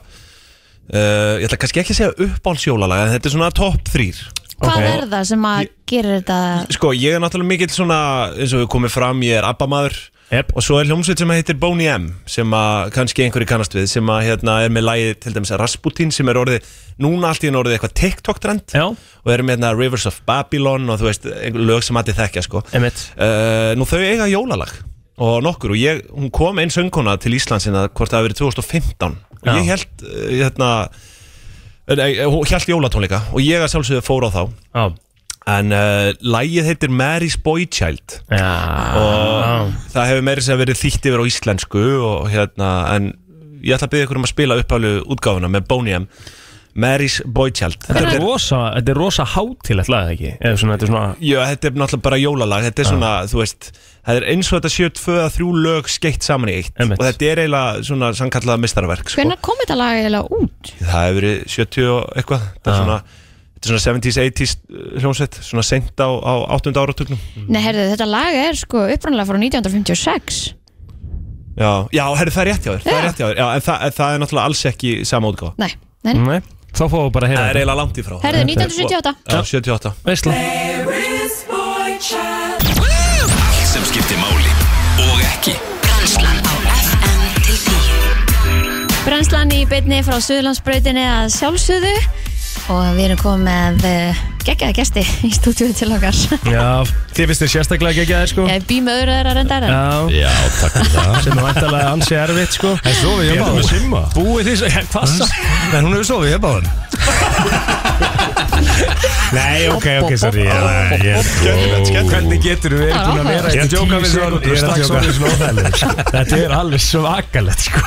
Speaker 4: uh, ég ætla kannski ekki að segja uppáhalds jólalag en þetta er svona top 3
Speaker 3: Hvað
Speaker 2: Ok.
Speaker 3: er það sem að gerir þetta
Speaker 4: sko ég er náttúrulega mikill svona eins og við komum fram, ég er Abba maður
Speaker 2: yep.
Speaker 4: og svo er hljómsveit sem heitir Boney M sem að kannski einhverju kannast við sem að hérna er með lagið til dæmis Rasputin sem er orðið, núna allt í enn orðið eitthvað TikTok trend
Speaker 2: Já,
Speaker 4: og erum með hérna Rivers of Babylon og þú veist, einhver lög sem allir þekkja sko
Speaker 2: emitt
Speaker 4: uh, Nú þau eiga jólalag og nokkur og ég, hún kom einn söngkona til Íslandsina hvort það hafi verið 2015 og
Speaker 2: Já.
Speaker 4: ég held uh, hérna, eh, nei, hún held jólatónleika og ég að sjálfsögðu fór á þá
Speaker 2: Já,
Speaker 4: en uh, lagið heitir Mary's Boy Child
Speaker 2: já,
Speaker 4: og það hefur meiri sem verið þýtt yfir á íslensku og hérna en ég ætla að byggja ykkur um að spila uppálu útgáfuna með Boney M Mary's Boy Child
Speaker 2: Þetta er rosa, þetta er rosa hátilegt lag eða ekki Eða svona, þetta er svona
Speaker 4: Já, þetta er náttúrulega bara jólalag Þetta er svona, þú veist Það er eins og þetta séu tvö að þrjú lög skeitt saman í eitt
Speaker 2: Einmitt.
Speaker 4: Og þetta er eiginlega svona sannkallað mistarverk sko.
Speaker 3: Hvernig kom þetta lag eiginlega út?
Speaker 4: Það hefur verið 70 og eitthvað Þetta er svona, þetta er svona 70s, 80s uh, hljómsveit Svona sent á, á 8. áratugnum
Speaker 3: Nei, herðu, þetta lag er sko upprunalega frá 1956
Speaker 4: Já, já herri, það er rétt hjá þér Það
Speaker 3: Já.
Speaker 4: er rétt hjá þér Já, en það, en það er náttúrulega alls ekki sama útgáfa
Speaker 3: Nei, nei,
Speaker 2: Nei, þá fáum við bara að
Speaker 4: Það er
Speaker 2: heyra
Speaker 4: eiginlega langt í frá
Speaker 3: herðu, 1978
Speaker 4: Já, 78
Speaker 2: Veistla
Speaker 1: Allt sem skiptir máli og ekki
Speaker 8: Brennslan á FM til 10
Speaker 3: Brennslan í beinni frá Suðurlandsbrautinni að sjálfsöðu og við erum komið með eh, geggjaða gesti í stúdíu til okkar
Speaker 2: Já, þið finnst þér sérstaklega ekki að þér sko
Speaker 3: Ég bý með öðru þeirra reyndar en
Speaker 2: Já,
Speaker 7: Já, takk fyrir það
Speaker 2: sem er vantalega ansi erfitt sko
Speaker 7: En sofið
Speaker 2: Ég
Speaker 7: ég
Speaker 2: ætla
Speaker 7: báðan
Speaker 2: með
Speaker 7: Simma
Speaker 2: Búið því svo, hvað sá?
Speaker 7: En hún hefur sofið ég báðan
Speaker 2: Nei, ok, ok, sorry
Speaker 7: Hvernig
Speaker 2: Hvernig getur við
Speaker 3: Það var
Speaker 2: búin að vera
Speaker 3: áhugavert.
Speaker 2: hérna
Speaker 7: Ég
Speaker 2: í
Speaker 7: djóka
Speaker 2: tíu
Speaker 7: við Sólu,
Speaker 2: sekúndur
Speaker 7: ég er að
Speaker 2: strax
Speaker 7: djóka.
Speaker 2: orðið svona óþægilegt, sko. Þetta er alveg svakalegt sko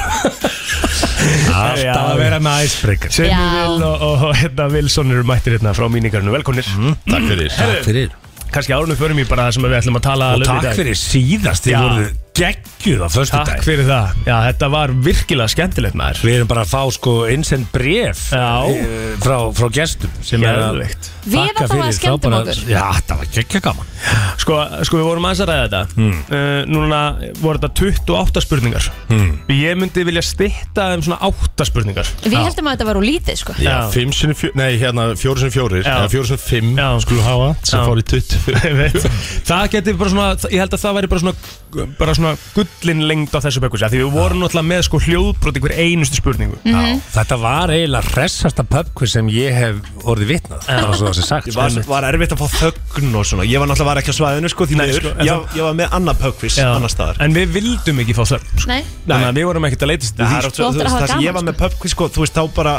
Speaker 7: Alltaf að vera með icebreaker
Speaker 2: Semi
Speaker 3: Já.
Speaker 2: Vil og, og, og hérna Wilson eru mættir hérna frá míningarnu Velkomnir,
Speaker 7: Mm, Takk fyrir Takk fyrir
Speaker 2: kannski árunum förum í bara það sem við ætlum að tala
Speaker 9: Og
Speaker 2: alveg um í
Speaker 9: takk
Speaker 2: dag.
Speaker 9: fyrir síðast, þið
Speaker 2: Já.
Speaker 9: voruð geggjuð á förstu
Speaker 2: Takk fyrir það, já þetta var virkilega skemmtilegt maður
Speaker 9: Við erum bara að fá sko innsend bref
Speaker 2: Já.
Speaker 9: eh, frá, frá gestum sem
Speaker 2: Geðveikt.
Speaker 9: er
Speaker 3: Við
Speaker 9: að
Speaker 3: allavega
Speaker 9: þakka fyrir
Speaker 3: skemmtum
Speaker 9: frábæra-
Speaker 3: okkur.
Speaker 9: Já, það var geggja gaman
Speaker 2: Sko, sko við vorum aðeins að ræða þetta uh, Núna voru þetta 28 spurningar Ég myndi vilja stitta um svona 8 spurningar
Speaker 3: Við heldum að þetta var úr lítið sko
Speaker 2: Já.
Speaker 9: Já, fimm sinni fjó, nei hérna fjóri sinni fjórir
Speaker 2: Já.
Speaker 9: eða fjóri sinni fimm
Speaker 2: Já.
Speaker 9: skulum hafa sem
Speaker 2: Já.
Speaker 9: fór í tutt
Speaker 2: Ég veit. það geti bara svona ég held að það væri bara svona, bara svona gullin lengd á þessu bekkursi af því við vorum náttúrulega með sko hljóðbrot ykkur einustu spurningu
Speaker 3: Mm.
Speaker 9: Þetta var eiginlega hressasta pubquiz sem ég hef orðið vitnað Það var svo það sem sagt
Speaker 4: Var, var erfitt að fá þögn og svona Ég var náttúrulega var ekki á svæðinu sko Því
Speaker 2: Nei,
Speaker 4: miður
Speaker 2: sko, en
Speaker 4: ég, ég var með annað pökkvís annar staðar
Speaker 2: en við vildum ekki fá þörn sko.
Speaker 3: Nei,
Speaker 2: þannig að við vorum ekkert að leitast
Speaker 4: Það
Speaker 2: eftir
Speaker 4: er
Speaker 2: því,
Speaker 4: oft-
Speaker 3: Þú
Speaker 4: þú
Speaker 3: áttir að
Speaker 4: veist,
Speaker 3: hafa
Speaker 4: það sem
Speaker 3: gaman,
Speaker 4: ég var með pubquiz sko, þú veist þá bara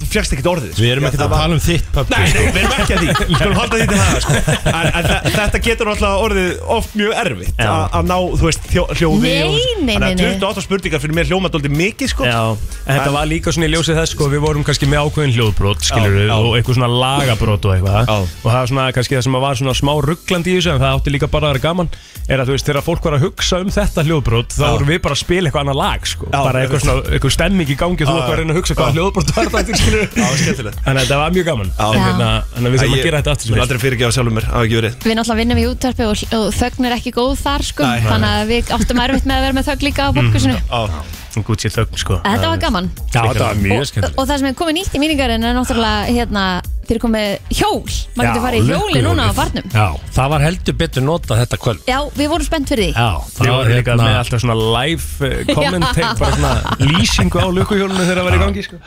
Speaker 4: þú fjast ekkert orðið
Speaker 9: Við erum
Speaker 4: Já,
Speaker 9: ekkert
Speaker 4: það
Speaker 9: að
Speaker 4: var-
Speaker 9: tala um þitt
Speaker 4: Nei,
Speaker 9: pubquiz
Speaker 4: nei, við erum ekki að því Við skulum halda því til það sko. en, en þa- þetta getur alltaf orðið oft mjög erfitt
Speaker 2: Já.
Speaker 4: a- að ná, þú veist, þjó, hljóði
Speaker 3: Nei,
Speaker 4: og-
Speaker 3: nei,
Speaker 4: Þannig að
Speaker 3: nei, nei.
Speaker 4: 28 spurningar fyrir mér hljóma dóldi mikið sko.
Speaker 2: Já, en þetta var líka svona í ljósið þess sko, við vorum kannski með ákveðin hljóðbrot skilur
Speaker 4: Já, já.
Speaker 2: og eitthvað svona lagabrót og eitthvað
Speaker 4: Já.
Speaker 2: og það var svona kannski það sem var svona smá rugglandi í þessu en það átti líka bara að vera gaman er að þú veist þegar fólk var að hugsa um þetta hljóðbrot þá vorum við bara að spila eitthvað annað lag sko,
Speaker 4: Já,
Speaker 2: bara eitthvað svona eitthvað stemming í gangi og þú eitthvað að reyna að hugsa hvaða hljóðbrot var það skilur
Speaker 4: Já, skemmtilegt.
Speaker 2: Þannig að þetta var mjög gaman
Speaker 4: Já.
Speaker 2: Þannig að- þannig að við þurfum
Speaker 4: Ég-
Speaker 2: að gera þetta aftur
Speaker 4: Ég vil
Speaker 2: sem
Speaker 4: aldrei fyrirgefa sjálfur mér, hafa ekki verið
Speaker 3: við náttúrulega vinnum í útvarpi og, og þögn er ekki góð þar sko Þannig að við áttum erfitt með að vera með þögn
Speaker 9: Mm.
Speaker 3: líka á bókusinu
Speaker 2: fyrst Gucci þögn sko
Speaker 3: Þetta var gaman
Speaker 9: Já, þetta var mjög
Speaker 3: og,
Speaker 9: skemmtilegt
Speaker 3: og það sem er komið nýtt í míningarinn er náttúrulega hérna, þeir eru komið hjól maður getur farið í hjóli núna á barnum
Speaker 9: Já, það var heldur betur notað þetta kvöld
Speaker 3: Já, við vorum spennt fyrir því
Speaker 9: Já, það
Speaker 2: Ég var
Speaker 9: var
Speaker 2: líka með
Speaker 9: hérna
Speaker 2: alltaf svona live eh, comment take, bara svona lýsingu á lukuhjólunum þegar það var í gangi sko.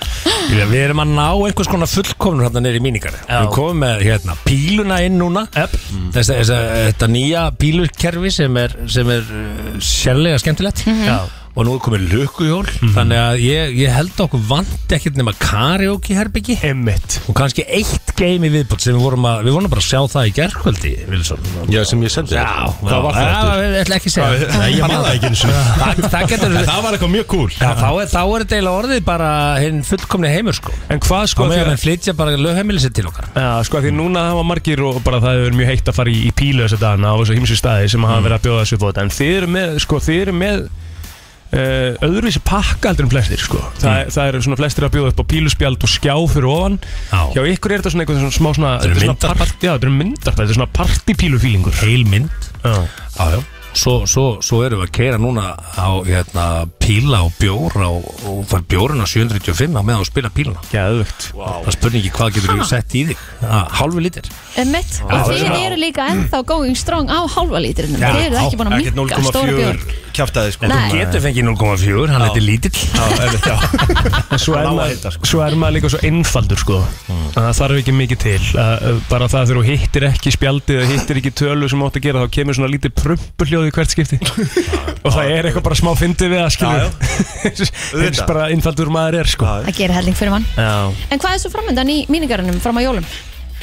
Speaker 9: Við við erum að ná einhvers konar fullkomnur hérna neyri í míningar Við komum með hérna, píluna inn núna
Speaker 2: Yep.
Speaker 7: Mm.
Speaker 9: þess, þess, Þetta nýja pílurkerfi sem er, sem er uh, sérlega skemmtilegt
Speaker 7: Mhm.
Speaker 2: Já.
Speaker 9: Og nú er komið lökuhjól Þannig að ég, ég held að okkur vant ekkert nema karaoke herbyggi
Speaker 2: Emmitt
Speaker 9: Og kannski eitt game í viðbútt sem við vorum að Við vorum bara að sjá það í gerkvöldi Wilson
Speaker 7: Já, sem ég sendi
Speaker 9: Já,
Speaker 7: Það var það eftir
Speaker 9: Ég ætla ekki að segja
Speaker 7: Nei, ég man það ekki eins og
Speaker 9: Það, það getur
Speaker 7: Það var eitthvað mjög cool
Speaker 9: Já, þá er, þá er þetta eiginlega orðið bara hinn fullkomni heimur sko
Speaker 2: En hvað
Speaker 9: Þá
Speaker 2: sko
Speaker 9: meðan
Speaker 2: því
Speaker 9: við flytja bara lögheimilisi til okkar
Speaker 2: Já, sko, því núna hafa margir og bara það hefur verið mjög heitt að fara í, í Mm. pílu þessa dagana á þessu heimsu staði sem hafa verið að bjóða þessu upp á þetta en þið eru með, sko, þið eru með uh, öðruvísi pakka heldur en flestir sko. Þa, það eru svona flestir að bjóða upp á píluspjald og skjá fyrir ofan
Speaker 9: Já.
Speaker 2: hjá ykkur er þetta svona eitthvað svona smá svona
Speaker 9: eru
Speaker 2: þetta er svona
Speaker 9: myndarpar.
Speaker 2: part- já, þetta eru myndar þetta er svona partypílufílingur
Speaker 9: heil mynd
Speaker 2: Já.
Speaker 9: já, já. Svo, svo, svo erum við að keira núna á hérna, píla og bjór á, og fær bjórun á 735 á meðan þú spila píluna
Speaker 2: Geðvögt
Speaker 9: það er spurningi hvað getur þú sett í þig Ha, hálfu lítir
Speaker 3: Emmett, og þið eru líka ennþá going strong á hálfa lítrinum Þið eru ekki búin að
Speaker 4: Ekkert
Speaker 3: minka stóra björn
Speaker 4: 0,4 kjaftaði sko
Speaker 3: Nei.
Speaker 9: getur fengið 0,4, hann heitir lítill
Speaker 4: Já, einmitt, já.
Speaker 2: svo, er
Speaker 4: Lága
Speaker 2: maður-
Speaker 4: hita, sko.
Speaker 2: svo er maður líka svo einfaldur sko. að það þarf ekki mikið til að, að bara það þegar þú hittir ekki spjaldið eða hittir ekki tölu sem þú átt að gera þá kemur svona lítið prumpuhljóð í hvert skipti og það er eitthvað bara smá fyndið við að
Speaker 4: Já, já.
Speaker 2: skilja eins
Speaker 4: Auðvitað.
Speaker 2: bara einfaldur maður er sko.
Speaker 4: Já, já.
Speaker 3: að gera helling fyrir mann
Speaker 2: Já.
Speaker 3: En hvað er svo framöndan í míningarunum fram á jólum?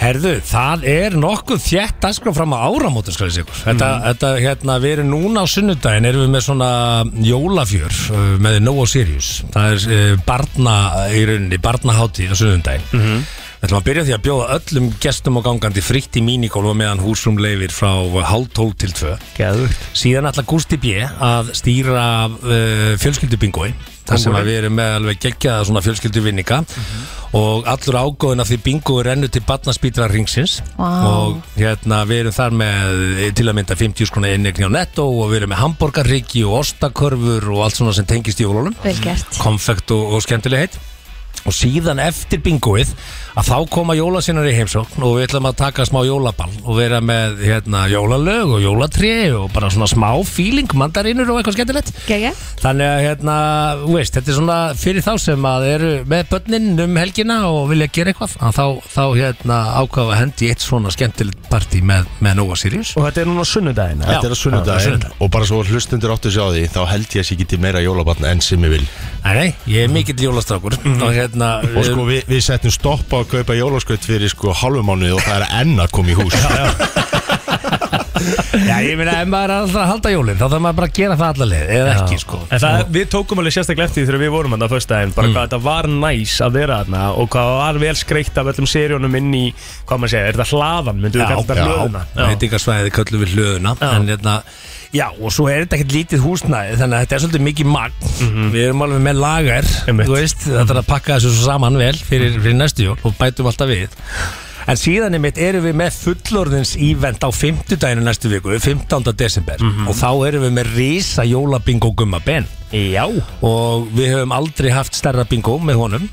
Speaker 9: Herðu, það er nokkuð þjætt dagskrá fram á áramótum skal ég segja ykkur. Þetta, þetta, hérna, við erum núna á sunnudaginn, erum við með svona jólafjör uh, með Noah Sirius. Það er uh, barna, í rauninni, barnahátíð á sunnudaginn. Mm -hmm. Við ætlum að byrja á því að bjóða öllum gestum og gangandi fritt í mínikólfa meðan húsrum leifir frá hálf tól til tvö.
Speaker 2: Geðvögt
Speaker 9: Síðan ætla Gústi B. að stýra uh, fjölskyldubingoi þar sem að við erum með alveg geggjaða svona fjölskylduvinninga og allur ágóðin af því bingo rennur til batnaspítra ringsins
Speaker 3: Vá.
Speaker 9: og hérna við erum þar með eh, til að mynda 50 skona innegni á netto og við erum með hambúrgarriki og ostakörfur og allt svona sem tengist í jólunum
Speaker 3: Vel gert
Speaker 9: konfekt og, og skemmtilegheit og síðan eftir bingoið að þá koma jólasinnar í heimsókn og við ætlum að taka smá jólaball og vera með hérna, jólalög og jólatré og bara svona smá feeling mandarinur og eitthvað skemmtilegt
Speaker 3: Gegja?
Speaker 9: þannig að hérna, þú veist, þetta er svona fyrir þá sem að eru með börnin um helgina og vilja gera eitthvað að þá, þá hérna ákvaða hendi í eitt svona skemmtilegt partí með, með Nova Sirius
Speaker 2: Og þetta er núna á sunnudaginn eða?
Speaker 9: Já.
Speaker 7: Þetta er á sunnudaginn
Speaker 9: sunnudag.
Speaker 7: og bara svo hlustundur áttu sig á því þá held ég að ég geti meira jólabatn enn sem ég vil
Speaker 9: Nei, nei, ég er mikill jólastrákur og hérna,
Speaker 7: og sko við, við settum stopp á að kaupa jólaskaut fyrir sko halvumánuð og það er enn að koma í hús
Speaker 9: já, ég meina ef maður er alltaf að halda jólin þá þarf maður bara að gera það alla leið eða ekki sko
Speaker 2: En það, við tókum alveg sérstaklega eftir því þegar við vorum hann á föstudaginn, bara hvað þetta var næs að vera þarna og hvað það var vel skreitt af öllum seríunum inn í, hvað maður segja, er þetta hlaðan, myndum við kalla þetta hlöðuna?
Speaker 9: veitingasvæði köllum við hlöðuna
Speaker 2: Já.
Speaker 9: en hérna, já, og svo er þetta ekkert lítið húsnæði þannig að þetta er svolítið mikið magn við erum alveg með lagar
Speaker 2: Mhm. Einmitt. Mhm.
Speaker 9: þú veist, þetta er að pakka þessu svo saman vel fyrir, fyrir næstu jól og bætum alltaf við En síðan einmitt erum við með fullorðins ívent á 50 daginu næstu viku, 15. desember
Speaker 2: Mhm.
Speaker 9: og þá erum við með risa jólabingo gumma ben
Speaker 2: Já,
Speaker 9: og við höfum aldrei haft stærra bingo með honum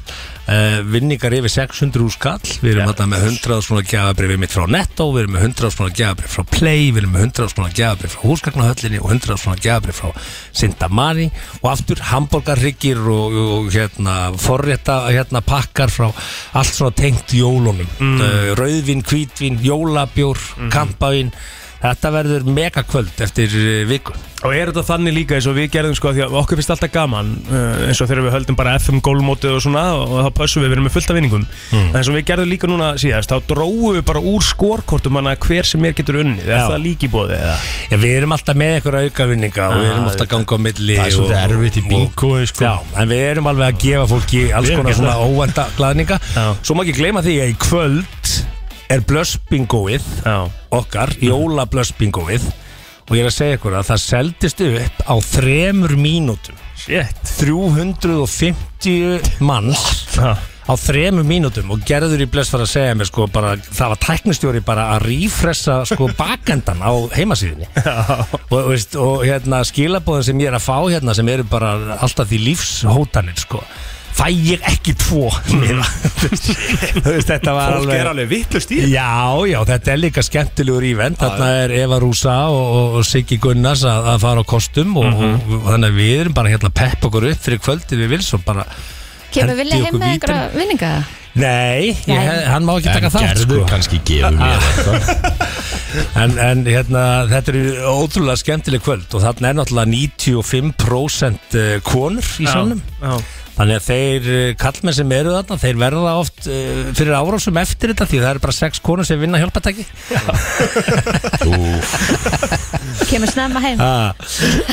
Speaker 9: uh, vinningar yfir 600 úr skall við erum þetta með 100 svona gjafabrif mitt frá Netto, við erum með 100 svona gjafabrif frá Play, við erum með 100 svona gjafabrif frá Húsgagnahöllinni og 100 svona gjafabrif frá Sindamari og aftur hambúrgarryggir og, og hérna, forrétta hérna, pakkar frá allt svona tengt jólunum mm. rauðvin, hvítvin, jólabjór mm. kampavín Þetta verður megakvöld eftir eh, viku
Speaker 2: og er þetta þannig líka eins og við gerðum sko því að okkur finnst alltaf gaman uh, eins og þegar við höldum bara FM gólmótið og svona og, og þá pössum við, við erum með fullt af vinningum en eins og við gerðum líka núna síðast þá dróðum við bara úr skorkortum hana hver sem er getur unnið, er
Speaker 9: Já.
Speaker 2: það líkibóðið eða?
Speaker 9: Já, við erum alltaf með einhverja aukavinninga og við erum ofta að ganga á milli
Speaker 7: Það er svolítið
Speaker 9: og-
Speaker 7: erfitt í
Speaker 9: og-
Speaker 7: bingói, sko.
Speaker 9: Já, en við erum alveg að gefa fólki alls
Speaker 2: Við erum
Speaker 9: konar
Speaker 2: ekki
Speaker 9: svona óvænta glæðninga
Speaker 2: Já.
Speaker 9: Svo má ekki gleyma því að í kvöld er blössbingóið
Speaker 2: Já,
Speaker 9: okkar, jólablössbingóið og ég er að segja ykkur að það seldist upp á þremur mínútum
Speaker 2: shit
Speaker 9: 350 manns
Speaker 2: Já.
Speaker 9: á þremur mínútum og gerður í bless var að segja mér sko bara, það var tæknistjóri bara að rífressa sko bakendan á heimasíðinni og, veist, og hérna skilabóðin sem ég er að fá hérna sem eru bara alltaf því lífshótanir sko fæ ég ekki tvo mm. veist, þetta var
Speaker 4: Fólk er alveg vittlust í
Speaker 9: Já, já, þetta er líka skemmtilegur ívent Þarna er Eva Rúsa og, og, og Siggi Gunnars að, að fara á kostum og,
Speaker 7: Mhm.
Speaker 9: og, og þannig að við erum bara hérna að peppa okkur upp fyrir kvöldið við vils og bara
Speaker 3: Kemur
Speaker 9: Hendi
Speaker 3: vilja heim
Speaker 9: okkur
Speaker 3: með
Speaker 9: vítin.
Speaker 3: einhverja vinninga?
Speaker 9: Nei, ég,
Speaker 3: Nei.
Speaker 9: hann má ekki taka
Speaker 7: en
Speaker 9: þátt
Speaker 7: gerður
Speaker 9: sko. Ah.
Speaker 7: kannski gefur mér þetta
Speaker 9: en, en hérna, þetta er ótrúlega skemmtileg kvöld og þarna er náttúrulega 95% eh, konur í sannum
Speaker 2: Já,
Speaker 9: Þannig að þeir eh, kallmenn sem eru þarna, þeir verða oft uh, fyrir árásum eftir þetta því það eru bara sex konur sem vinna hjálpatæki.
Speaker 7: Úff.
Speaker 3: Kemur snemma heim?
Speaker 9: Ah,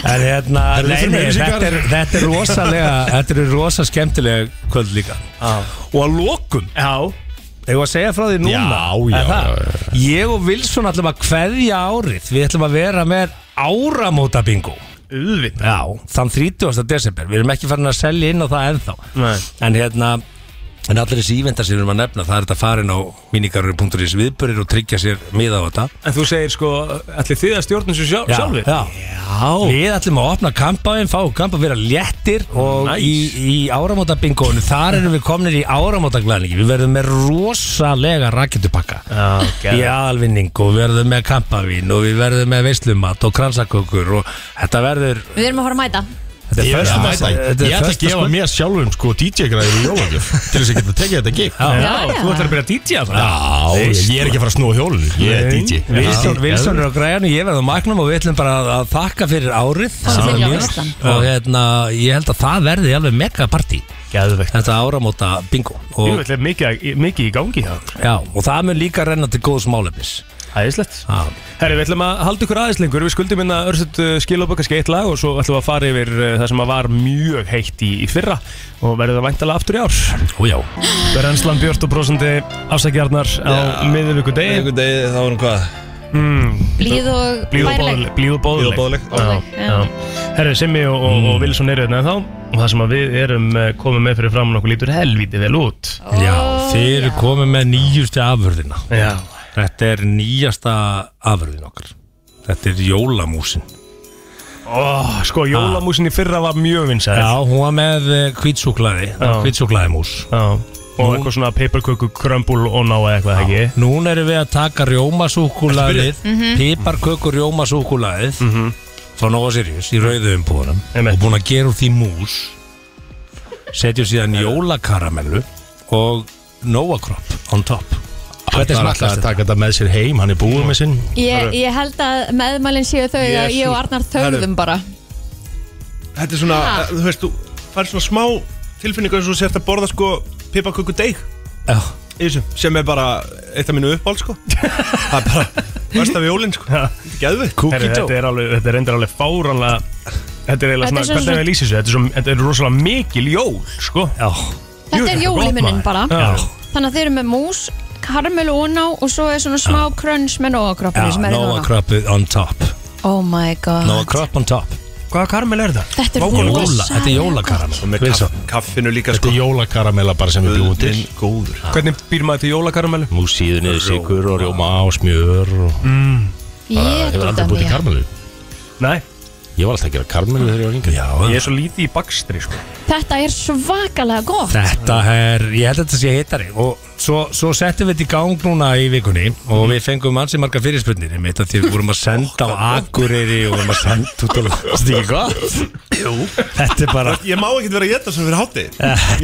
Speaker 9: en hérna,
Speaker 7: Herðu,
Speaker 9: nei,
Speaker 7: fyrir
Speaker 9: nei,
Speaker 7: auglýsingar.
Speaker 9: þetta er, þetta er rosalega, þetta er rosa skemmtilega kvöld líka.
Speaker 2: já
Speaker 9: Og að lokum,
Speaker 2: Já,
Speaker 9: Þegar að segja frá því núna
Speaker 7: Já, já,
Speaker 9: Er það?
Speaker 7: já,
Speaker 9: Ég og Wilson ætlum að kveðja árið Við ætlum að vera með áramóta bingo
Speaker 2: Uðvinn
Speaker 9: Já, þann 30. desember Við erum ekki farin að selja inn á það ennþá
Speaker 2: Nei.
Speaker 9: En hérna En allir þessi íventar sem við erum að nefna Það er þetta farin á minigarur.is viðbörir og tryggja sér miða á þetta
Speaker 2: En þú segir sko, ætli þið að stjórnum svo sjálf, sjálfur?
Speaker 9: já. Við ætlum að opna kampaðin, fá kampa vera léttir og
Speaker 2: Nice.
Speaker 9: í, í áramóta þar erum við komnir í áramóta Við verðum með rosalega raketupakka
Speaker 2: Já,
Speaker 9: í
Speaker 2: já.
Speaker 9: aðalvinning og við verðum með kampavín og við verðum með veislumat og kransakökur og þetta verður
Speaker 3: Við erum að fara að mæta
Speaker 9: þetta er
Speaker 7: Ég
Speaker 9: föstu-
Speaker 7: ætla
Speaker 9: þetta er
Speaker 7: ég ætla að
Speaker 9: föstu-
Speaker 7: gefa mér sjálfum sko DJ-græði í jólagjöf til þess að geta tekið þetta gig
Speaker 9: Já.
Speaker 2: Já, þú ætlar að byrja að DJ-a það?
Speaker 7: Já, ég er ekki að fara að snúa hjólun Ég er DJ
Speaker 9: Vilsson, Vilsson er á græðinu, ég verð á magnum og við ætlum bara að, að þakka fyrir árið
Speaker 3: Það
Speaker 9: sem
Speaker 3: er
Speaker 9: var
Speaker 3: mikil
Speaker 9: mjög-
Speaker 3: veislan.
Speaker 9: og hérna, ég held að það verði alveg megapartí
Speaker 2: Gæðvegt
Speaker 9: þetta áramóta bingo
Speaker 2: Jú,
Speaker 9: og,
Speaker 2: ætli er mikið, mikið í gangi það
Speaker 9: já, og það mun líka renna til góðs málefnis
Speaker 2: Æðislegt
Speaker 9: Já.
Speaker 2: Herri, við ætlum að halda ykkur aðeins lengur Við skuldum hérna örstuð skilabökk kannski eitt lag og svo ætlum við að fara yfir uh, það sem að var mjög heitt í, í fyrra og verður það væntalega aftur í ár
Speaker 9: og já,
Speaker 2: Brennslan Björn og brosandi afsækjarnar á miðvíku degi
Speaker 4: Einhvern degi þá erum hvað
Speaker 3: Blíð og
Speaker 2: Blíð og
Speaker 3: bærileg
Speaker 2: bóðleg Blíð og
Speaker 4: Blíð og
Speaker 2: bóðleg
Speaker 4: boðleg.
Speaker 3: Já.
Speaker 2: Herri, Simmi og, og, og Wilson eru hérna þá og það sem að við erum eh, komið með fyrir framann okkur lítur helvítið vel út
Speaker 9: já þeir eru komið með nýjustu afurðina
Speaker 2: Já
Speaker 9: þetta er nýjasta afurðin okkar þetta er jólamúsin
Speaker 2: Ó, Sko, jólamúsin í fyrra var mjög vinsæð
Speaker 9: já, hún var með eh, kvítsúklaði
Speaker 2: Já.
Speaker 9: kvítsúklaði mús
Speaker 2: Já, og eitthvað svona paperköku krömbul og ná eða eitthvað ekki
Speaker 9: Núna erum við að taka rjómasúkulaðið
Speaker 2: Mhm.
Speaker 9: Piparkökur rjómasúkulaðið Frá Nova Sirius Í rauðu umbúðunum
Speaker 2: Einmitt.
Speaker 9: Og búin að gera úr því mús Setjum síðan jólakaramellu Og Nova Crop on top Hvernig
Speaker 7: Þetta er alltaf
Speaker 9: smakkast
Speaker 7: að
Speaker 9: þetta?
Speaker 7: taka þetta með sér heim Hann er búið með sinn
Speaker 3: Ég, ég held að meðmælinn séu þau að ég og Arnar þauðum bara
Speaker 4: Þetta er svona, eh,
Speaker 3: Ha?
Speaker 4: þú veist, þú fær svona smá tilfinningu eins og þú sért að borða sko pipaköku deig
Speaker 9: Já,
Speaker 4: í þessu sem er bara eitt af mínu uppáld sko það er bara versta við jólinn sko geðvitt
Speaker 2: Herri, þetta er alveg, þetta er endur alveg fáranlega Þetta er eiginlega
Speaker 3: Þetta
Speaker 2: svona,
Speaker 3: er svo-
Speaker 2: hvernig er við lýsið þessu? Þetta er, svo, þetta er rosalega mikil jól, sko
Speaker 9: já,
Speaker 2: Jú,
Speaker 3: Þetta er
Speaker 2: þetta er
Speaker 3: jól í
Speaker 2: gott,
Speaker 3: munnin
Speaker 2: maður.
Speaker 3: bara
Speaker 2: Já.
Speaker 3: Þannig að þeir eru með mús, karmel og uná og svo er svona smá crunch með nógakroppinu
Speaker 9: já
Speaker 3: sem er í
Speaker 9: Nova
Speaker 3: núna.
Speaker 9: Cropið on top
Speaker 3: Oh my god
Speaker 9: Nova Crop on top
Speaker 2: Hvaða karmel er það?
Speaker 3: Þetta er
Speaker 9: Jóla,
Speaker 3: rosalega
Speaker 9: Þetta er
Speaker 3: gott.
Speaker 9: jólakaramell
Speaker 4: og með
Speaker 9: Wilson.
Speaker 4: kaff, kaffinu líka
Speaker 7: Þetta
Speaker 4: sko
Speaker 7: er jólakaramella bara sem við búum til
Speaker 4: Guðinn góður
Speaker 2: Hvernig býr maður til jólakarmelu?
Speaker 7: Nú síður niður sigur og rjóma og smjör og
Speaker 3: Ég er
Speaker 7: hefur aldrei
Speaker 3: þetta
Speaker 7: búið til
Speaker 3: nýja
Speaker 7: karmelu
Speaker 2: Nei,
Speaker 7: Ég var alltaf að gera karmelu þegar ég var yngri
Speaker 9: Já,
Speaker 2: ég
Speaker 9: ég,
Speaker 2: er svo lítið í bakstri, sko
Speaker 3: Þetta er svakalega gott
Speaker 9: þetta er, ég held að þetta sé hittari og svo, svo settum við þetta í gang núna í vikunni og við fengum ansi marga fyrirspurnir einmitt að því við vorum að senda á Akureyri og vorum að senda út alveg, þetta er ekki gott Jú. þetta er bara
Speaker 4: ég má ekkert vera að geta sem fyrir hátti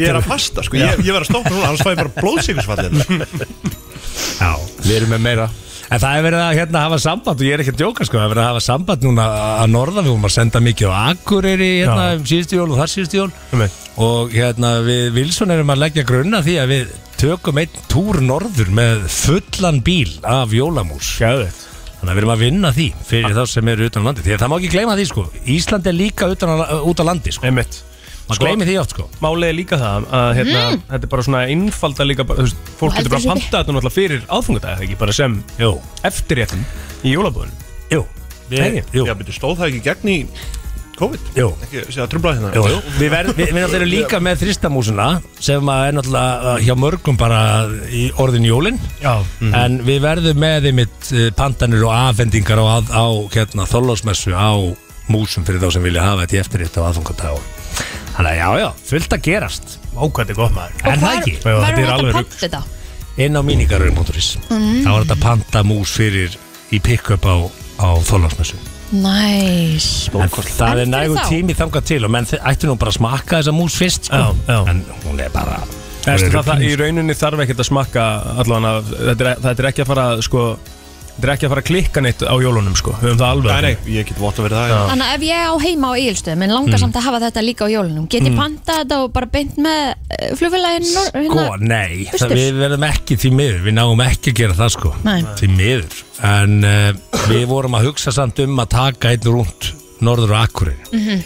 Speaker 4: ég er að fasta sko, ég, ég verð að stoppa núna annars fæ ég bara hérna. blóðsikursfallið
Speaker 9: já. við erum með meira En það er verið að hérna hafa samband og ég er ekki að djóka sko, það er verið að hafa samband núna að norðan við vorum að senda mikið á Akureyri hérna
Speaker 2: Já.
Speaker 9: um síðustu jól og þar síðustu jól
Speaker 2: Einmitt.
Speaker 9: og hérna við Wilson erum að leggja grunna því að við tökum einn túr norður með fullan bíl af jólamús
Speaker 2: Gæðið
Speaker 9: Þannig að við erum að vinna því fyrir þá sem eru utan á landi Því að það má ekki gleyma því sko Ísland er líka utan á, út á landi sko
Speaker 2: Einmitt
Speaker 9: Maður gleymi því oft sko
Speaker 2: Málið er líka það að hérna, þetta er bara svona einfalda líka bara, þú veist,
Speaker 3: Og
Speaker 2: Fólk
Speaker 3: heldur
Speaker 2: getur bara
Speaker 3: þessu
Speaker 2: að panta þetta náttúrulega fyrir aðfungadagið ekki bara sem
Speaker 9: Jú,
Speaker 2: eftirréttum í jólabúðinu
Speaker 9: jú,
Speaker 2: Nei,
Speaker 9: jú,
Speaker 4: já, betur stóð það ekki gegn í COVID
Speaker 9: jú,
Speaker 4: ekki, sé að trubla hérna
Speaker 9: jú, jú. Við, verð, við, við náttúrulega erum líka með þristamúsuna sem að er náttúrulega uh, hjá mörgum bara í orðin jólin
Speaker 2: Já mhm.
Speaker 9: En við verðum með einmitt uh, pantanir og afhendingar á, að- á hérna, þóllásmessu á músum fyrir þá sem vilja hafa þetta í eftirrétt á aðfungardag Þannig að já, já, fullt að gerast
Speaker 2: Ókvæði gott maður
Speaker 9: Er það ekki?
Speaker 2: Já, þetta
Speaker 3: Hvað er
Speaker 2: er alveg
Speaker 3: þetta að
Speaker 2: rugl.
Speaker 3: panta þetta?
Speaker 9: inn á mínigarurinn.is mm. þá er þetta panta mús fyrir í pick-up á, á þólagsmessu
Speaker 3: Næs
Speaker 9: en það
Speaker 3: En
Speaker 9: er
Speaker 3: fyrir
Speaker 9: nægur
Speaker 3: þá?
Speaker 9: tími þangað til og menn þe- ættu nú bara að smakka þessa mús fyrst sko.
Speaker 2: Já, já.
Speaker 9: en hún er bara
Speaker 2: Það,
Speaker 9: hún er
Speaker 2: það, það, í
Speaker 9: rugluð.
Speaker 2: rauninni þarf ekkert að smakka allan að þetta er, þetta er ekki að fara að, sko, þetta er ekki að fara að klikka neitt á jólunum sko, við höfum það alveg
Speaker 4: nei, nei, ég get vott að vera það já.
Speaker 3: Þannig að ef ég á heima á Egilstöðum en
Speaker 9: Mm.
Speaker 3: langar samt að hafa þetta líka á jólunum get ég panta þetta og bara beint með eh, flugfélagin
Speaker 9: sko,
Speaker 3: hérna?
Speaker 9: nei,
Speaker 3: Austur.
Speaker 9: það, við verðum ekki því miður við náum ekki að gera það sko
Speaker 3: Nei.
Speaker 9: því miður en uh,
Speaker 2: Mhm.
Speaker 9: við vorum að hugsa samt um að taka einn rúnd norður og akkurinn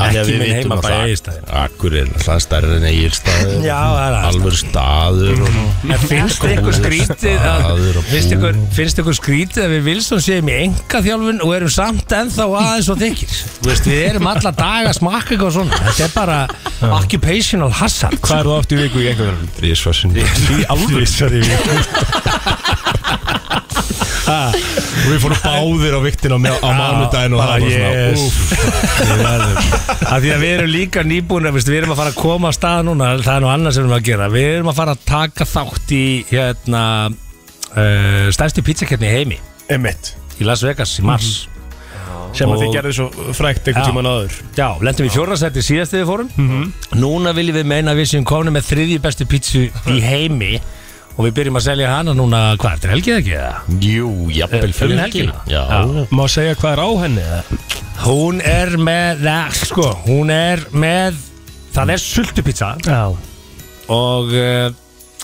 Speaker 7: Það Þannig að
Speaker 9: Ekki
Speaker 7: við
Speaker 9: minn
Speaker 7: vitum
Speaker 9: heimabæ,
Speaker 7: að það-
Speaker 9: Egilsstaðir.
Speaker 7: Akureyri er alltaf stærri en Egilstaðir
Speaker 9: Já, það er aðeins
Speaker 7: Alvöru staður og-
Speaker 9: En finnst ykkur skrítið að,
Speaker 7: Staður og
Speaker 9: finnst, ykkur,
Speaker 7: bú.
Speaker 9: finnst ykkur skrítið að við Wilson séum í enga þjálfun og erum samt ennþá aðeins og þykir Þú veist, Við erum alla daga að smakka eitthvað svona Þetta er bara occupational hazard
Speaker 2: Hvað er þú oft í viku í einhvern veginn?
Speaker 7: Þrísvar sinnum.
Speaker 2: Í alveg Sorry
Speaker 7: Við fórum báðir á viktin á, á mánudaginn og
Speaker 9: bara
Speaker 7: það var svona
Speaker 9: yes.
Speaker 7: úff, við verðum.
Speaker 9: að því að við erum líka nýbúin við erum að fara að koma að stað núna það er nú annars sem við erum að gera við erum að fara að taka þátt í hérna, uh, stærsti pizzakerni heimi
Speaker 2: Emmett
Speaker 9: í Las Vegas í mars
Speaker 2: Sem að þið
Speaker 9: Og-
Speaker 2: gerðu svo frækt einhvern
Speaker 9: Já.
Speaker 2: tíman áður
Speaker 9: Já, lendum við fjórðarsætti síðast þegar við fórum
Speaker 7: Mhm.
Speaker 9: Núna viljum við meina að við séum komin með þriðju bestu pítsu í heimi og við byrjum að selja hana núna hvað, þetta er helgið ekki eða?
Speaker 7: Jú, jafnvel fyrir
Speaker 9: Um helgina?
Speaker 7: Já,
Speaker 2: Má segja hvað er á henni eða?
Speaker 9: Hún er með, neða, sko, hún er með það er sultupítsa
Speaker 2: Já
Speaker 9: og uh,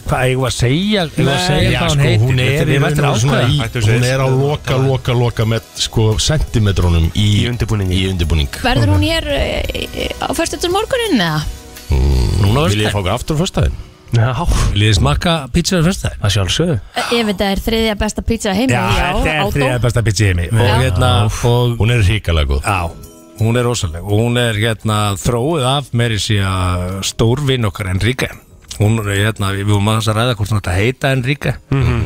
Speaker 9: hvað, eigum við að segja eigum við að segja
Speaker 7: já,
Speaker 9: hvað hún
Speaker 7: sko,
Speaker 9: heitir
Speaker 7: hún er,
Speaker 9: við
Speaker 7: í
Speaker 9: verðum
Speaker 7: raun og svona
Speaker 9: ákveða
Speaker 7: í,
Speaker 4: Hættu að segja
Speaker 7: hún er á
Speaker 4: þessu.
Speaker 7: loka, loka, loka með sko sentimetrónum í,
Speaker 2: Í undirbúningi.
Speaker 7: í undirbúning.
Speaker 3: Verður hún hér eh, á fyrstutur morgunin eða?
Speaker 9: Núna
Speaker 7: Vil ég
Speaker 9: verður
Speaker 7: fá okkur aftur á fyrstaðin?
Speaker 2: Já
Speaker 9: Vil ég smakka pítsu að fyrsta
Speaker 2: Það sjálfsögðu
Speaker 3: Ef þetta er þriðja besta pizza heim
Speaker 9: Ah. Já, þetta er þriðja besta pítsu í heimi og
Speaker 3: Já.
Speaker 9: hérna, og
Speaker 7: Hún er hrikalega góð.
Speaker 9: Já, hún er rosaleg og hún er hérna þróið af meiri síðan stórvinn okkar Enrique hún er hérna, við vorum aðeins að ræða hvort hún ætti að heita Enrique
Speaker 2: Mhm.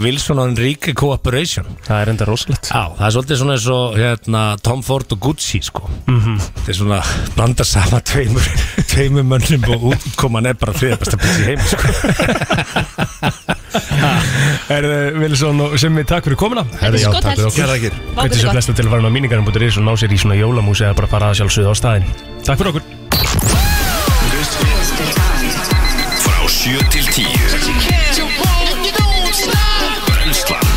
Speaker 9: Wilson og Enrique Cooperation
Speaker 2: Það er enda rosalegt
Speaker 9: Já, það er svolítið svona eins og hérna, Tom Ford og Gucci sko
Speaker 2: Mhm.
Speaker 9: þetta er svona að blanda saman tveimur, tveimur mönnum og útkoman er bara þriðja besta pizza í heim sko.
Speaker 2: Erðu Wilson eh, og Simmi, takk fyrir komuna
Speaker 7: Herra, já,
Speaker 3: skothellt.
Speaker 7: takk fyrir okkur.
Speaker 4: Gerðakir
Speaker 2: Hvernig sem flesta til að fara inn á míningarum.is og ná sér í svona jólamús eða bara fara að sjálfsögðu á staðinn Takk fyrir okkur
Speaker 1: Frá 7 til 10 Brenslan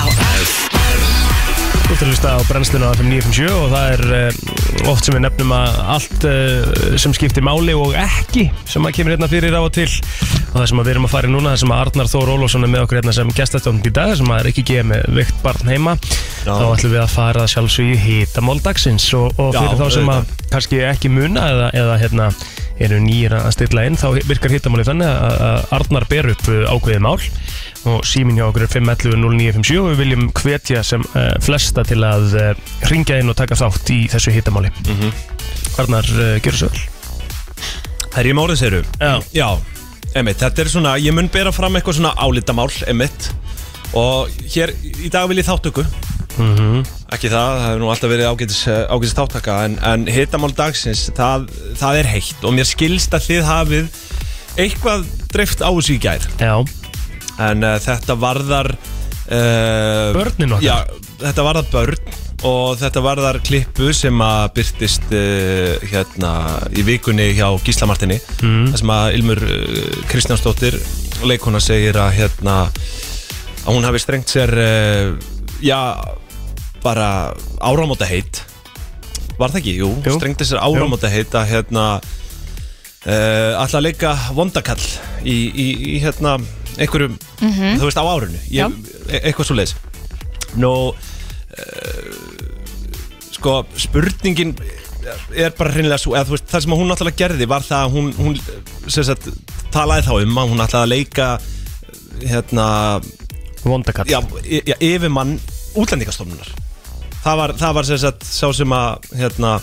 Speaker 8: á F
Speaker 2: Þú ert að hlusta á brennsluna á FM 957 og það er uh, oft sem við nefnum að allt uh, sem skiptir máli og ekki sem að kemur hérna fyrir á og til og það sem að við erum að fara í núna, það sem að Arnar Þór Ólásson er með okkur hérna sem gestastjónd í dag sem að er ekki geið með veikt barn heima þá ætlum við að fara að sjálfsögju í hitamál dagsins og, og
Speaker 4: Já,
Speaker 2: fyrir þá sem að kannski ekki muna eða, eða hérna eru nýjir að stilla inn þá virkar hitamálið þannig að að Arnar ber upp uh, ákveðið mál og símin hjá okkur er 511-0957 og við viljum hvetja sem uh, flesta til að uh, ringja inn og taka þátt í þessu hittamáli
Speaker 4: Mhm.
Speaker 2: Arnar, uh, gjör svo vel
Speaker 4: Herri, ég mórið séru
Speaker 2: Já.
Speaker 4: Já, emitt, þetta er svona Ég mun bera fram eitthvað svona álitamál, emitt Og hér, í dag vil ég þáttöku Ekki það, það hefur nú alltaf verið ágætis, eh, ágætis þáttaka En, en hitamál dagsins, það, það er heitt Og mér skilst að þið hafið Eitthvað dreift á þessu í gær
Speaker 2: Já,
Speaker 4: En uh, þetta varðar uh,
Speaker 2: Börnin okkar.
Speaker 4: Já, þetta varðar börn Og þetta varðar klippu sem að byrtist uh, hérna í vikunni hjá Gísla Martini mm. Það sem að Ilmur uh, Kristjánsdóttir, leikona segir að hérna að hún hafi strengt sér uh, já, bara áramóta heitt Var það ekki? Jú,
Speaker 2: Jú.
Speaker 4: strengti sér áramóta heitt að hérna uh, alltaf að leika vondakall í, í, í hérna einhverjum, þú veist á árinu
Speaker 3: Já.
Speaker 4: ég, e- eitthvað svo leiðis nú uh, sko spurningin er bara hreinlega svo eða þú veist það sem hún náttúrulega gerði var það að hún, hún sem sagt talaði þá um að hún ætlaði að leika hérna
Speaker 2: vondakall
Speaker 4: já, y- já, yfirmann útlendingastofnunar það var, það var sem sagt sá sem að hérna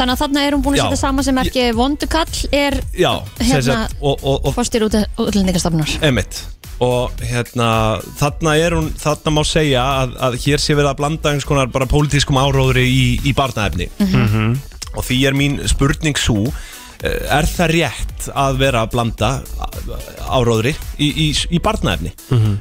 Speaker 3: Þannig að þarna er hún búin að
Speaker 4: Já.
Speaker 3: setja sama sem ekki vondukall er
Speaker 4: já, sem
Speaker 3: Hérna-
Speaker 4: sagt og, og, og
Speaker 3: fórstir útlendingastofnur
Speaker 4: Emmett og hérna þarna er hún þarna má segja að, að hér sé verið að blanda eins konar bara pólitískum áróðri í, í barnaefni og því er mín spurning svo er það rétt að vera að blanda áróðri í, í, í barnaefni um,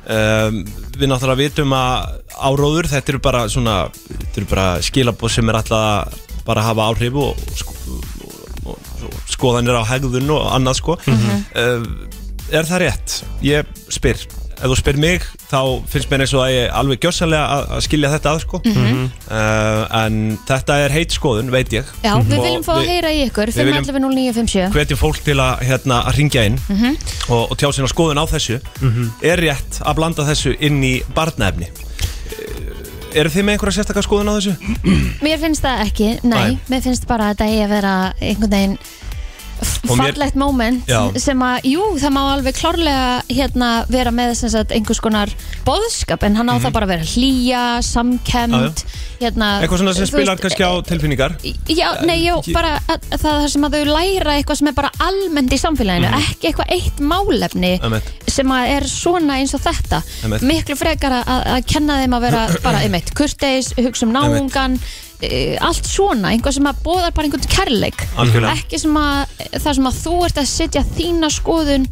Speaker 4: við náttúrulega vitum að áróður þetta eru bara svona þetta eru bara skilabóð sem er alltaf bara að hafa áhrif og, sko, og, og skoðanir á hegðun og annað sko
Speaker 3: Mhm.
Speaker 4: uh, er það rétt? Ég spyr ef þú spyr mig þá finnst mér eins og að ég alveg gjössanlega að, að skilja þetta að sko
Speaker 3: Mhm.
Speaker 4: uh, en þetta er heit skoðun, veit ég
Speaker 3: Já, við
Speaker 4: Mhm. Og
Speaker 3: viljum fá að heyra í ykkur
Speaker 4: við viljum-
Speaker 3: 511-0957
Speaker 4: hvetjum fólk til að, hérna, að ringja inn
Speaker 3: Mhm.
Speaker 4: og, og tjá sína skoðun á þessu er rétt að blanda þessu inn í barnaefni Eru Eh, þið með einhverja sérstakar skoðun á þessu?
Speaker 3: Mér finnst það ekki, nei,
Speaker 4: Nei.
Speaker 3: mér finnst bara að þetta eigi að vera einhvern veginn
Speaker 4: Og mér-
Speaker 3: fallegt moment
Speaker 4: Já.
Speaker 3: sem að, jú, það má alveg klárlega hérna vera með sem sagt einhvers konar boðskap en
Speaker 4: Mhm.
Speaker 3: hann á það bara að vera hlýja, samkemd hérna,
Speaker 4: Eitthvað svona sem
Speaker 3: þú
Speaker 4: spilar
Speaker 3: veist, eh,
Speaker 4: kannski á tilfinningar
Speaker 3: Já, nei, já,
Speaker 4: Ég-
Speaker 3: bara að, að það sem að þau læra eitthvað sem er bara almennt í samfélaginu ekki eitthvað eitt málefni
Speaker 4: Mhm. Einmitt.
Speaker 3: sem að er svona eins og þetta
Speaker 4: Einmitt.
Speaker 3: miklu frekar að, að kenna þeim að vera bara, einmitt, kurteis, hugsa um náungan e, allt svona, einhvað sem að bóðar bara einhvern kærleik
Speaker 4: Algjörlega.
Speaker 3: ekki sem að, það sem að þú ert að setja þína skoðun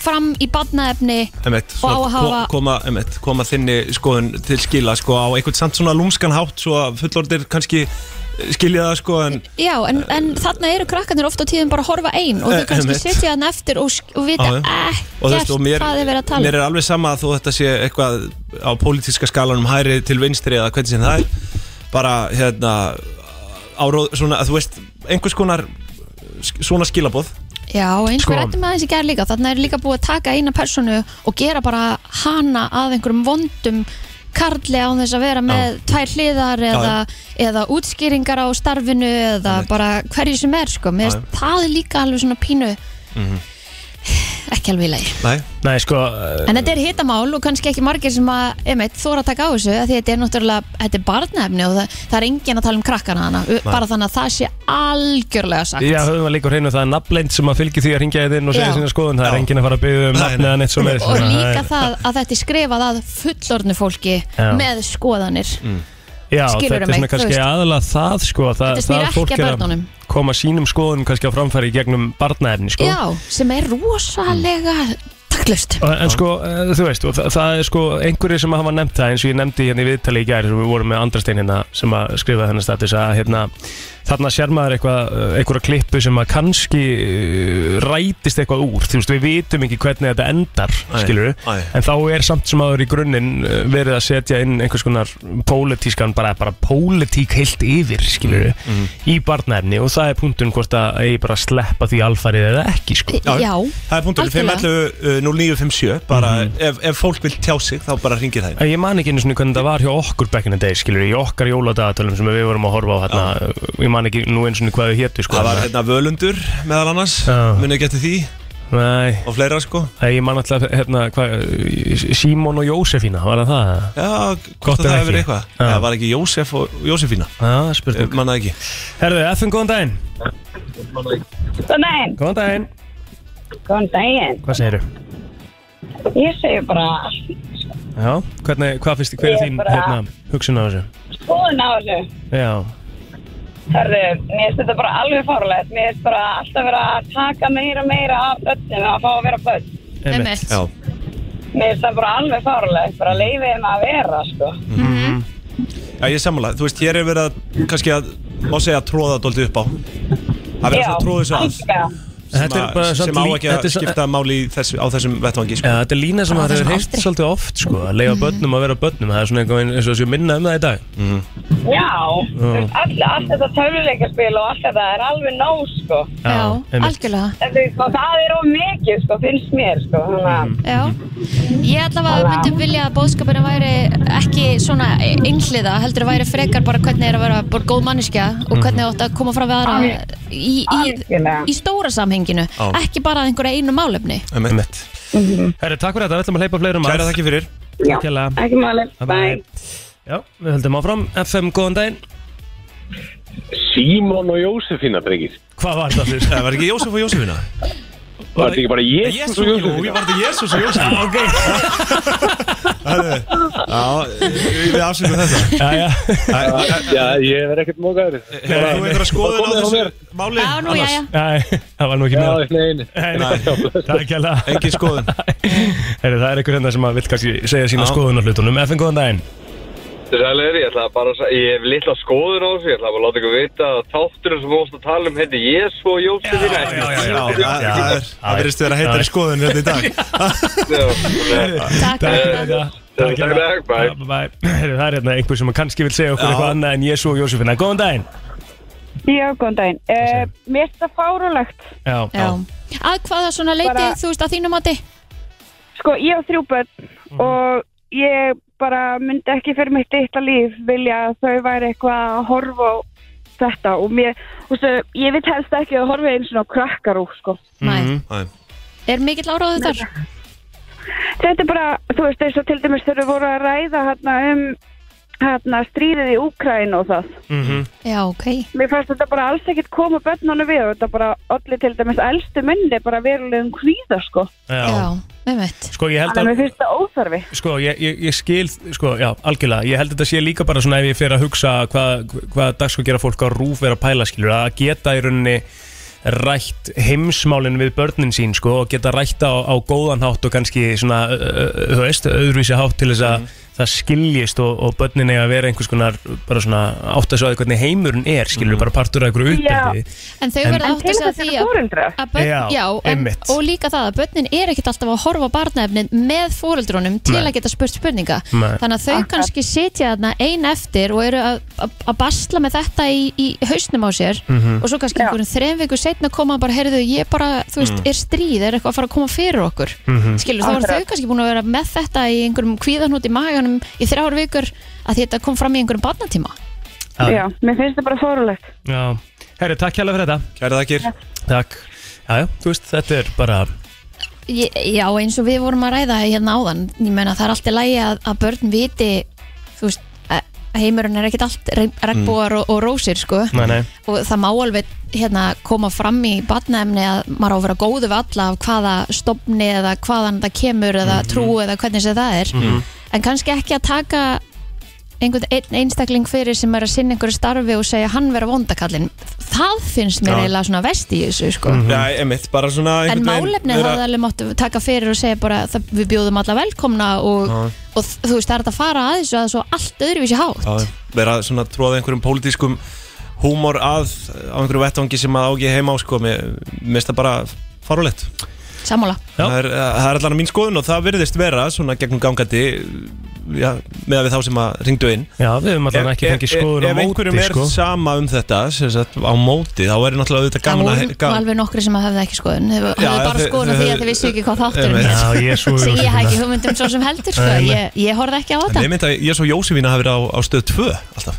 Speaker 3: fram í badnaefni
Speaker 4: Einmitt,
Speaker 3: og á
Speaker 4: svona
Speaker 3: að hafa
Speaker 4: ko- koma, einmitt, koma þinni skoðun til skila sko, á einhvern samt svona lúmskan hátt svo að fullorðir kannski eh, skilja það sko, en
Speaker 3: Já, en, en þarna eru krakkanir ofta tíðum bara að horfa einn og
Speaker 4: Eh,
Speaker 3: þau kannski
Speaker 4: einmitt.
Speaker 3: sitja hann eftir og, sk- og vita
Speaker 4: Já, já. og, þú
Speaker 3: ekkert
Speaker 4: veist, og mér,
Speaker 3: hvað er verið að tala um.
Speaker 4: mér er alveg sama að þú þetta sé eitthvað á pólitíska skalanum hæri til vinstri eða hvernig sem það er bara hérna áróð, svona, þú veist, einhvers konar sk- svona skilabóð
Speaker 3: Já, eins og
Speaker 2: Sko.
Speaker 3: við rættum aðeins í gær líka þarna er líka búið að taka eina personu og gera bara hana að einhverjum vondum karli á þess að vera með tvær hliðar eða, eða útskýringar á starfinu eða bara hverju sem er sko, mér finnst það er líka alveg svona pínu
Speaker 2: Mhm.
Speaker 3: ekki alveg í lagi
Speaker 4: Nei,
Speaker 2: Nei, sko, eh,
Speaker 3: en þetta er hitamál og kannski ekki margir sem að einmitt, þóra að taka á þessu af því þetta er náttúrulega, þetta er barnefni og það, það er engin að tala um krakkana hana bara þannig að það sé algjörlega sagt
Speaker 2: já, höfum við líka á hreinu það er nafnleint sem að fylgi því að ringja þið inn og segja
Speaker 3: Já.
Speaker 2: sína skoðun, það er
Speaker 4: Já.
Speaker 2: enginn að fara að byggja um
Speaker 4: Nei,
Speaker 2: nafn
Speaker 4: nei.
Speaker 2: eða neitt svo leiðis
Speaker 3: og líka það að þetta er skrifað að fullorðnu fólki
Speaker 2: Já.
Speaker 3: með skoðanir
Speaker 2: Já,
Speaker 3: Skilurðu
Speaker 2: þetta er svona
Speaker 3: mig, þú
Speaker 2: kannski
Speaker 3: veist.
Speaker 2: aðalega það sko að það,
Speaker 3: Þetta snýr
Speaker 2: það
Speaker 3: ekki að börnunum.
Speaker 2: koma sínum skoðunum kannski á framfæri í gegnum barnaefni sko
Speaker 3: já, sem er rosalega taktlust
Speaker 2: Og- En sko, eh, þú veist, og það, það er sko einhverjir sem hafa nefnt það eins og ég nefndi hérna í viðtali í gæri sem við vorum með Andrastein hérna sem að skrifa þennan status að hérna þarna sér maður eitthvað, eh, einhverja klippu sem að kannski eh, rætist eitthvað úr, þú veist, við vitum ekki hvernig þetta endar,
Speaker 4: Æ,
Speaker 2: skilur
Speaker 4: æ.
Speaker 2: en þá er samt sem aður í grunninn eh, verið að setja inn einhvers konar pólitískan, bara, bara pólitík heilt yfir, skilur í barnaefni og það er punktun hvort að eigi bara að sleppa því alfarið eða ekki, sko
Speaker 3: já, já,
Speaker 4: það er punktur
Speaker 3: Algjörlega.
Speaker 4: eh, 511-0957 bara ef, ef fólk vil tjá sig þá bara ringir það inn.
Speaker 2: Ég man ekki einu svona hvernig það var hjá okkur back in the day, skilur, í okkar jóladagatölum sem við vorum að horfa á hérna, ég man ekki nú einu svona hvað þau hétu, sko.
Speaker 4: það var hérna völundur meðal annars
Speaker 2: Já.
Speaker 4: munið getið því
Speaker 2: Nei,
Speaker 4: og fleira sko
Speaker 2: Nei, ég man alltaf, hérna, hvað, Símon og Jósefína, var það það?
Speaker 4: Já,
Speaker 2: Gott
Speaker 4: hvort að
Speaker 2: ef
Speaker 4: það
Speaker 2: ekki.
Speaker 4: hefur verið eitthvað
Speaker 2: Já.
Speaker 4: Það var ekki Jósef og Jósefína
Speaker 2: Já, spurning.
Speaker 4: Manna ekki
Speaker 2: Herðu, FN, góðan daginn.
Speaker 6: Góðan daginn.
Speaker 2: Góðan daginn.
Speaker 6: Góðan daginn.
Speaker 2: Hvað segirðu?
Speaker 6: sko, Ég segi bara
Speaker 2: Já, hvernig, hvað finnst, hver
Speaker 6: Ég
Speaker 2: er þín,
Speaker 6: bara-
Speaker 2: hérna, hugsun á þessu?
Speaker 6: skoðun á þessu.
Speaker 2: Já,
Speaker 6: Hörðu, mér finnst þetta bara alveg fárlegt. Mér finnst bara alltaf verið að taka meira og meira af börnum að fá að vera börn.
Speaker 2: einmitt.
Speaker 3: einmitt
Speaker 4: Já,
Speaker 6: Mér finnst það bara alveg fárlegt. Bara leifið þeim að vera, sko.
Speaker 4: Já ég er sammála Þú veist, hér er verið að kannski að má segja að tróða dóldi upp á Það verið alltaf að tróða þessu að sem,
Speaker 6: algjörlega.
Speaker 2: Þetta er bara
Speaker 4: að,
Speaker 2: samt
Speaker 4: sem á
Speaker 2: lí-
Speaker 4: ekki
Speaker 2: þetta
Speaker 4: að
Speaker 2: er sa-
Speaker 4: skipta máli í þessu, á þessum vettvangi sko.
Speaker 2: Já, þetta er lína sem
Speaker 3: Bara
Speaker 2: það hefur
Speaker 3: þessum
Speaker 2: heilt
Speaker 3: aldri.
Speaker 2: svolítið oft, sko, að leifa börnum að vera börnum, það er svona einhvern veginn eins og þessu minna um það í dag.
Speaker 6: Já, þú veist, all, allt þetta töluleikaspil og allt þetta er alveg nóg, sko.
Speaker 3: já,
Speaker 2: einmitt.
Speaker 3: algjörlega
Speaker 6: En þú veist, sko, það er of mikið, sko, finnst mér, sko. Þannig að,
Speaker 3: Já. Ég ætla að myndum vilja að bóðskapurinn væri ekki svona einhliða heldur væri frekar bara hvernig er að vera bara góð manneskja og hvernig átt að koma fram við aðra í, í,
Speaker 6: Algjörlega.
Speaker 3: í stóra samhenginu
Speaker 4: Já.
Speaker 3: ekki bara að einhverja einu málefni
Speaker 4: Einmitt.
Speaker 2: Herru, takk fyrir þetta, við ætlum að hleypa fleirum að.
Speaker 4: Kæra þakki fyrir
Speaker 6: já,
Speaker 2: Takkilega.
Speaker 6: ekki máli. Bæ.
Speaker 2: Já, við höldum áfram. FM, góðan daginn.
Speaker 5: Símon og Jósefína, drengir.
Speaker 2: Hvað var þetta fyrst?
Speaker 4: Það Eh, var ekki Jósef og Jósefína
Speaker 5: Var þetta ekki bara Jésús
Speaker 4: Jésu,
Speaker 5: og
Speaker 4: jú,
Speaker 5: Jósefína?
Speaker 4: ég var þetta Jésus og Jósefína Ok Já, við afsökum þetta
Speaker 2: Já, já.
Speaker 5: Já, ég verð ekkert mókaður.
Speaker 4: Hefur þú einhverja skoðun á
Speaker 5: komið á
Speaker 4: þessu
Speaker 5: mér.
Speaker 4: máli?
Speaker 3: Já, nú, já, já
Speaker 2: Æ, það var nú ekki
Speaker 5: Já,
Speaker 2: með.
Speaker 5: neini.
Speaker 2: Nei, takk hella.
Speaker 4: Engin skoðun.
Speaker 2: Herru, það er einhver hérna sem að vill kannski segja sína
Speaker 4: Já.
Speaker 2: skoðun á hlutunum. FM, góðan daginn.
Speaker 5: Sælir, ég ætla bara að segja, ég hef litla skoðun á þessu, ég ætla bara að láta ykkur vita að þátturinn sem við varst að tala um heiti Jésu og Jósefína.
Speaker 4: Já, það-
Speaker 2: Já,
Speaker 4: það
Speaker 2: já.
Speaker 4: er- það verðist vera heittari skoðun hérna í dag
Speaker 3: Takk fyrir þetta
Speaker 5: Takk, takk, takk, bye.
Speaker 2: Já, bye. Herru, það er hérna einhver sem kannski vil segja okkur
Speaker 4: Já.
Speaker 2: eitthvað annað en Jésu og Jósefina. Góðan daginn.
Speaker 6: Já, góðan daginn.
Speaker 10: Eh,
Speaker 6: Uh, mér finnst það fárólegt.
Speaker 2: Já.
Speaker 3: Já. Að hvaða svona leiti,
Speaker 6: Bara-
Speaker 3: þú veist, að þínu mati?
Speaker 6: Sko, ég á þrjú börn og ég
Speaker 10: bara myndi ekki fyrir mitt eitt að líf vilja að þau væri eitthvað að horfa á þetta og mér, þú veist, ég vil helst ekki að horfa eins og krakkar úr, sko.
Speaker 3: Næ.
Speaker 4: Næ.
Speaker 3: Er mikill áráðu þar?
Speaker 10: Þetta er bara, þú veist, eins og til dæmis þau eru voru að ræða hérna um hérna stríðið í Úkræn og það.
Speaker 3: Já, ok.
Speaker 10: Mér fannst þetta bara alls ekkert koma börnunum við og þetta bara allir til dæmis elstu menni bara verulegum hvíða, sko.
Speaker 2: Já,
Speaker 3: einmitt
Speaker 2: Sko, ég held
Speaker 10: Þannig að
Speaker 2: að
Speaker 10: mér finnst þetta óþarfi.
Speaker 2: Sko, ég, ég, ég skil, sko, já, algjörlega Ég held að þetta sé líka bara svona ef ég fer að hugsa hvað hva dagsko gera fólk á rúf er að pæla skilur að geta í rauninni rætt heimsmálin við börnin sín sko, og geta rætt á, á góðan hátt og kannski svona, ö, ö, ö, þú veist öðruvísi hátt til þess að það skiljist og, og börnin eiga að vera einhvers konar bara svona átt að svo að hvernig heimurinn er skilur bara partur af einhverju uppeldi
Speaker 3: En þau verða átt að segja því að, að börn,
Speaker 2: Já,
Speaker 3: já, en,
Speaker 2: einmitt.
Speaker 3: og líka það að börnin er ekkert alltaf að horfa á barnaefnin með fóreldrunum til
Speaker 2: Nei.
Speaker 3: að geta spurt spurninga
Speaker 2: Nei.
Speaker 3: þannig að þau kannski sitja þarna ein eftir og eru að- að að basla með þetta í, í hausnum á sér
Speaker 11: Mhm.
Speaker 3: og svo kannski einhverjum þreim viku setna koma bara, heyrðu, ég bara, þú veist,
Speaker 11: Mm.
Speaker 3: er stríð er eitthvað að fara að koma fyrir okkur
Speaker 11: Mhm.
Speaker 3: skilur, þá eru
Speaker 11: Akkurat.
Speaker 3: þau kannski búin að vera með þetta í einhverjum kvíðanút í maganum í þrjár vikur að þetta kom fram í einhverjum barnatíma
Speaker 2: Já.
Speaker 10: Já, mér finnst þetta bara fórulegt.
Speaker 2: Já, herri, takk hérlega fyrir þetta
Speaker 4: Kæra þakkir
Speaker 2: Takk, já, já, þú veist, þetta er bara
Speaker 3: Ég- Já, eins og við vorum að ræða hérna áðan ég meina það er allt í lagi að, að börn viti þú veist, að heimurinn er ekkert allt regnbúar og, og rósir sko
Speaker 2: Nei, nei.
Speaker 3: og það má alveg hérna koma fram í batnaefni að maður á að vera góðu við alla af hvaða stopni eða hvaðan það kemur eða trú eða hvernig sem það er
Speaker 11: Mhm.
Speaker 3: en kannski ekki að taka einhvern einn einstakling fyrir sem er að sinna einhverju starfi og segja hann vera vondakallin það finnst mér
Speaker 4: Já.
Speaker 3: eiginlega svona vest í þessu sko
Speaker 4: Já, emitt, bara svona
Speaker 3: En
Speaker 4: einhvern veginn
Speaker 3: málefnið
Speaker 4: vera-
Speaker 3: hafði alveg máttu taka fyrir og segja bara það, við bjóðum alla velkomna og,
Speaker 4: Já.
Speaker 3: og þ- þú veist það er hægt að fara að þessu að svo allt öðruvísi hátt.
Speaker 4: Já, vera svona tróða einhverjum pólitískum húmor að á einhverju vettvangi sem að ági heima á sko, mér mér finnst það bara farulegt
Speaker 3: Sammála.
Speaker 4: það er, það er allan að mín skoðun og það virðist vera svona gegnum gangandi já, meða við þá sem að ringdu inn
Speaker 2: Já, við höfum allan
Speaker 4: Ef-
Speaker 2: ekki fengið
Speaker 4: ef-
Speaker 2: skoðun á
Speaker 4: Ef einhverjum
Speaker 2: móti,
Speaker 4: er
Speaker 2: sko.
Speaker 4: sama um þetta sem sagt, á móti, þá er náttúrulega auðvitað
Speaker 3: Það
Speaker 4: gaman að
Speaker 3: voru
Speaker 4: gaman-
Speaker 3: alveg nokkri sem að hafði ekki skoðun, þau hafði
Speaker 4: Já,
Speaker 3: bara
Speaker 4: þau-
Speaker 3: skoðun
Speaker 4: þau-
Speaker 3: af því að þau vissu ekki hvað þáttur
Speaker 4: Einmitt.
Speaker 2: Já, ég er svo
Speaker 3: Sem ég hef
Speaker 2: Jósefína.
Speaker 3: ekki hugmyndum svo sem heldur sko,
Speaker 2: Nei, nei.
Speaker 3: ég, ég horfði ekki á
Speaker 4: En ég
Speaker 3: þetta.
Speaker 4: myndi að ég svo Jósefína hafi verið á, á stöð 2 alltaf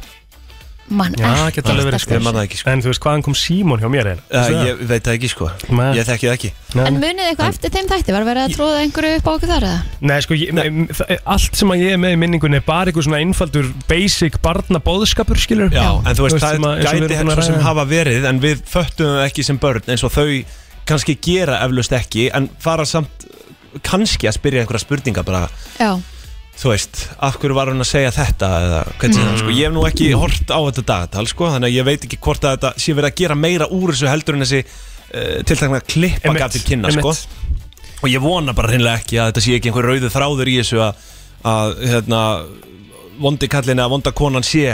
Speaker 3: Mann,
Speaker 2: Já, geta alveg verið
Speaker 4: Ég man það ekki,
Speaker 2: sko. En þú veist hvaðan kom Símon hjá mér eða?
Speaker 4: Já, ég veit það ekki sko Ég þekki það ekki
Speaker 3: en munið þið eitthvað eftir þeim þætti, var verið að tróða einhverju upp á okkur þar eða?
Speaker 2: Nei, sko, ég, Nei. allt sem að ég er með í minningunni er bara einhver svona einfaldur basic barnabóðskapur, skilur
Speaker 4: Já, en þú veist, það
Speaker 2: sem að- eins og við erum búin
Speaker 4: gæti
Speaker 2: að
Speaker 4: hennar sem
Speaker 2: ræða.
Speaker 4: hafa verið en við föttum það ekki sem börn eins og þau kannski gera eflaust ekki en fara samt kannski að spyrja einhverja spurninga bara
Speaker 3: Já.
Speaker 4: þú veist, af hverju var hún að segja þetta eða hvernig mm.
Speaker 2: Mm.
Speaker 4: sko, ég hef nú ekki hort á þetta dagatal sko, þannig að ég veit ekki hvort að þetta sé verið að gera meira úr þessu heldur en þessi uh, tiltakna klippa
Speaker 2: Einmitt,
Speaker 4: gaf til kynna sko.
Speaker 2: einmitt.
Speaker 4: og ég vona bara hreinlega ekki að þetta sé ekki einhver rauðu þráður í þessu að, að hérna, vondi kallin eða vonda konan sé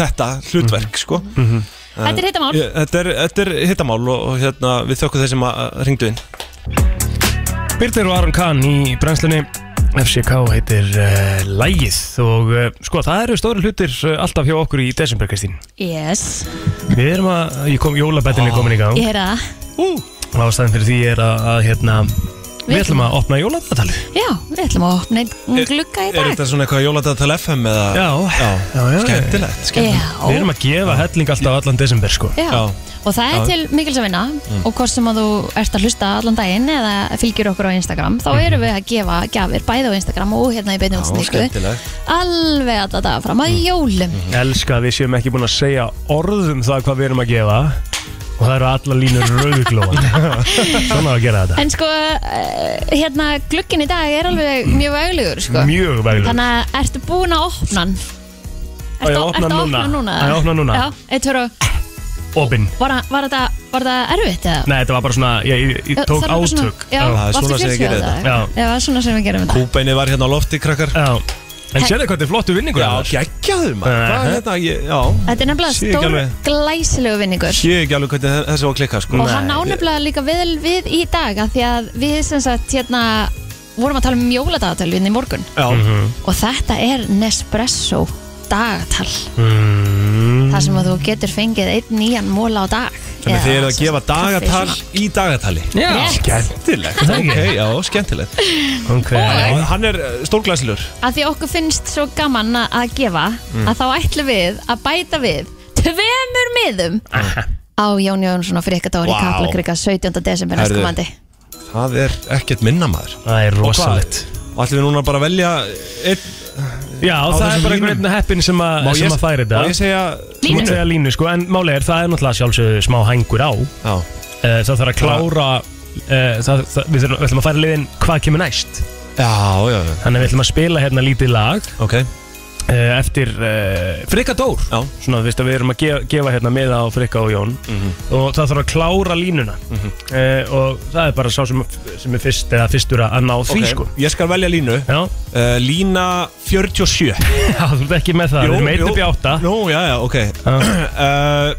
Speaker 4: þetta hlutverk sko.
Speaker 2: Mhm.
Speaker 3: Þetta er hittamál.
Speaker 4: Ég- Þetta er, þetta er hittamál og, og hérna, við þökkum þessum að að ringdu inn
Speaker 2: Birnir og Aron Kahn í brennslunni FCK heitir uh, Lægið og uh, sko, það eru stóri hlutir uh, alltaf hjá okkur í desember, Kristín
Speaker 3: Yes,
Speaker 2: Við erum að, ég kom, jólabettin er komin í gang
Speaker 3: ég heyrði það.
Speaker 2: og ástæðan fyrir því er að, að hérna, við
Speaker 3: Við-
Speaker 2: ætlum að opna jóladatalið
Speaker 3: Já, við ætlum að opna einn glugga í
Speaker 4: Er
Speaker 3: dag.
Speaker 4: þetta svona eitthvað jóladagatal FM eða?
Speaker 2: Já,
Speaker 4: já,
Speaker 2: já.
Speaker 4: Skemmtilegt, skemmtilegt.
Speaker 3: Já.
Speaker 2: Við erum að gefa helling alltaf allan desember, sko
Speaker 3: Já. Og það er til mikils að vinna
Speaker 2: Mm.
Speaker 3: og hvort sem að þú ert að hlusta allan daginn eða fylgir okkur á Instagram þá
Speaker 2: Mhm.
Speaker 3: erum við að gefa gjafir bæði á Instagram og hérna í beinni útsendingu alveg að þetta fram
Speaker 2: Mm.
Speaker 3: að jólum
Speaker 2: Elska að við séum ekki búin að segja orðum það hvað við erum að gefa og það eru alla línur rauðglóðan Svona á að gera þetta
Speaker 3: En sko, eh, hérna glugginn í dag er alveg mjög veglugur sko.
Speaker 2: Mjög veglegur.
Speaker 3: Þannig að ertu búin að opna hann
Speaker 2: Á, ég opna hann
Speaker 3: ertu að
Speaker 2: núna.
Speaker 3: opna hann núna?
Speaker 2: Á, ég opna hann núna.
Speaker 3: Já, eitt fyrir og
Speaker 2: Opin
Speaker 3: var, það- var þetta, var þetta erfitt eða?
Speaker 2: Nei, þetta var bara svona, ég, ég, ég
Speaker 3: Það
Speaker 2: tók
Speaker 3: var bara svona-
Speaker 2: átök
Speaker 3: já, varstu fyrir sig á þetta?
Speaker 2: Já.
Speaker 3: Já, svona sem við gerum þetta
Speaker 4: Kúbeinni var hérna á lofti, krakkar
Speaker 2: Já En sérðu hvað þetta er flottu vinningur
Speaker 4: Já, geggjaðu maður Hvað er
Speaker 2: Uh-huh.
Speaker 4: þetta? Ég- Já
Speaker 3: Þetta er nefnilega
Speaker 4: Sé ekki
Speaker 3: stór
Speaker 4: alveg-
Speaker 3: glæsilegu vinningur
Speaker 4: Sé ekki alveg hvernig þe- þessi var klikkað sko
Speaker 2: Mm-hmm.
Speaker 3: og hann ánefnilega líka vel við í dag af því að við sem sagt hérna vorum að tala um jóladagatalvinni í morgun
Speaker 4: Já
Speaker 2: Mm-hmm.
Speaker 3: og þetta er Nespresso dagatal
Speaker 2: mm.
Speaker 3: þar sem að þú getur fengið einn nýjan móla á dag
Speaker 4: Mm. Þannig að þið eru að gefa dagatal í dagatali
Speaker 2: Já. Rétt.
Speaker 4: Skemmtilegt,
Speaker 2: Er það ekki?
Speaker 4: ok, já, skemmtilegt
Speaker 2: Ok
Speaker 4: Hann- Hann er eh, stórglæsilegur
Speaker 3: að því okkur finnst svo gaman að- að gefa
Speaker 4: Mm.
Speaker 3: að þá ætlum við að bæta við tveimur miðum á Jón Jónsson og Frikadóri wow.
Speaker 4: Vá.
Speaker 3: Kaplakrika 17. desember
Speaker 4: Herðu.
Speaker 3: næstkomandi
Speaker 4: Það er ekkert minna maður
Speaker 2: Það er
Speaker 4: rosalegt Og ætlum við núna bara að velja einn
Speaker 2: Já,
Speaker 4: á
Speaker 2: það er
Speaker 4: þessum
Speaker 2: bara
Speaker 4: línum?
Speaker 2: einhvern veginn heppin sem, að,
Speaker 4: Má ég-
Speaker 2: sem að færi þetta
Speaker 4: má ég segja
Speaker 2: Línu?
Speaker 4: línu?
Speaker 2: segja línu, sko, en málið er, það er náttúrulega sjálfsögðu smá hængur á Já Það þarf að klára eh, það, það, við, þurfum, við ætlum að færa liðin hvað kemur næst Já, já, já Þannig að við ætlum að spila hérna lítið lag Ok Eftir uh, Frikka Dór Já Svona, þú veist að við erum að gefa, gefa hérna miða á Frikka og Jón Og það þarf að klára línuna mm Og það er bara sá sem, sem er fyrst eða fyrstur að ná því,
Speaker 4: Ok,
Speaker 2: sko
Speaker 4: Ég skal velja línu Eh,
Speaker 2: uh,
Speaker 4: Lína 47
Speaker 2: Já, þú ert ekki með það, við erum einn upp í átta
Speaker 4: Nú, já, já, ok uh,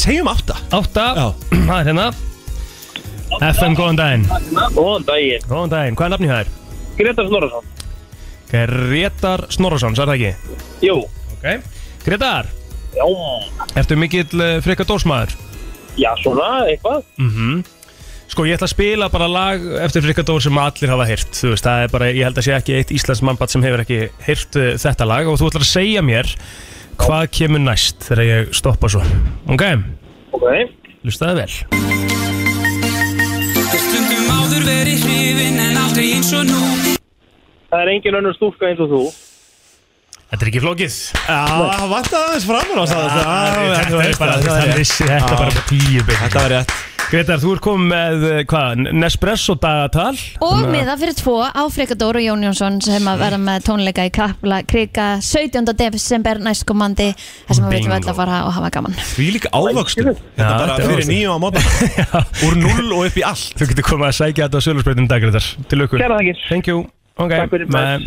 Speaker 4: Segjum átta
Speaker 2: Átta, það er hérna FM, góðan daginn
Speaker 11: Góðan daginn
Speaker 2: Góðan daginn, hvað er nafnið það er?
Speaker 11: Gretar Snorarsson
Speaker 2: Gretar Snorarsson, sagði það ekki?
Speaker 11: Jú
Speaker 2: Ok Gretar,
Speaker 11: Já
Speaker 2: ertu mikill uh, frekka dórsmaður?
Speaker 11: Já, svona, eitthvað
Speaker 2: Mm Sko, ég ætla að spila bara lag eftir frekka dór sem allir hafa heyrt Þú veist, það er bara, ég held að sé ekki eitt íslensk mannbatt sem hefur ekki heyrt uh, þetta lag Og þú ætlar að segja mér hvað kemur næst þegar ég stoppa svo Ok,
Speaker 11: Ok
Speaker 2: lustaði vel
Speaker 8: Stundum áður verið hrifin en aldrei eins og nú
Speaker 11: Það er engin önnur stúlka eins og þú
Speaker 2: Þetta er ekki flókið
Speaker 4: Já, Ah, það vant aðeins framur á það
Speaker 2: Þetta er bara, þetta er vissi, þetta er bara tíu bygg Þetta
Speaker 4: var rétt
Speaker 2: Gretar, þú ert komið með, uh, hvað, Nespresso dagatal
Speaker 3: og
Speaker 2: Þannig að-
Speaker 3: miða fyrir tvo á Frikadóri og Jón Jónsson sem að verða með tónleika í Kaplakrika 17. desember næstkomandi þar sem við veitum öll að fara og hafa gaman
Speaker 4: Því líka ávöxtum Þetta
Speaker 2: Já,
Speaker 4: bara
Speaker 2: þetta er
Speaker 4: fyrir
Speaker 2: ávöxtun.
Speaker 4: nýju á móta Úr null og upp í allt
Speaker 2: Þú getur komið að sækja þetta á sölurspreytin dag, Gretar Til lukku
Speaker 11: Kæra þakkir
Speaker 2: Thank you Ok, men-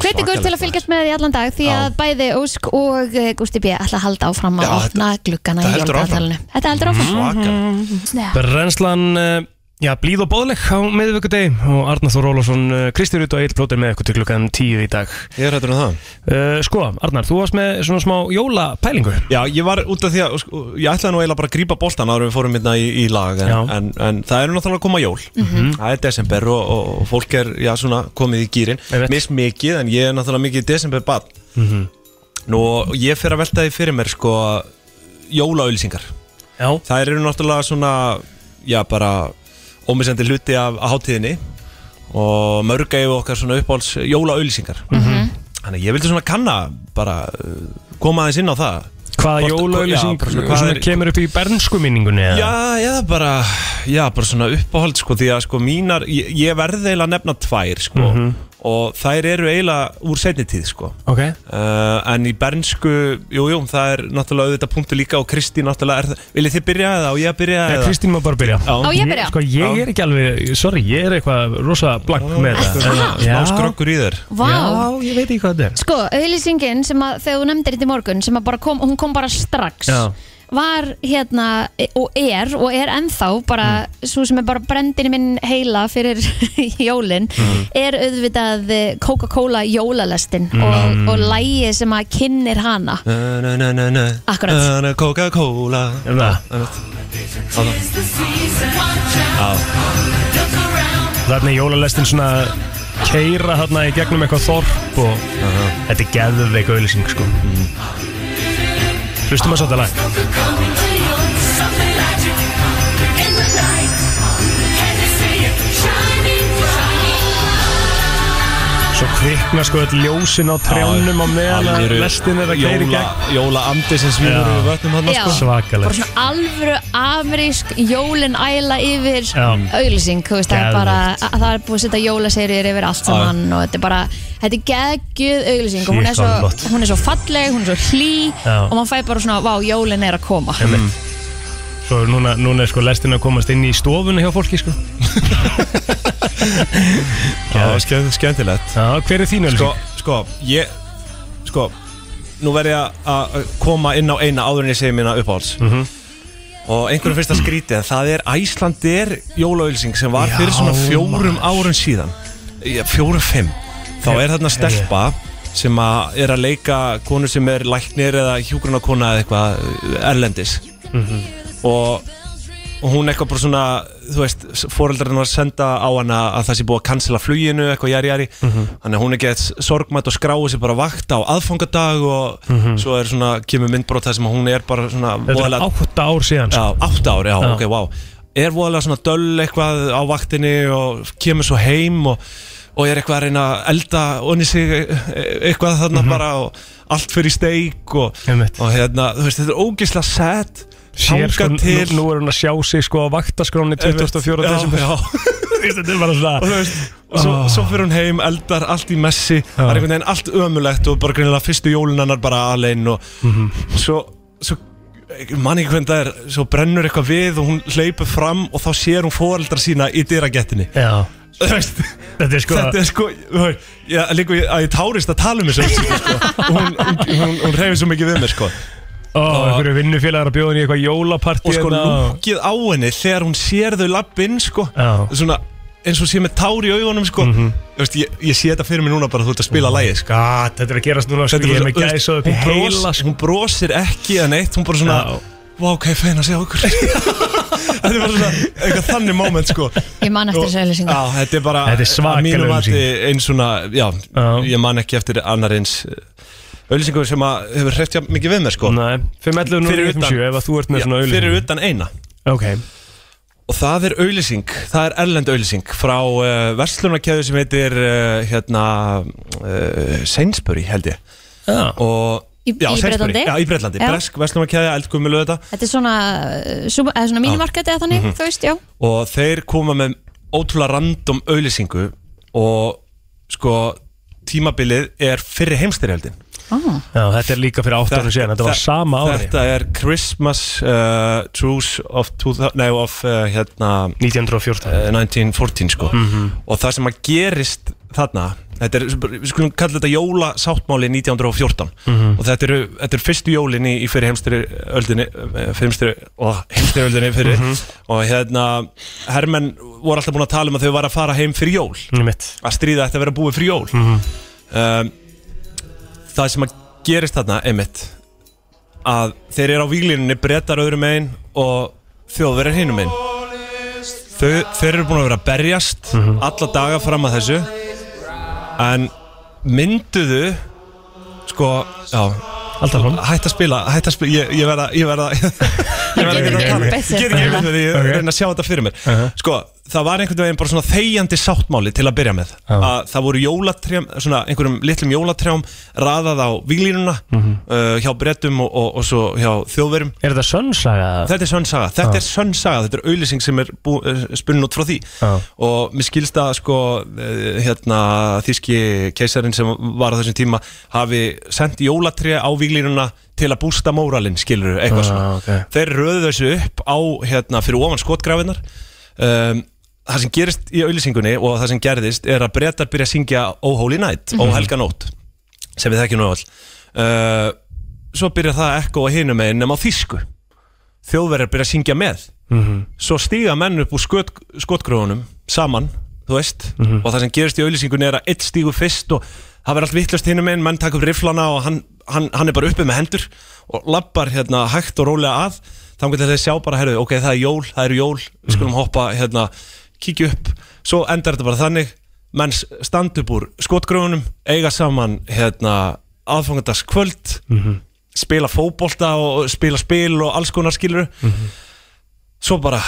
Speaker 3: Hveti ykkur til að fylgjast með því allan dag því að bæði Ósk og eh, Gústi B. ætla að halda áfram að
Speaker 2: Já, þetta-
Speaker 3: opna gluggana í
Speaker 2: þetta heldur áfram. Mm.
Speaker 3: jólagatalinu. Þetta heldur
Speaker 4: Mhm.
Speaker 3: áfram. Svaka.
Speaker 2: Brennslan, uh, já, blíð og bóðleg á miðvíkudegi og Arnar Þór Ólafsson, uh, Kristi Rút og Egil Plóter með ykkur til klukkan 10 í dag
Speaker 4: Ég er hættur um það
Speaker 2: uh, Sko, Arnar, þú varst með svona smá jólapælingu
Speaker 4: Já, ég var út af því að sko, Ég ætlaði nú eiginlega bara að grípa boltan áður en við fórum hérna í, í lag en, en, en það eru náttúrulega að koma jól Það er desember og, og, og fólk er já, svona, komið í gýrin Miss mikið, en ég er náttúrulega mikið desember bann Mhm. Nú, ég fer að velta því fyrir mér sko jólaauðlýsingar
Speaker 2: Já
Speaker 4: Það eru náttúrulega svona, já bara ómissandi hluti af, af hátíðinni og mörg eigum við okkar svona uppáhalds jólaauðlýsingar Þannig að ég vildi svona kanna bara uh, koma aðeins inn á það
Speaker 2: Hvaða
Speaker 4: Hvort-
Speaker 2: jólauðlýsing
Speaker 4: já, bara svona, hvað
Speaker 2: svona
Speaker 4: er-
Speaker 2: kemur upp í bernskuminningunni? eða?
Speaker 4: Já, já, bara, já, bara svona uppáhald sko, því að sko mínar, ég, ég verði eiginlega að nefna tvær sko
Speaker 2: Mhm.
Speaker 4: og þær eru eiginlega úr setni tíð sko
Speaker 2: Ok
Speaker 4: Uh, en í bernsku, jú, jú, það er náttúrulega auðvitað punktu líka og Kristín náttúrulega er það, viljið þið byrja eða á ég að byrja
Speaker 2: Nei,
Speaker 4: eða?
Speaker 2: Eh, Kristín má bara byrja
Speaker 4: Á
Speaker 3: ég að byrja?
Speaker 2: Sko, ég er ekki alveg, sorry, ég er eitthvað rosa blank með
Speaker 4: Ertu
Speaker 2: það
Speaker 4: svona smá skrokkur í þér?
Speaker 3: Vá.
Speaker 2: Já, ég veit ekki hvað þetta er
Speaker 3: Sko, auðlýsingin sem að þegar þú nefndir þetta í morgun sem að bara kom, hún kom bara strax
Speaker 2: Já.
Speaker 3: var hérna e- og er og er ennþá bara
Speaker 2: Mm.
Speaker 3: svo sem er bara brendin í minn heila fyrir jólin
Speaker 2: Mm.
Speaker 12: Mhm.
Speaker 3: er auðvitað eh, Coca-Cola jólalestin
Speaker 4: Mm.
Speaker 3: og, og lægi sem að kynnir hana
Speaker 4: Na, na, na, na, na.
Speaker 3: Akkurat.
Speaker 4: Na, na, Coca-Cola
Speaker 2: Já,
Speaker 4: einmitt. Á það.
Speaker 2: Þarna er jólalestin svona að keira þarna í gegnum eitthvað þorp og þetta er geðveik auðlýsing sko Hlustum að svolítið lag Svo kvikna sko öll ljósin á trjánum á meðan að
Speaker 4: Alvöru
Speaker 2: lestin er
Speaker 9: uh,
Speaker 2: að keira í
Speaker 4: jóla-
Speaker 2: gegn
Speaker 4: Jólaandi sem svíður
Speaker 2: Já.
Speaker 4: yfir vötnum hann
Speaker 3: Já, bara
Speaker 2: Svakalegt
Speaker 3: svona alvöru amerísk jólin æla yfir
Speaker 2: Já.
Speaker 3: auðlýsing, þú veist, það er
Speaker 2: Geðveikt.
Speaker 3: bara að það er búið að setja jólaserjur yfir allt saman og þetta er bara, þetta er geggjöð auðlýsing og hún er,
Speaker 2: Shit, hvað
Speaker 3: svo,
Speaker 2: flott.
Speaker 3: hún er svo falleg, hún er svo hlý
Speaker 2: Já.
Speaker 3: og maður fæ bara svona, vá, jólin er að koma
Speaker 2: Einmitt. Svo er núna, núna er sko lestin að komast inn í stofunni hjá fólki sko
Speaker 4: Já, skemmt- skemmtilegt
Speaker 2: Já, hver er þín
Speaker 4: Sko, sko, ég Sko, nú verð ég að- að koma inn á eina áður en ég segi mína uppáhalds Og einhverjum finnst það skrítið en það er Æslandir jólaölsing sem var fyrir
Speaker 2: Já,
Speaker 4: svona fjórum árum síðan Já, Fjórum, fimm Þá er þarna stelpa sem að er að
Speaker 2: Mhm.
Speaker 4: leika konu sem er læknir eða hjúgrunarkona eða eitthvað erlendis uh, og, og hún eitthvað bara svona þú veist, foreldrarinn var að senda á hana að það sé búið að cancela fluginu eitthvað jari jari,
Speaker 2: Mhm.
Speaker 4: þannig að hún er gett sorgmætt og skráið sér bara vakt á aðfangadag og
Speaker 2: Mhm.
Speaker 4: svo er svona, kemur myndbrot það sem hún er bara svona
Speaker 2: Þetta er
Speaker 4: voðalega-
Speaker 2: átta ár síðan
Speaker 4: Já, átta ár,
Speaker 2: sko.
Speaker 4: já,
Speaker 2: Já.
Speaker 4: ok, wow Er voðalega svona döll eitthvað á vaktinni og kemur svo heim og, og er eitthvað að reyna að elda onni sig e- e- eitthvað þarna
Speaker 2: Mhm.
Speaker 4: bara og allt fyrir steik og, og hérna, þú veist, þetta er ógislega sad
Speaker 2: Sér sko, nú,
Speaker 4: þangað
Speaker 2: nú er hún að sjá sig sko á vaktaskráni 24.
Speaker 4: Já,
Speaker 2: desember
Speaker 4: já.
Speaker 2: Þetta er bara svona
Speaker 4: og þú veist, og svo,
Speaker 2: Ah.
Speaker 4: svo fyrir hún heim, eldar allt í messi það er einhvern veginn allt ömulegt og bara greinilega fyrstu jólunannar bara alein og
Speaker 2: Mhm.
Speaker 4: svo, svo mann ekki hvernig það er, svo brennur eitthvað við og hún hleypur fram og þá sér hún foreldra sína í dyragettinni
Speaker 2: Já
Speaker 4: Þú veist,
Speaker 2: Þetta er sko
Speaker 4: Þetta er sko, þú veist, já, líka ég- að ég tárist að tala um þessu sko. hún, hún, hún, hún reyfir svo mikið við mér sko
Speaker 2: Ó, einhverju vinnufélagar að bjóða henni í eitthvað jólapartí
Speaker 4: og sko
Speaker 2: hérna.
Speaker 4: lúkið á henni þegar hún sér þau lappinn sko
Speaker 2: Já.
Speaker 4: svona eins og sé með tár í augunum sko
Speaker 2: Mhm.
Speaker 4: Þú veist, ég, ég sé þetta fyrir mig núna bara þú ert að spila lagið sko.
Speaker 2: God, þetta er að gerast núna sko, Mhm. ég er með gæsahúð upp í heila, sko.
Speaker 4: hún brosir ekki að neitt hún bara svona
Speaker 2: Já.
Speaker 4: Vá, ok, feina að sjá okkur Þetta er bara svona eitthvað þannig moment sko
Speaker 3: Ég man eftir þessu auðlýsingu
Speaker 4: Já, þetta er bara
Speaker 2: Þetta er svakaleg
Speaker 4: að mínu mati
Speaker 2: auglýsing.
Speaker 4: einn svona, já, ég man ekki eftir annar eins auðlýsingur sem að hefur hreft jafn mikið við mér sko
Speaker 2: Nei, 511
Speaker 4: Fyrir
Speaker 2: 057,
Speaker 4: utan-
Speaker 2: ef að þú ert með
Speaker 4: Já,
Speaker 2: svona auglýsingu.
Speaker 4: Fyrir utan eina
Speaker 2: Ok
Speaker 4: Og það er auðlýsing, það er erlend auðlýsing frá uh, verslunarkæðu sem heitir uh, hérna uh, Sainsbury held ég
Speaker 2: Já,
Speaker 4: og,
Speaker 3: Í-
Speaker 4: já,
Speaker 3: í
Speaker 4: Sainsbury.
Speaker 3: Bretlandi?
Speaker 4: Já, í Bretlandi,
Speaker 3: Já.
Speaker 4: bresk verslunarkæða, eldgummilu þetta
Speaker 3: Þetta er svona, uh, sub- eða svona mínimarketi eða þannig,
Speaker 4: Mhm.
Speaker 3: þú veist, já
Speaker 4: og þeir koma með ótrúlega random auðlýsingu og sko tímabilið er fyrir heimstyrjaldin
Speaker 3: ah.
Speaker 2: Já, þetta er líka fyrir 8 árum síðan, þetta var sama ári
Speaker 4: Þetta er Christmas uh, Truce of, two, nei, of uh, hérna,
Speaker 2: 1914
Speaker 4: 1914 Eh, sko
Speaker 2: Mhm.
Speaker 4: og það sem að gerist þarna þetta er, við skulum kalla þetta jólasáttmáli 1914
Speaker 2: Mhm.
Speaker 4: og þetta eru, þetta eru fyrstu jólin í, í fyrir heimstri öldinni heimstri, oh, heimstri öldinni fyrir
Speaker 2: Mhm.
Speaker 4: og hérna hermenn voru alltaf búin að tala um að þau var að fara heim fyrir jól
Speaker 2: Einmitt.
Speaker 4: að stríða ætti að vera búið fyrir jól
Speaker 2: Mhm.
Speaker 4: um, það sem að gerist þarna einmitt að þeir eru á výlinni brettar öðrum einn og þjóðverðar hinum einn Þau, þeir eru búin að vera að berjast alla daga fram að þessu en mynduðu sko, já hætt að spila, hætt að spila ég, ég verða ég verða ég verða ekki að tala ég
Speaker 2: betur.
Speaker 4: get ekki einmitt því ég
Speaker 2: Ok.
Speaker 4: reyna að sjá þetta fyrir mér sko, það var einhvern veginn bara svona þegjandi sáttmáli til að byrja með að það voru jólatrjám, svona einhverjum litlum jólatrjám raðað á výlinuna uh, hjá brettum og, og, og svo hjá þjóðverum
Speaker 2: Er þetta sönnsaga?
Speaker 4: Þetta er sönnsaga, þetta
Speaker 2: Já.
Speaker 4: er sönnsaga, þetta er auðlýsing sem er bú- eh, spunnin út frá því
Speaker 2: Já.
Speaker 4: og mér skilst að sko eh, hérna þíski keisarinn sem var á þessum tíma hafi sendt jólatré á výglínuna til að bústa móralinn, skilur eitthvað
Speaker 2: Já,
Speaker 4: svona.
Speaker 2: ok.
Speaker 4: Þeir röðu þessu upp á hérna fyrir ofan skotgrafinnar um, Það sem gerist í auðlýsingunni og það sem gerðist er að brettar byrja að syngja Oh Holy Night,
Speaker 2: Mhm.
Speaker 4: Oh Helga Nótt sem við þekkjum nú all uh, Svo byrja það að ekko á hinum einn nema á þýsku Þjóðverjar byrja að syngja með
Speaker 2: Mhm.
Speaker 4: Svo stíga menn upp úr skot, skotgróðunum saman, þú veist
Speaker 2: Mhm.
Speaker 4: og það sem gerist í auðlýsingunni er að eitt stígu fyrst og það verður allt vittlust hinum einn menn taka upp rifflana og hann, hann, hann er bara uppi með hendur og lappar hérna hægt og rólega að þá getur þeir sjá bara, herru, ok, það er jól það eru jól, við
Speaker 2: Mhm.
Speaker 4: skulum hoppa hérna kíkja upp, svo endar þetta bara þannig menn standa upp úr skotgröfunum eiga saman hérna aðfangadagskvöld
Speaker 2: Mhm.
Speaker 4: spila fótbolta og spila spil og alls konar skilur svo bara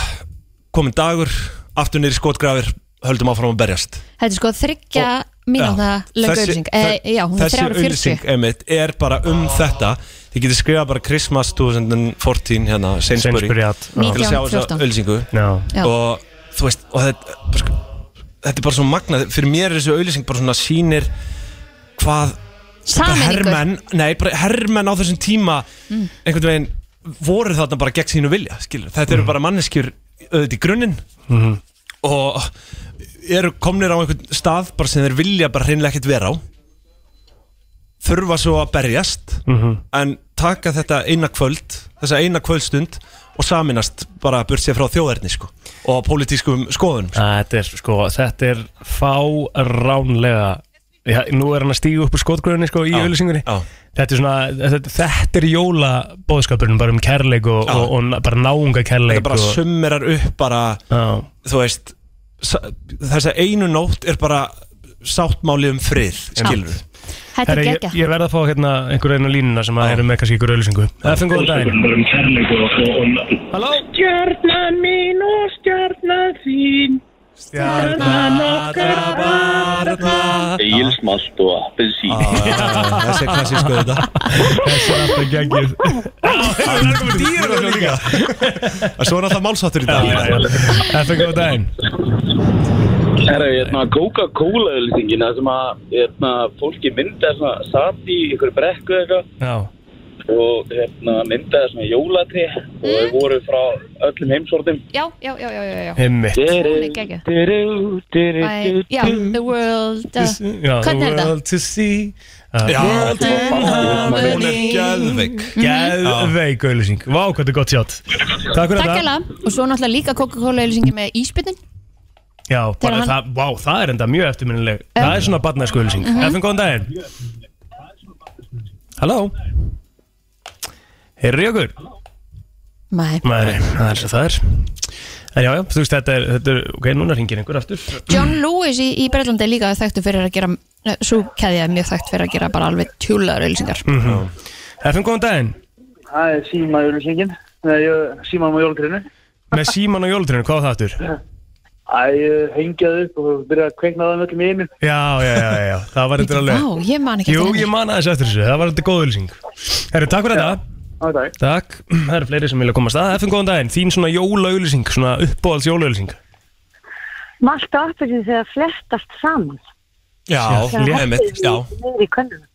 Speaker 4: komin dagur aftur niður í skotgrafir höldum áfram að berjast
Speaker 3: Þetta er sko þryggja mínúta löngu auðlýsing
Speaker 4: þe-
Speaker 3: Eh, Já, hún er
Speaker 4: þessi
Speaker 3: 340
Speaker 4: auglýsing, einmitt, er bara um þetta þið getur skrifað bara Christmas 2014 hérna, Sainsbury,
Speaker 2: Sainsbury, já.
Speaker 4: til að sjá þessa
Speaker 3: 1914.
Speaker 4: auðlýsingu
Speaker 2: Já.
Speaker 4: og þú veist og þetta, bara sko, þetta er bara svo magnað fyrir mér er þessi auðlýsing bara svona sýnir hvað bara
Speaker 3: Sameiningu.
Speaker 4: hermenn, nei, bara hermenn á þessum tíma
Speaker 3: Mm.
Speaker 4: einhvern veginn voru þarna bara gegn sínu vilja skilur. þetta eru bara manneskjur auðvitað í grunninn
Speaker 2: Mm. Mhm.
Speaker 4: og eru komnir á einhvern stað bara sem þeir vilja bara hreinlega ekkert vera á þurfa svo að berjast
Speaker 2: Mhm.
Speaker 4: en taka þetta eina kvöld þessa eina kvöldstund og saminast bara burt sér frá þjóðerni sko, og pólitískum skoðunum sko.
Speaker 2: Æ, Þetta er sko, þetta er fáránlega Já, nú er hann að stíga upp úr skotgröðinni sko, í auðlýsingunni þetta er svona, þetta, þetta er jóla bóðskapurinn bara um kærleik og,
Speaker 4: Já.
Speaker 2: og, og, bara náunga kærleik
Speaker 4: Þetta bara
Speaker 2: og,
Speaker 4: summerar upp bara Þú veist sa- Þessa einu nótt er bara Sáttmáli um frið Skilur
Speaker 3: Þetta er
Speaker 2: Herra,
Speaker 3: geggjað.
Speaker 2: ég, ég verð að fá hérna einhverja einu línuna sem að eru með kannski einhverju auðlýsingu FN góðan daginn
Speaker 12: Halló? Stjarnan mín og stjarnan þín Stjarnan okkar barna
Speaker 13: Egilsmalt og appelsín
Speaker 4: Þessi er klassísku þetta
Speaker 2: Þessi er alltaf geggið
Speaker 4: Dýra líka Svo er alltaf málsáttur í dag
Speaker 2: FN góðan daginn
Speaker 13: Herra, hérna, Coca-Cola auðlýsingin Það sem að, hérna, fólki mynda svona, satt í ykkur brekku eða eitthvað
Speaker 2: Já
Speaker 13: og hérna myndaði svona jólatri og þau voru frá öllum heimsortum
Speaker 3: Já, já, já, já, já, já.
Speaker 2: Einmitt.
Speaker 3: Hún er geggjuð. Bæ- Já, the world uh,
Speaker 2: Já,
Speaker 3: Hvernig
Speaker 2: the
Speaker 3: er þetta?
Speaker 2: world to see
Speaker 4: Já,
Speaker 2: World in harmony.
Speaker 4: hún er geðveik.
Speaker 2: Geðveik auðlýsing Vá, hvað þetta er gott sjátt Takk fyrir
Speaker 3: Mhm. Takk
Speaker 2: þetta
Speaker 3: hella Og svo náttúrulega líka Coca-Cola auðlýsingin með íspinnin
Speaker 2: Já, bara
Speaker 3: Þegar hann- Um.
Speaker 2: það, vá, það er enda mjög eftirminnileg Það er svona barnæsku auðlýsing
Speaker 3: Mhm.
Speaker 2: FN góðan daginn Halló Heyrðu ykkur
Speaker 3: Nei
Speaker 2: Nei, það er svo það er En já, já, þú veist, þetta er, þetta er ok, núna ringir einhver aftur
Speaker 3: John Lewis í, í Breitlandi er líka þekktu fyrir að gera Svo keðja er mjög þekkt fyrir að gera bara alveg tjúlaður auðlýsingar
Speaker 2: mm FM, góðan daginn
Speaker 14: Það er síma jólumsingin Síman á jólgrinu
Speaker 2: Með síman og jólutrinu, hvað var það aftur?
Speaker 14: Æ, ég hengjaði upp og byrjaði að kveikna það með öllum í einu
Speaker 2: Já, já, já, já, já, það var þetta alveg
Speaker 3: Vá, ég man ekki eftir
Speaker 2: Jú,
Speaker 3: henni.
Speaker 2: ég man aðeins eftir þessu, það var þetta góð auðlýsing Herru, takk fyrir þetta
Speaker 14: Á, takk.
Speaker 2: Takk, það eru fleiri sem vilja komast að FM, góðan daginn, þín svona jólaauðlýsing, svona uppbóðals jólaauðlýsing
Speaker 15: Malt og appelsín þegar flettast saman.
Speaker 4: Já,
Speaker 15: Þegar
Speaker 4: einmitt,
Speaker 15: hellið
Speaker 4: já
Speaker 15: niður í könnuna.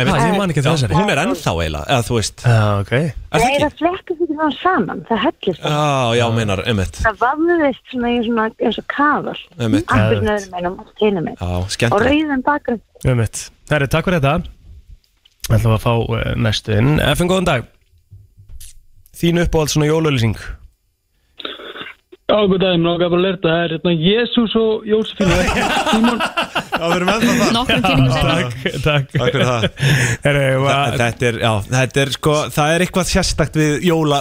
Speaker 4: Einmitt.
Speaker 15: Já, ég man ekki
Speaker 4: Já,
Speaker 15: þessari.
Speaker 4: Hún er ennþá eiginlega, eða þú veist
Speaker 2: Já, ok
Speaker 4: Er það
Speaker 15: Nei,
Speaker 4: ekki?
Speaker 15: það flettast ekki svona saman, það hellist.
Speaker 4: Já, já, meinar, einmitt
Speaker 15: Það vafðist svona í svona eins og kafal.
Speaker 4: Einmitt.
Speaker 15: Appelsín öðrum meginn og malt hinum meginn.
Speaker 4: Já,
Speaker 15: Og
Speaker 4: skemmtilegt
Speaker 15: rauðan bakgrunn.
Speaker 2: Ummitt, herru, Um takk fyrir þetta Það ætlum að fá eh, næstu inn FM, góðan dag Þín uppbóðals svona jólaauðlýsing
Speaker 11: Já, góð dag, mér ákveða bara að lerta. Það er hérna Jésús og Jósefínu.
Speaker 4: Já, við erum ennþá það.
Speaker 11: Nokkrum kynningum seinna.
Speaker 2: Takk
Speaker 4: Takk fyrir það Þa- Þetta er, já, þetta er sko Það er eitthvað sérstakt við jóla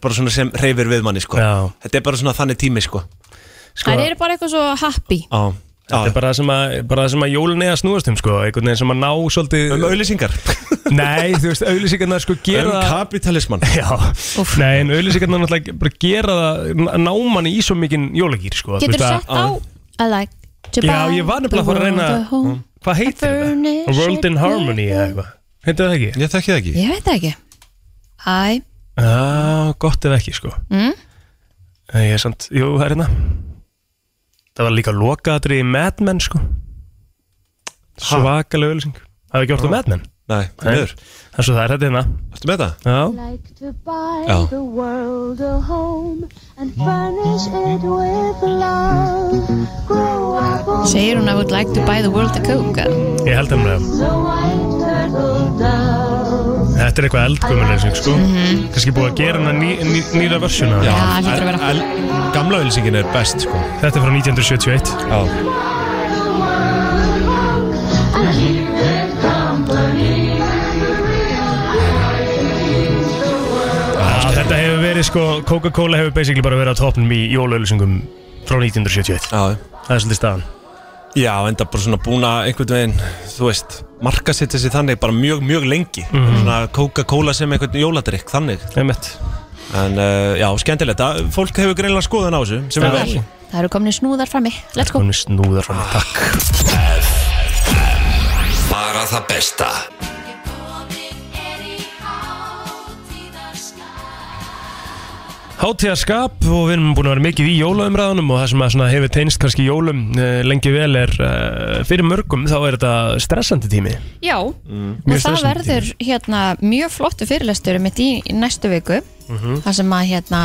Speaker 4: Bara svona sem reyfir við manni, sko
Speaker 2: já.
Speaker 4: Þetta er bara svona þannig tími, sko
Speaker 3: Það eru bara eitthvað svo happy
Speaker 4: Já
Speaker 2: Þetta er bara það sem að, bara það sem að jólun er að snúast um sko, einhvern veginn sem að ná svolítið
Speaker 4: Um auðlýsingar
Speaker 2: Nei, þú veist, auðlýsingarnar sko gera
Speaker 4: Um kapitalismann
Speaker 2: Já, nei, en auðlýsingarnar náttúrulega bara gera það námanni í svo mikinn jólagýr sko þú
Speaker 3: Getur
Speaker 2: veist
Speaker 3: þú
Speaker 2: að-
Speaker 3: sett á I like to
Speaker 2: Já, ég var nefnilega að fara að reyna- Hvað heitir
Speaker 3: þetta?
Speaker 2: A World in Harmony eða eitthvað Heitir það ekki?
Speaker 4: Ég þekki það ekki
Speaker 3: Ég veit það ekki Æ,
Speaker 2: Já, gott ef ekki sko
Speaker 3: mm,
Speaker 2: Nei, Ég er samt, jú, það er hérna Það var líka lokaðatri í Mad Men sko Svakalega auðlýsing Það er ekki orðið Mad Men
Speaker 4: Nei, meður
Speaker 2: Það er svo það er þetta hérna
Speaker 4: Ertu með það?
Speaker 2: Já
Speaker 16: like to buy
Speaker 2: Já.
Speaker 16: the world a home and furnish it with love. Grow up on
Speaker 3: segir hún I would like to buy the world a coke
Speaker 2: Ég held það með
Speaker 16: the white turtle dove.
Speaker 2: Þetta er eitthvað eldgömmulegsing sko mm
Speaker 16: Mhm.
Speaker 2: Kannski búið að gera hana ný, ný, nýra versjuna
Speaker 4: Já, Já,
Speaker 3: hlýtur að vera.
Speaker 2: Gamla ölsingin er best sko Þetta er frá 1971
Speaker 4: Já
Speaker 16: And keep it company.
Speaker 2: Þetta hefur verið sko Coca-Cola hefur basically bara verið á topnum í jólaölsingum frá 1971
Speaker 4: Já
Speaker 2: Það er svolítið staðan
Speaker 4: Já, enda bara svona búin að einhvern veginn, þú veist, markasetja sér þannig bara mjög, mjög lengi.
Speaker 2: Mhm.
Speaker 4: Svona Coca-Cola sem einhvern jóladrykk, þannig.
Speaker 2: Einmitt.
Speaker 4: En uh, já, skemmtilegt. að Fólk hefur greinlega skoðan á þessu, sem er vel.
Speaker 3: Það eru komin snúðar frammi Let's go
Speaker 2: Hún er snúðar frá mig, takk
Speaker 1: Bara það besta
Speaker 2: Hátíðaskap og við erum búin að vera mikið í jólaumræðunum og það sem að svona hefur teynst kannski jólum eh, lengi vel er eh, fyrir mörgum þá er þetta stressandi tími
Speaker 3: Já,
Speaker 2: Mjög
Speaker 3: og það
Speaker 2: stressandi
Speaker 3: verður hérna mjög flottu fyrirlestur mitt í næstu viku
Speaker 2: Mhm.
Speaker 3: þar sem að hérna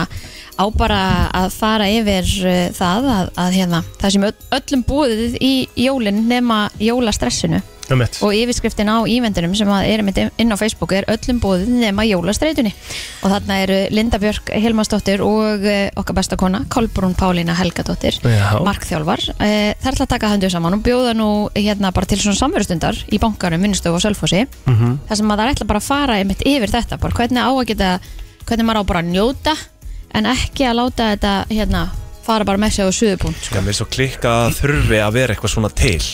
Speaker 3: á bara að fara yfir uh, það að, að hérna það sem öll- öllum búið í jólin nema jólastressinu
Speaker 2: Einmitt.
Speaker 3: og yfirskriftin á íventunum sem að er einmitt inn á Facebook er öllum bóðið nema jólastreitunni og þarna eru Linda Björk Hilmarsdóttir og eh, okkar besta kona Kolbrún Pálína Helgadóttir
Speaker 16: Já.
Speaker 3: markþjálfar, Eh, það er alltaf að taka höndu saman og bjóða nú hérna bara til svona samverustundar í bankanum, minnstöfu og sölfósi
Speaker 16: Mhm.
Speaker 3: þar sem að það er ætla bara að fara einmitt yfir þetta bara hvernig á að geta, hvernig maður á bara að njóta en ekki að láta þetta hérna, fara bara með sig á suðupunkt
Speaker 4: Já, mér er svo klikka að þurfi að vera eitthvað svona til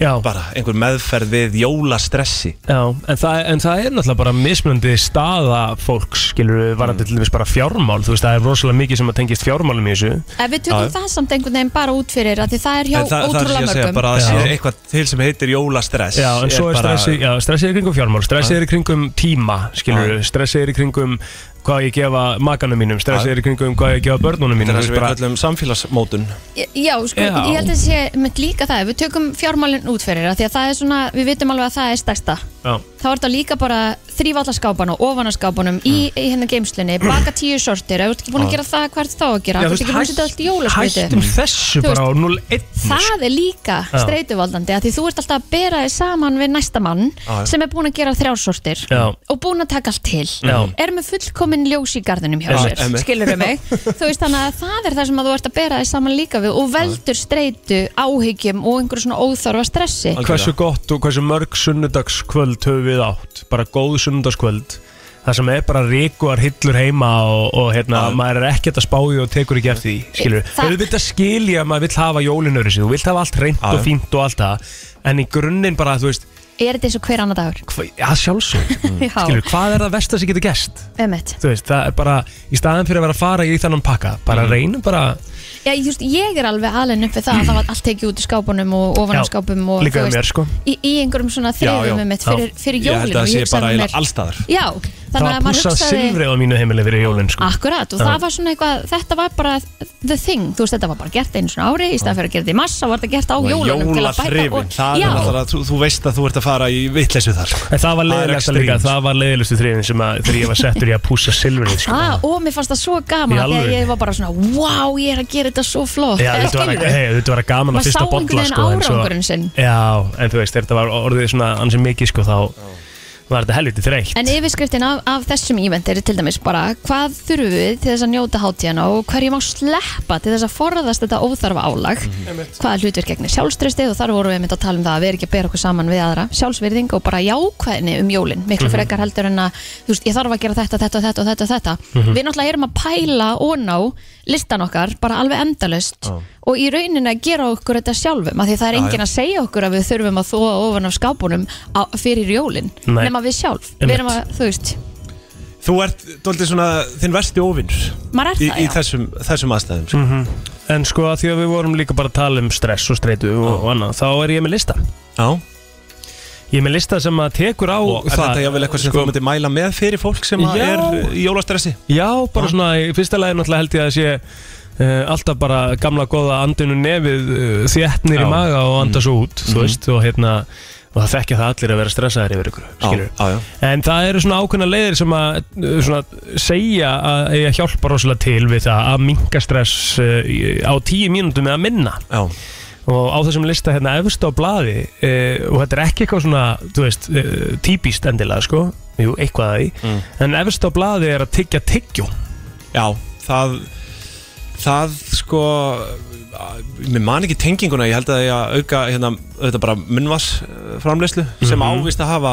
Speaker 2: Já
Speaker 4: Bara einhver meðferð við jólastressi
Speaker 2: Já, en það, en það er náttúrulega bara mismunandi staða fólks, skilur við, varandi til dæmis bara fjármál, þú veist, það er rosalega mikið sem að tengist fjármálum í þessu.
Speaker 3: Ef við tökum það samt einhvern veginn bara út fyrir að því það er hjá
Speaker 4: En það, það er
Speaker 3: ótrúlega
Speaker 4: að segja
Speaker 3: mörgum
Speaker 4: bara að
Speaker 2: Já.
Speaker 4: það sé eitthvað til sem heitir jólastress
Speaker 2: Já, en svo er
Speaker 4: bara-
Speaker 2: stressið, já, stressið er í kringum fjármál, stressið er í kringum tíma, skilur við, stressið er í kringum hvað ég gefa makanum mínum, stressið
Speaker 4: Já.
Speaker 2: er í kringum hvað ég gefa börnunum mínum.
Speaker 4: Þetta er það sem við
Speaker 2: kallum
Speaker 4: samfélagsmótun.
Speaker 3: Já, sko,
Speaker 2: Já.
Speaker 3: ég held að sé með líka það, ef við tökum fjármálinn út fyrir að því að það er svona, við vitum alveg að það er stærsta
Speaker 2: Já.
Speaker 3: þá er það líka bara þrýfa alla skápana, ofan að skápanum í,
Speaker 2: Mm.
Speaker 3: í hennar geimslunni, baka tíu sortir ef þú ert ekki búin
Speaker 2: Já.
Speaker 3: að gera það, hvað ert þá að gera
Speaker 2: Ah. Já,
Speaker 3: þú
Speaker 2: þú
Speaker 3: ert ekki búin að
Speaker 2: veist,
Speaker 3: setja allt í jólaskriti
Speaker 2: Hættum þessu
Speaker 3: Þú
Speaker 2: bara á
Speaker 3: veist,
Speaker 2: 0-1.
Speaker 3: Það er líka
Speaker 2: Já.
Speaker 3: streituvaldandi að því þú ert alltaf að bera þig saman við næsta mann
Speaker 2: Já, já.
Speaker 3: sem er búin að gera þrjársortir
Speaker 2: Já.
Speaker 3: og búin að taka allt til
Speaker 2: Já.
Speaker 3: er með fullkomin ljós í garðinum hjá
Speaker 2: Já,
Speaker 3: sér
Speaker 2: emmi.
Speaker 3: skilur við mig þú veist þannig að það er það sem að þú ert að bera þig saman líka við og veldur streitu áhyggjum og einhverju svona óþarfa stressi
Speaker 2: Hversu gott og hversu mörg sunnudagskvöld höfum við átt, bara góð sunnudagskvöld Það sem er bara rikuar hillur heima og, og hérna, maður er ekkert að spáði og tekur ekki eftir
Speaker 3: Eh,
Speaker 2: því, skilur
Speaker 9: Það-
Speaker 2: Það... Ef þú vilt að skilja að maður vill hafa jólinöru sér, þú vilt hafa allt reynd og fínt og allt það En í grunninn bara, þú veist,
Speaker 3: er þetta eins og hver annar dagur
Speaker 2: hva, ja, sjálfsög,
Speaker 3: Já.
Speaker 2: Mm. skilur, hvað er það versta sem getur gerst?
Speaker 3: Emmett
Speaker 2: Þú veist, það er bara, í staðan fyrir að vera að fara í þannan pakka,
Speaker 3: Mm.
Speaker 2: bara reynum bara
Speaker 3: Já, just, ég er alveg alveg upp við það að það var allt tekið út í skápunum og ofan
Speaker 2: Já,
Speaker 3: á skápum og,
Speaker 2: líka
Speaker 3: þú
Speaker 2: hjá
Speaker 3: veist,
Speaker 2: mér, sko.
Speaker 3: í, í einhverjum svona þriðum um mitt fyrir, fyrir jólinu
Speaker 4: Ég held að það sé bara eiginlega allstaðar
Speaker 3: um Já,
Speaker 2: Það
Speaker 3: þannig
Speaker 2: var
Speaker 3: að maður
Speaker 2: pússað
Speaker 3: hugsaði
Speaker 2: silfrið á mínu heimili fyrir jólin, sko
Speaker 3: Akkurat, og
Speaker 2: Já.
Speaker 3: það var svona eitthvað, þetta var bara the thing, þú veist, þetta var bara gert einu svona ári í staðan fyrir að gera þetta í massa, var þetta gert á jólunum til að bæta
Speaker 4: Jólathrifin, það
Speaker 3: Já,
Speaker 4: er náttúrulega, þú, þú veist að þú ert að fara í vitleysu þar sko.
Speaker 2: En það var
Speaker 4: er
Speaker 2: leiðilegast
Speaker 4: extremt.
Speaker 2: líka, það var leiðilegustu þriðin sem að þegar ég var settur í að pússa silfrið sko.
Speaker 3: ah, og mér fannst það svo
Speaker 2: Í
Speaker 3: gaman að
Speaker 2: alvöru?
Speaker 3: þegar ég var bara svona, wow, ég er að gera þetta svo flott
Speaker 2: Já,
Speaker 3: Eða
Speaker 2: þetta var,
Speaker 3: skilurðu?
Speaker 2: hey, þetta var gaman að
Speaker 3: Maður
Speaker 2: fyrsta
Speaker 3: sá
Speaker 2: bolla
Speaker 3: einhvern
Speaker 2: sko,
Speaker 3: veginn
Speaker 2: en svo-
Speaker 3: árangurinn sinn.
Speaker 2: Já, en þú veist, þetta var orðið svona ansið mikið sko, þá var þetta helviti þreytt
Speaker 3: En yfirskriftin af, af þessum ívent er til dæmis bara hvað þurfum við til þess að njóta hátíðana og hverju má sleppa til þess að forðast þetta óþarfa álag hvaða hlutverk gegnir sjálfströsti og þar vorum við mynd að tala um það að við erum ekki að bera okkur saman við aðra sjálfsverðing og bara jákvæðni um jólin miklu
Speaker 16: Mhm.
Speaker 3: frekar heldur en að þú veist, ég þarf að gera þetta, þetta og þetta og þetta, og þetta.
Speaker 16: Mhm.
Speaker 3: við náttúrulega erum að pæla og ná listan okkar bara alveg endalust og í rauninni að gera okkur þetta sjálfum af því það er
Speaker 2: Já,
Speaker 3: enginn
Speaker 2: já.
Speaker 3: að segja okkur að við þurfum að þóa ofan af skápunum á, fyrir jólin
Speaker 4: Nei.
Speaker 3: nema við sjálf, við
Speaker 4: Einmitt.
Speaker 3: erum að, þú veist
Speaker 4: Þú ert, doldið svona, þinn versti óvinnur
Speaker 3: Maður er
Speaker 4: Í,
Speaker 3: það,
Speaker 4: í
Speaker 3: já.
Speaker 4: þessum, þessum aðstæðum sko.
Speaker 2: mm En sko, að því að við vorum líka bara að tala um stress og streitu og, og annað, þá er ég með lista
Speaker 4: Já
Speaker 2: Ég er með lista sem að tekur á sko,
Speaker 4: Og er þetta jáfnvel eitthvað sem þú myndir mæla með fyrir fólk sem að
Speaker 2: Já.
Speaker 4: er í jólastressi?
Speaker 2: Já, bara svona, í fyrsta lagi náttúrulega held ég að sé uh, alltaf bara gamla góða andinu nefið uh, þéttnir
Speaker 4: Já.
Speaker 2: í maga og anda svo út,
Speaker 4: Mhm.
Speaker 2: þú veist, og hérna og það þekkja það allir að vera stressaðir yfir ykkur skilur.
Speaker 4: á, já.
Speaker 2: en það eru svona ákveðna leiðir sem að uh, svona, segja að eiga hjálpa rosalega til við það að minka stress uh, í- á tíu mínútum eða minna
Speaker 4: já.
Speaker 2: og á þessum lista hérna efst á blaði uh, og þetta er ekki eitthvað svona þú veist, uh, típist endilega sko jú, eitthvað að því
Speaker 4: Mm.
Speaker 2: en efst á blaði er að tyggja tyggjó
Speaker 4: Já, það það sko mér man ekki tenginguna, ég held að ég að auka hérna, auðvitað bara munnvas framleyslu sem
Speaker 2: Mhm.
Speaker 4: ávist að hafa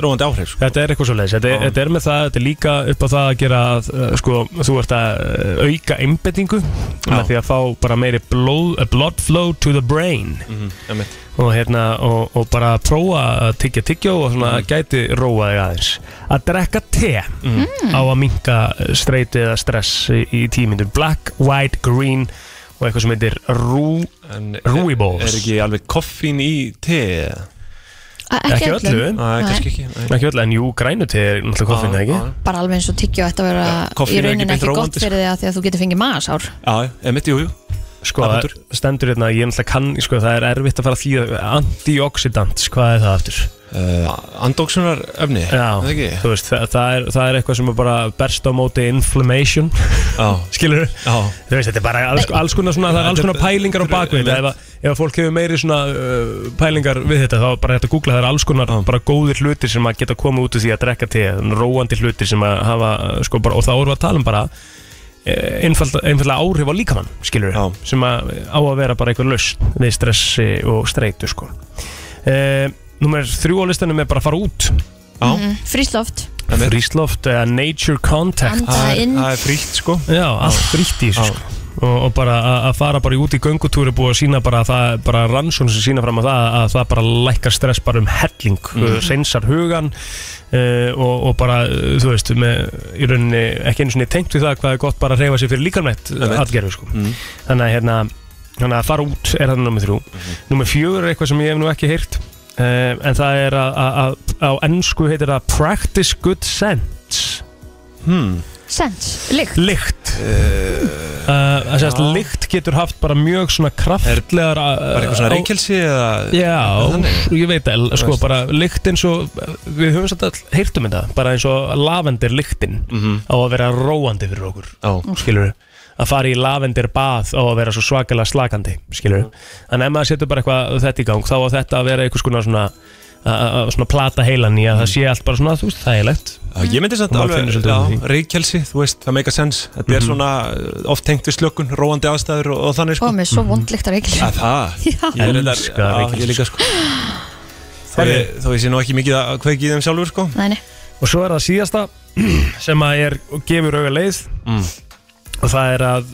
Speaker 4: róandi áhrif sko.
Speaker 2: Þetta er eitthvað svo leiðis, þetta, er- þetta er með það, þetta er líka upp á það að gera að uh, sko, þú ert að uh, auka einbettingu með því að fá bara meiri blood, uh, blood flow to the brain
Speaker 4: Mhm, einmitt.
Speaker 2: og, hérna, og, og bara prófa að tyggja tyggjó og svona gæti róa þig aðeins að drekka te á að minka streiti eða stress í, í tímindur black, white, green og eitthvað sem heitir rú, rúibóls
Speaker 4: er ekki alveg koffín í te eða?
Speaker 3: A-
Speaker 2: ekki öllu,
Speaker 4: Nei, kannski ekki
Speaker 2: ekki öllu en jú, grænuti er náttúrulega koffín,
Speaker 4: Já,
Speaker 2: eða ekki?
Speaker 4: já.
Speaker 3: bara alveg eins og tyggja og þetta vera
Speaker 2: koffín
Speaker 3: í
Speaker 2: er ekki
Speaker 3: rauninni
Speaker 2: beint
Speaker 3: ekki gott
Speaker 2: róandi,
Speaker 3: fyrir þig að því að þú getur fengið magasár
Speaker 4: Já, emitt, jú, jú
Speaker 2: Sko, það stendur hérna, ég náttúrulega kann, sko, það er erfitt að fara að þýða antioxidant, sko, hvað er það aftur?
Speaker 4: Uh, andóksunar öfni,
Speaker 2: Já,
Speaker 4: það ekki?
Speaker 2: þú veist, það, það, er, það er eitthvað sem er bara berst á móti inflammation,
Speaker 4: Já.
Speaker 2: skilur þú?
Speaker 4: Já.
Speaker 2: Þú veist, þetta er bara alls, alls konar svona, það er alls konar pælingar á bakvið, þetta. ef, að- ef fólk hefur meiri svona uh, pælingar við þetta þá er bara þetta að googla það er alls konar bara góðir hlutir sem að geta komið út úr því að drekka te róandi hlutir sem að hafa uh, sko bara, og þá erum við að tala um bara einfallega áhrif á líkamann skilur við, sem að, eh, á að vera bara einhver lausn við stressi og streitu sko uh, Númer þrjú á listanum er bara að fara út Já
Speaker 3: Mhm. Frísloft
Speaker 2: Frísloft eða nature contact
Speaker 3: Anda Það er- inn. það
Speaker 2: er frítt sko Já, allt frítt í þessu sko Og, og bara að- að fara bara í út í göngutúri búið að sína bara að það, bara rannsókn sem sína fram að það að það bara lækkar stress bara um helling, mm.
Speaker 9: Mhm.
Speaker 2: reynsar hugan uh, og, og bara, uh, þú veist, með í rauninni ekki einu sinni tengt við það hvað er gott bara að reyfa sér fyrir líkamætt
Speaker 4: Einmitt.
Speaker 2: atgerfi sko. þannig, að, hérna, þannig að fara út er það nummer þrjú nummer fjögur er eitthvað sem ég hef nú ekki heyrt uh, en það er að- að að- á ennsku heitir það practice good sense hmm.
Speaker 3: Sens, lykt
Speaker 2: Lykt uh, Það sést,
Speaker 4: Eh, já.
Speaker 2: lykt getur haft bara mjög svona kraftlegar Bara
Speaker 4: Bara eitthvað svona reykjelsi eða
Speaker 2: Já,
Speaker 4: Þannig.
Speaker 2: ég veit að sko
Speaker 4: Veist.
Speaker 2: bara lykt eins og við höfum satt all heyrtum um þetta, bara eins og lavendir lyktin
Speaker 4: Mhm.
Speaker 2: á að vera róandi fyrir okkur,
Speaker 4: Já.
Speaker 2: skilur að fara í lavendir bað á að vera svo svakalega slakandi, skilur en ef maður setur bara eitthvað þetta í gang þá á þetta að vera einhvers konar svona að- að að svona plata heilan í
Speaker 4: Mm.
Speaker 2: að það sé allt bara svona þú veist, þægilegt
Speaker 4: Já, ég myndi samt
Speaker 2: Og maður
Speaker 4: alveg,
Speaker 2: finnur svolítið fyrir
Speaker 4: já,
Speaker 2: því.
Speaker 4: reykjelsi, þú veist, það make a sense Þetta er
Speaker 2: Mhm.
Speaker 4: svona uh, oft tengt við slökun, róandi aðstæður og, og þannig sko
Speaker 3: Og með svo vond lyktar ekki
Speaker 4: Að það?
Speaker 3: Já.
Speaker 4: Ég er reyndar-
Speaker 2: Elska
Speaker 4: já,
Speaker 2: reykjelsi.
Speaker 4: Ég líka sko Þó ég, þó ég sé nú ekki mikið að kveiki í þeim sjálfur sko
Speaker 3: Nei, nei
Speaker 2: Og svo er það síðasta sem að er og gefur auga leið og það er að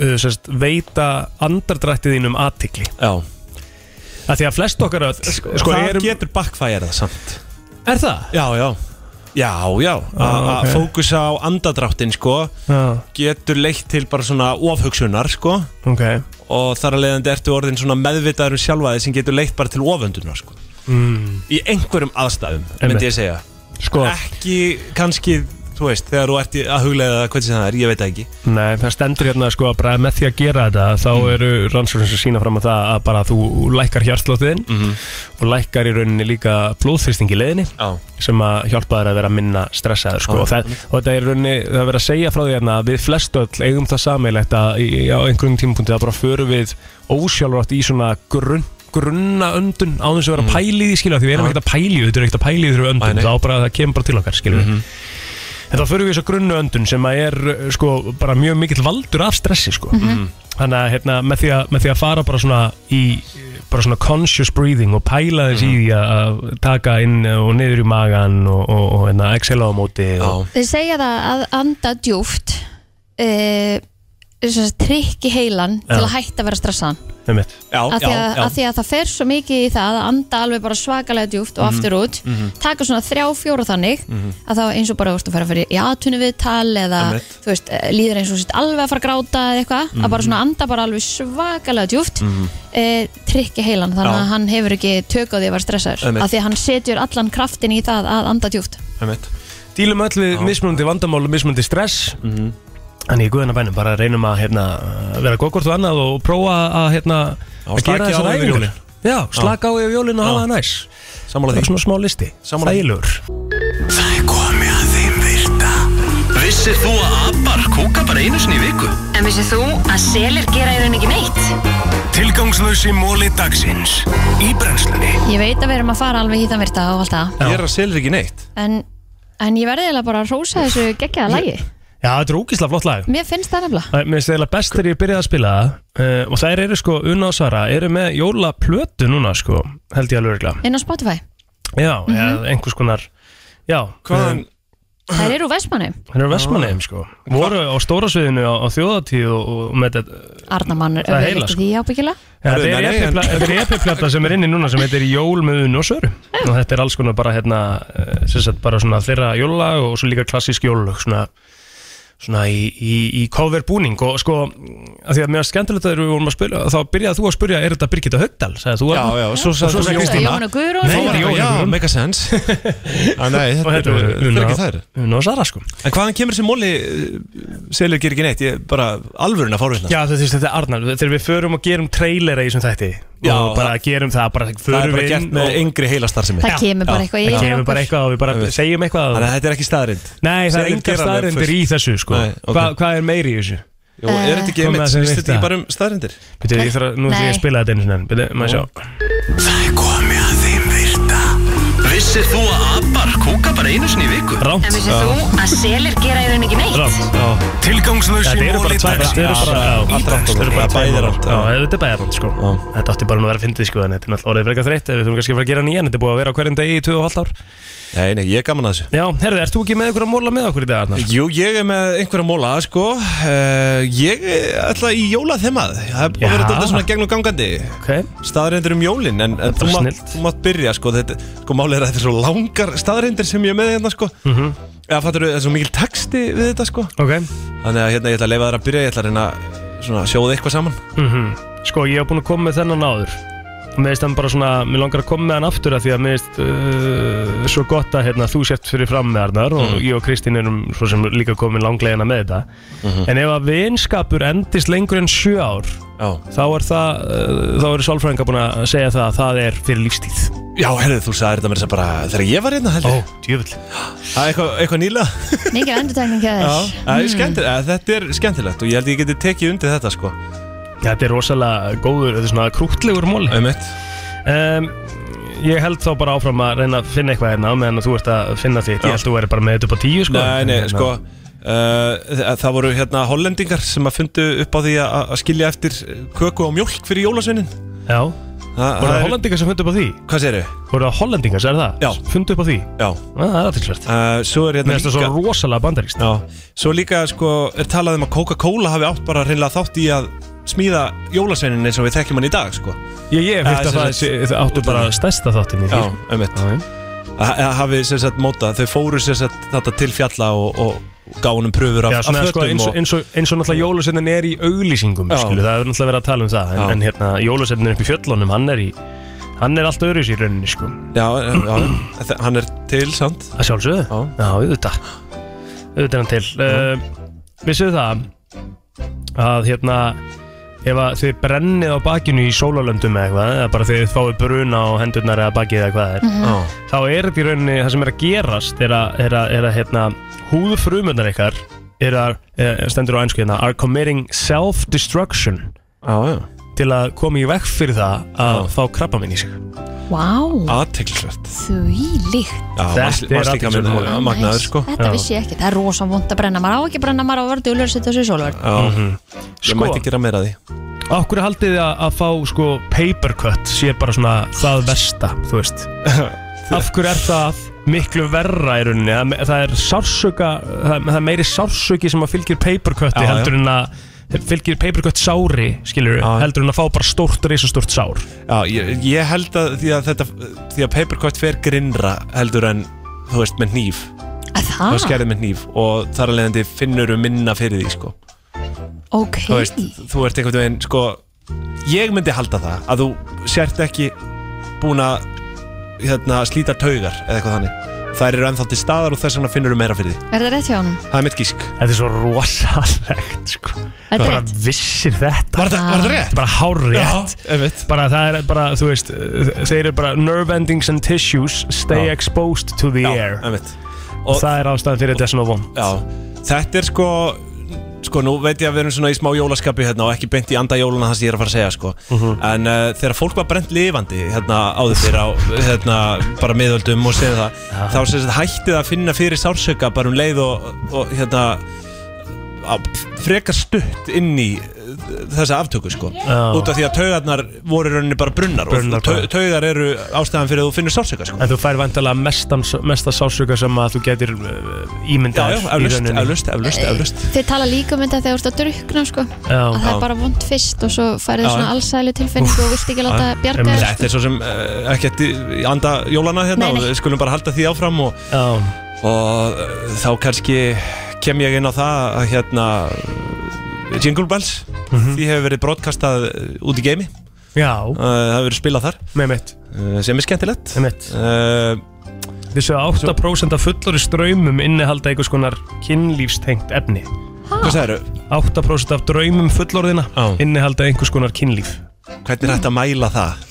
Speaker 2: uh, sérst, veita andardrættið þínum aðtikli Já að Því að flest okkar öll sko,
Speaker 4: það
Speaker 2: erum,
Speaker 4: getur backfire það samt
Speaker 2: Er það?
Speaker 4: Já, já Já, já, að
Speaker 2: Ah, ok.
Speaker 4: að fókusa á andadráttin sko
Speaker 2: Já.
Speaker 4: getur leitt til bara svona ofhugsunar sko
Speaker 2: Ok
Speaker 4: og þar að leiðandi ertu orðin svona meðvitaður um sjálfaði sem getur leitt bara til oföndunar sko
Speaker 2: mm,
Speaker 4: í einhverjum aðstæðum,
Speaker 2: Einmitt.
Speaker 4: myndi ég segja
Speaker 2: Sko.
Speaker 4: ekki kannski, þú veist, þegar þú ert í- að huglega hvernig sem það er, ég veit það ekki
Speaker 2: Nei, það stendur hérna sko að bara með því að gera þetta þá eru rannsóknir sem sína fram að það að bara þú lækkar hjartlótiðin og lækkar í rauninni líka blóðþristing í leiðinni
Speaker 4: Já.
Speaker 2: sem að hjálpa þær að vera minna stressaður sko.
Speaker 4: Já.
Speaker 2: og, það, og þetta er í rauninni, það er verið að segja frá því hérna að við flest öll eigum það sameiglegt að í, á einhverjum tímapunkti að bara förum við ósjálfrátt í svona grunn grunna öndun á þess að vera að pæli því skilja því við erum
Speaker 4: Mm. Já.
Speaker 2: ekkert að pæli því, þetta er ekkert að pæli því þegar við
Speaker 4: Nei,
Speaker 2: öndum,
Speaker 4: nei. Mhm.
Speaker 2: þá bara það kemur bara til okkar skilja En þá förum við í svo grunnu öndun sem að er uh, sko bara mjög mikill valdur af stressi sko.
Speaker 12: Mhm.
Speaker 2: Þannig að hérna, með, því að með því að fara bara svona í bara svona conscious breathing og pæla þess
Speaker 4: Mhm.
Speaker 2: í því að- að taka inn og niður í magan og, og, og hérna, exhala á móti og,
Speaker 3: Þeir segja það að anda djúft uh, Trykki heilan til
Speaker 2: Já.
Speaker 3: að hætta að vera stressaðan
Speaker 2: einmitt.
Speaker 4: Já,
Speaker 3: að því að, að því að það fer svo mikið í það að anda alveg bara svakalega djúft og
Speaker 2: Mhm.
Speaker 3: aftur út
Speaker 2: Mhm.
Speaker 3: taka svona þrjá, fjóra þannig
Speaker 2: Mhm.
Speaker 3: að þá eins og bara þú veist að fara fyrir í aðtunni viðtal eða
Speaker 2: Einmitt.
Speaker 3: þú veist, eh, líður eins og þú sitt alveg að fara að gráta eða eitthvað, að
Speaker 2: Mhm.
Speaker 3: bara svona anda bara alveg svakalega djúft mm
Speaker 2: Mhm.
Speaker 3: trykki heilan, þannig
Speaker 4: Já.
Speaker 3: að hann hefur ekki tök á því að vera stressaður,
Speaker 2: Einmitt.
Speaker 3: að því að hann setjur allan kraftin í það að anda djúft
Speaker 2: Dílum öll við mismunandi vandamál og mismunandi stress
Speaker 4: Mhm.
Speaker 2: Þannig í guðina bænum bara reynum að hérna, vera góðkort og annað og prófa að, hérna, að
Speaker 4: slakið
Speaker 2: gera
Speaker 4: á
Speaker 2: þessar
Speaker 4: yfir
Speaker 2: æfingar
Speaker 4: jólin.
Speaker 2: Já, slaka á yfir jólinn og hafa það næs
Speaker 4: Sammála
Speaker 2: því Svona smá listi, þægilegur
Speaker 1: Það er komið að þeim virta Vissir þú að abar kúka bara einu sinni í viku?
Speaker 17: En vissið þú að selir gera í rauninni ekki neitt?
Speaker 1: Tilgangslösi móli dagsins Í brennslunni
Speaker 3: ég veit að við erum að fara alveg í það virta og allt það,
Speaker 4: Ég er að selja ekki neitt
Speaker 3: en, en ég verði eiginlega bara að rósa þessu geggjaða lagi
Speaker 2: Já, þetta er ógislega flott lag
Speaker 3: mér finnst það nefnilega
Speaker 2: Æ, Mér finnst eiginlega best þegar ég byrjaði að spila það uh, og þær eru sko, Una og Sara eru með jólaplötu núna sko, held ég alveg örugglega.
Speaker 3: inn á Spotify,
Speaker 2: Já, mm einhvers konar Já,
Speaker 4: Hvaðan-
Speaker 3: þær eru úr Vestmanni
Speaker 2: Þeir eru vestmanniðum sko Voru á stóra sviðinu á, á þjóðatíð og, og með þetta
Speaker 3: Arnamann
Speaker 2: Það er heila,
Speaker 3: ekki því ábyggilega
Speaker 2: Ja,
Speaker 4: Herðu,
Speaker 2: Þetta er
Speaker 4: nei, en-
Speaker 2: epipla- þetta er epiplata sem er inni núna sem heitir Jól með unn og sör og þetta er alls konar bara hérna eh, sem sagt bara svona þeirra jólag og svo líka klassísk jólög svona, svona í, í, í cover búning og sko að því að mér er skemmtilegt að þegar við vorum að spyrja þá byrjaði þú að spyrja er þetta Birgitta Högdal sagði þú
Speaker 4: Já, já, og svo sagði þú
Speaker 2: sagði
Speaker 4: Kristína.
Speaker 2: Kristína.
Speaker 3: Jóhanna Guðrún.
Speaker 2: Nei,
Speaker 3: Þá
Speaker 2: þetta
Speaker 3: var
Speaker 2: er
Speaker 4: Já,
Speaker 2: Jóhanna Guðrún
Speaker 4: make a sense ah, nei,
Speaker 2: Og þetta
Speaker 4: eru-
Speaker 2: eru
Speaker 4: þetta eru
Speaker 2: Una-
Speaker 4: ekki þær
Speaker 2: Una og Sara sko
Speaker 4: En hvaðan kemur þessi móli eh, selur ekki ekki neitt? Ég er bara alvörun að fórvinna
Speaker 2: Já, þetta, þetta er Arnar, þegar við förum og gerum trailera í þessum þætti
Speaker 4: Já,
Speaker 2: og bara gerum það, bara förum
Speaker 4: Það er bara
Speaker 2: við
Speaker 4: gert
Speaker 2: inn
Speaker 4: með
Speaker 2: og-
Speaker 4: yngri heilastarfsemi
Speaker 3: Það kemur bara eitthvað yfir
Speaker 2: Það kemur bara
Speaker 3: okkur.
Speaker 2: eitthvað og við bara segjum eitthvað
Speaker 4: Þannig að þetta er ekki staðrind
Speaker 2: Nei, það er
Speaker 4: Selur
Speaker 2: engar
Speaker 4: gera alveg
Speaker 2: staðrindir í
Speaker 4: fullt.
Speaker 2: þessu sko.
Speaker 4: Nei, ok.
Speaker 2: Hva, Hvað er meiri í þessu?
Speaker 4: Jú, er þetta ekki
Speaker 2: Hvað með
Speaker 4: einmitt,
Speaker 2: það sem virka?
Speaker 4: snýst þetta ekki bara um staðrindir?
Speaker 2: Býtu, ég þarf að, nú þarf ég að
Speaker 4: Nei.
Speaker 2: spila þetta einu sinni enn. Býtu, maður sjá
Speaker 1: Það er komið að þeim virta Vissir þú að abar kúka bara einu sinni í viku?
Speaker 2: Rámt
Speaker 17: En vissið þú að selir gera í raun ekki neitt?
Speaker 2: Tilgangslösi
Speaker 1: Tilgangslösi móli
Speaker 2: móli dags Þetta eru bara
Speaker 1: Já,
Speaker 2: já,
Speaker 1: allt rámt.
Speaker 2: Þetta eru bara
Speaker 1: Já, bæði
Speaker 2: bæði
Speaker 1: rámt,
Speaker 2: rámt Já, þetta er bæði rámt sko Þetta átti bara nú að vera að fyndið sko En þetta er náttúrulega orðið frekar þreytt Við þurfum kannski að fara að gera nýjan Þetta er búið að vera á hverjum degi í 2,5 ár
Speaker 4: Nei, nei, ég er gaman að þessu
Speaker 2: Já, herðu, ert þú ekki með ykkur að móla með okkur í dag Arnar?
Speaker 4: Jú, ég er með einhverja móla, sko uh, Ég ætla í jóla þemað Það er bara
Speaker 2: Já.
Speaker 4: verið þetta svona gegn og gangandi
Speaker 2: okay.
Speaker 4: Staðarindir um jólin En, en
Speaker 2: er
Speaker 4: þú,
Speaker 2: bara
Speaker 4: mátt, þú mátt byrja, sko þetta, Sko, málið er að þetta er svo langar staðarindir sem ég er með hérna, sko
Speaker 2: Mhm.
Speaker 4: Eða fattur þetta er svo mikil texti við þetta, sko
Speaker 2: Ok
Speaker 4: Þannig að hérna, ég ætla að leifa þær að byrja Ég ætla að reyna að, svona, sjóða eitthvað saman
Speaker 2: Mhm. Sko, ég hef búin að koma með þennan áður og mér finnst hann bara svona, mér langar að koma með hann aftur af því að mér finnst uh, svo gott að hérna, þú sért fyrir fram með Arnar og
Speaker 1: Mhm.
Speaker 2: ég og Kristín erum svo sem líka komin langlegina með þetta
Speaker 1: Mhm.
Speaker 2: en ef að vinskapur endist lengur en sjö ár
Speaker 4: Já.
Speaker 2: þá er það uh, þá eru sálfræðingar búin að segja það að það er fyrir lífstíð
Speaker 4: Já, herðu, þú sagði þetta mér þess að bara Þegar ég var hérna, heldur
Speaker 2: Ó, djöfull
Speaker 4: Eitthvað, eitthvað nýla
Speaker 3: Mikið endurtækning hjá
Speaker 4: Já,
Speaker 3: þér
Speaker 4: það er skemmtilegt, eða þetta er skemmtilegt og ég held ég geti tekið undir þetta sko
Speaker 2: Já, þetta er rosalega góður, þetta er svona krútlegur mól um, Ég held þá bara áfram að reyna að finna eitthvað hérna á meðan að þú ert að finna þitt Ég held þú verið bara með þetta upp á tíu sko
Speaker 4: Nei, nei,
Speaker 2: En, hérna,
Speaker 4: sko uh, Það voru hérna hollendingar sem að fundu upp á því að- að að skilja eftir eh, köku og mjólk fyrir jólasveinin
Speaker 2: Já Voru það
Speaker 4: er-
Speaker 2: hollendingar sem fundu upp á því?
Speaker 4: Hvað segirðu?
Speaker 2: Voru það hollendingar, er það? Já Fundu upp á því?
Speaker 4: Já
Speaker 2: Það er aðtilsvært
Speaker 4: uh, Svo er hérna
Speaker 2: Mér finnst það svo rosalega bandaríkst
Speaker 4: Já, svo líka sko er talað um að Coca-Cola hafi átt bara hreinlega þátt í að smíða jólasveinin eins og við þekkjum hann í dag sko
Speaker 2: Ég, ég hef hýrt að það sé- það áttu bara stærsta þáttinn í því
Speaker 4: Já, einmitt Að- að hafi sem sagt móta, þau fóru sem sagt þetta til fjalla og, og gáunum pröfur af,
Speaker 2: Já, svona,
Speaker 4: af
Speaker 2: sko,
Speaker 4: fötum
Speaker 2: eins, og,
Speaker 4: og-
Speaker 2: eins, og, eins og náttúrulega jólusennin er í auglýsingum
Speaker 4: Já.
Speaker 2: skilu, það er náttúrulega verið að tala um það en,
Speaker 4: Já.
Speaker 2: en hérna, jólusennin upp í fjöllunum hann er, í, hann er alltaf öðruvísi í rauninni sko.
Speaker 4: Já, já, já hann er til, sant?
Speaker 2: Að sjálfsögðu? Já, auðvitað Auðvitað er hann til uh, Vissuðu það að hérna ef að þið brennið á bakinu í sólalöndum eða eitthvað, eða bara þið fáið bruna á hendurnar eða bakið eða hvað það er
Speaker 1: Mhm. Já.
Speaker 2: þá er þetta í rauninni það sem er að gerast er að, er að, er að hérna, húðfrumunar ykkar er að, eh, stendur á einsku hérna are committing self-destruction
Speaker 4: já, já.
Speaker 2: til að koma í vekk fyrir það að fá krabba minn í sig
Speaker 3: Vá,
Speaker 4: Aðteglsvært
Speaker 3: því líkt
Speaker 4: Já,
Speaker 2: Þetta er
Speaker 4: varst líka
Speaker 2: athyglisvert
Speaker 4: minn
Speaker 2: mál.
Speaker 4: ja, magnaður sko
Speaker 3: Þetta vissi ég ekki, það er rosa vond að brenna Maður á ekki að brenna, maður á að verða ulur setja á sig sólverð
Speaker 4: Já,
Speaker 2: Sko.
Speaker 4: ég mætti gera meira af því
Speaker 2: Okkur haldið þið að, að fá sko paper cut sé bara svona það versta, þú veist Af hverju er það miklu verra í rauninni Það, það er sársöka, það, það er meiri sársöki sem að fylgir paper cuti
Speaker 4: Já, já.
Speaker 2: heldur en að fylgir paper cut sári, skilur heldur en að fá bara stórt, reisastórt sár
Speaker 4: Já, ég, ég held að því að þetta því að papercut fer grinnra heldur en þú veist með hníf
Speaker 3: Það?
Speaker 4: þú skerðið með hníf og þar að leiðandi finnur um minna fyrir því sko
Speaker 3: Ok,
Speaker 4: þú veist, þú ert einhvern veginn sko, ég myndi halda það að þú sért ekki búin að hérna, slíta taugar eða eitthvað þannig þær eru ennþá til staðar og þess vegna finnur þú meira fyrir því
Speaker 3: er það rétt hjá honum?
Speaker 4: það er mitt gísk
Speaker 2: Þetta er svo rosalegt sko
Speaker 3: Þetta er
Speaker 2: bara
Speaker 3: rétt.
Speaker 2: vissir þetta
Speaker 4: Var þetta- var þetta rétt?
Speaker 2: Bara hárrétt bara, Það er bara, þú veist uh, Þeir eru bara nerve endings and tissues Stay
Speaker 4: Já.
Speaker 2: exposed to the air
Speaker 4: einmitt.
Speaker 2: og Það er ástæðan fyrir þetta svona vond
Speaker 4: Já, þetta er sko sko, nú veit ég að við erum svona í smá jólaskapi hérna og ekki beint í anda jólana það sem ég er að fara að segja sko.
Speaker 2: Mhm.
Speaker 4: en uh, þegar fólk var brent lifandi hérna áður fyrir á hérna, bara miðöldum og segja það þá sem þetta hætti það að finna fyrir sársöka bara um leið og, og hérna á, frekar stutt inn í uh, þessa aftöku sko
Speaker 2: Já.
Speaker 4: út af því að taugarnar voru í rauninni bara brunnar,
Speaker 2: Brunnar
Speaker 4: og tau, taugar eru ástæðan fyrir að þú finnur sársöka sko.
Speaker 2: En þú fær vantalega mestan, mesta sásuga sem að þú getur uh, ímyndað
Speaker 4: Já, já, eflaust, eflaust, eflaust, eflaust
Speaker 3: Þið tala líka um þetta þegar þú ert að drukna sko.
Speaker 2: Já.
Speaker 3: að það
Speaker 4: Já.
Speaker 3: er bara vond fyrst og svo færið
Speaker 4: Já.
Speaker 3: þið svona allsælu tilfinningu og vilt ekki láta
Speaker 4: Já,
Speaker 3: bjarga
Speaker 4: einmitt.
Speaker 3: þér,
Speaker 4: Þetta er svo sem uh, ekkert í- í anda jólana hérna
Speaker 3: Nei, nei.
Speaker 4: og við skulum bara halda því áfram og, og uh, þá kannski kem ég inn á það að hérna uh, Jingle Bells því hefur verið broadcastað uh, út í geimi
Speaker 2: Já
Speaker 4: uh, það hefur verið spilað þar
Speaker 2: Með mitt
Speaker 4: uh, sem er skemmtilegt
Speaker 2: Með mitt
Speaker 4: uh,
Speaker 2: Þessu að 8% af fullori ströymum innihalda einhvers konar kynlífstengt efni
Speaker 4: Hvað sagðirðu?
Speaker 2: 8% af draumum fullorðina innihalda einhvers konar kynlíf
Speaker 4: Hvernig er hægt að mæla það?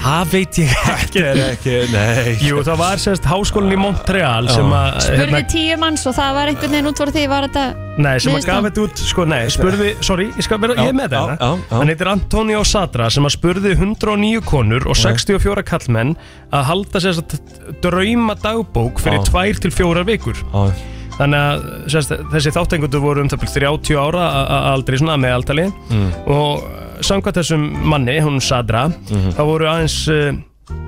Speaker 9: Það veit ég
Speaker 2: ekki,
Speaker 4: ekki Nei
Speaker 2: Jú, það var sérst háskólinn í Montreal sem að hérna,
Speaker 3: Spurðu tíu manns og það var einhvern veginn út voru því var þetta
Speaker 2: Nei, sem að gaf
Speaker 3: Niðurstaðan?
Speaker 2: þetta út, sko, nei, spurði, sorry, ég skal vera, ég er með
Speaker 4: Já,
Speaker 2: þetta hérna.
Speaker 4: já, já.
Speaker 2: Hann heitir Antonio Sadra sem að spurði 109 konur og 64 kallmenn að halda sér að drauma dagbók fyrir
Speaker 4: Já.
Speaker 2: tvær til fjórar vikur
Speaker 4: Já.
Speaker 2: Þannig að sérst, þessi þáttengundu voru um það byrjum 30 ára a- a- aldrei svona meðaltali
Speaker 4: Mm.
Speaker 2: og eh, samkvæmt þessum manni, hún Sadra,
Speaker 4: Mhm.
Speaker 2: þá voru aðeins... Uh,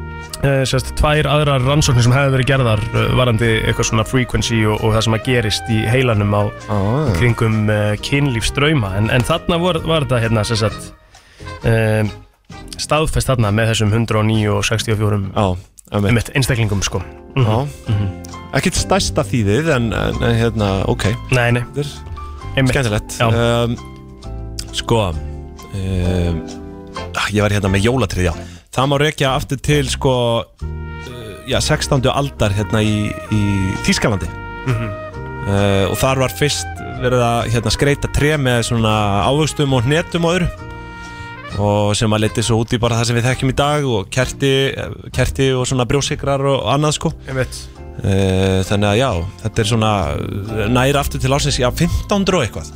Speaker 2: eh, sérst, tvær aðrar rannsóknir sem hefði verið gerðar uh, varandi eitthvað svona frequency og, og það sem að gerist í heilanum á kringum uh, kynlífsdrauma en, en þarna var, var þetta hérna sérst, uh, staðfest þarna með þessum 109 og 64
Speaker 4: Já,
Speaker 2: einmitt, einstaklingum sko Mhm.
Speaker 4: Já. Ekkert stærsta þýðið en, en en hérna, ok
Speaker 2: Nei, nei Einmitt.
Speaker 4: Skemmtilegt
Speaker 2: Já.
Speaker 4: um, Sko um, ah, Ég var hérna með jólatrið, já Það má rekja aftur til sko uh, Já, 16. aldar hérna í, í Þýskalandi
Speaker 2: Mhm.
Speaker 4: uh, Og þar var fyrst verið að hérna, skreita tré með svona ávöxtum og hnetum og öðru og sem að leti svo út í bara það sem við þekkjum í dag og kerti, eh, kerti og svona brjósikrar og annað sko
Speaker 2: Einmitt.
Speaker 4: Eh, þannig að já, þetta er svona eh, nær aftur til ásins, já, 1500 og eitthvað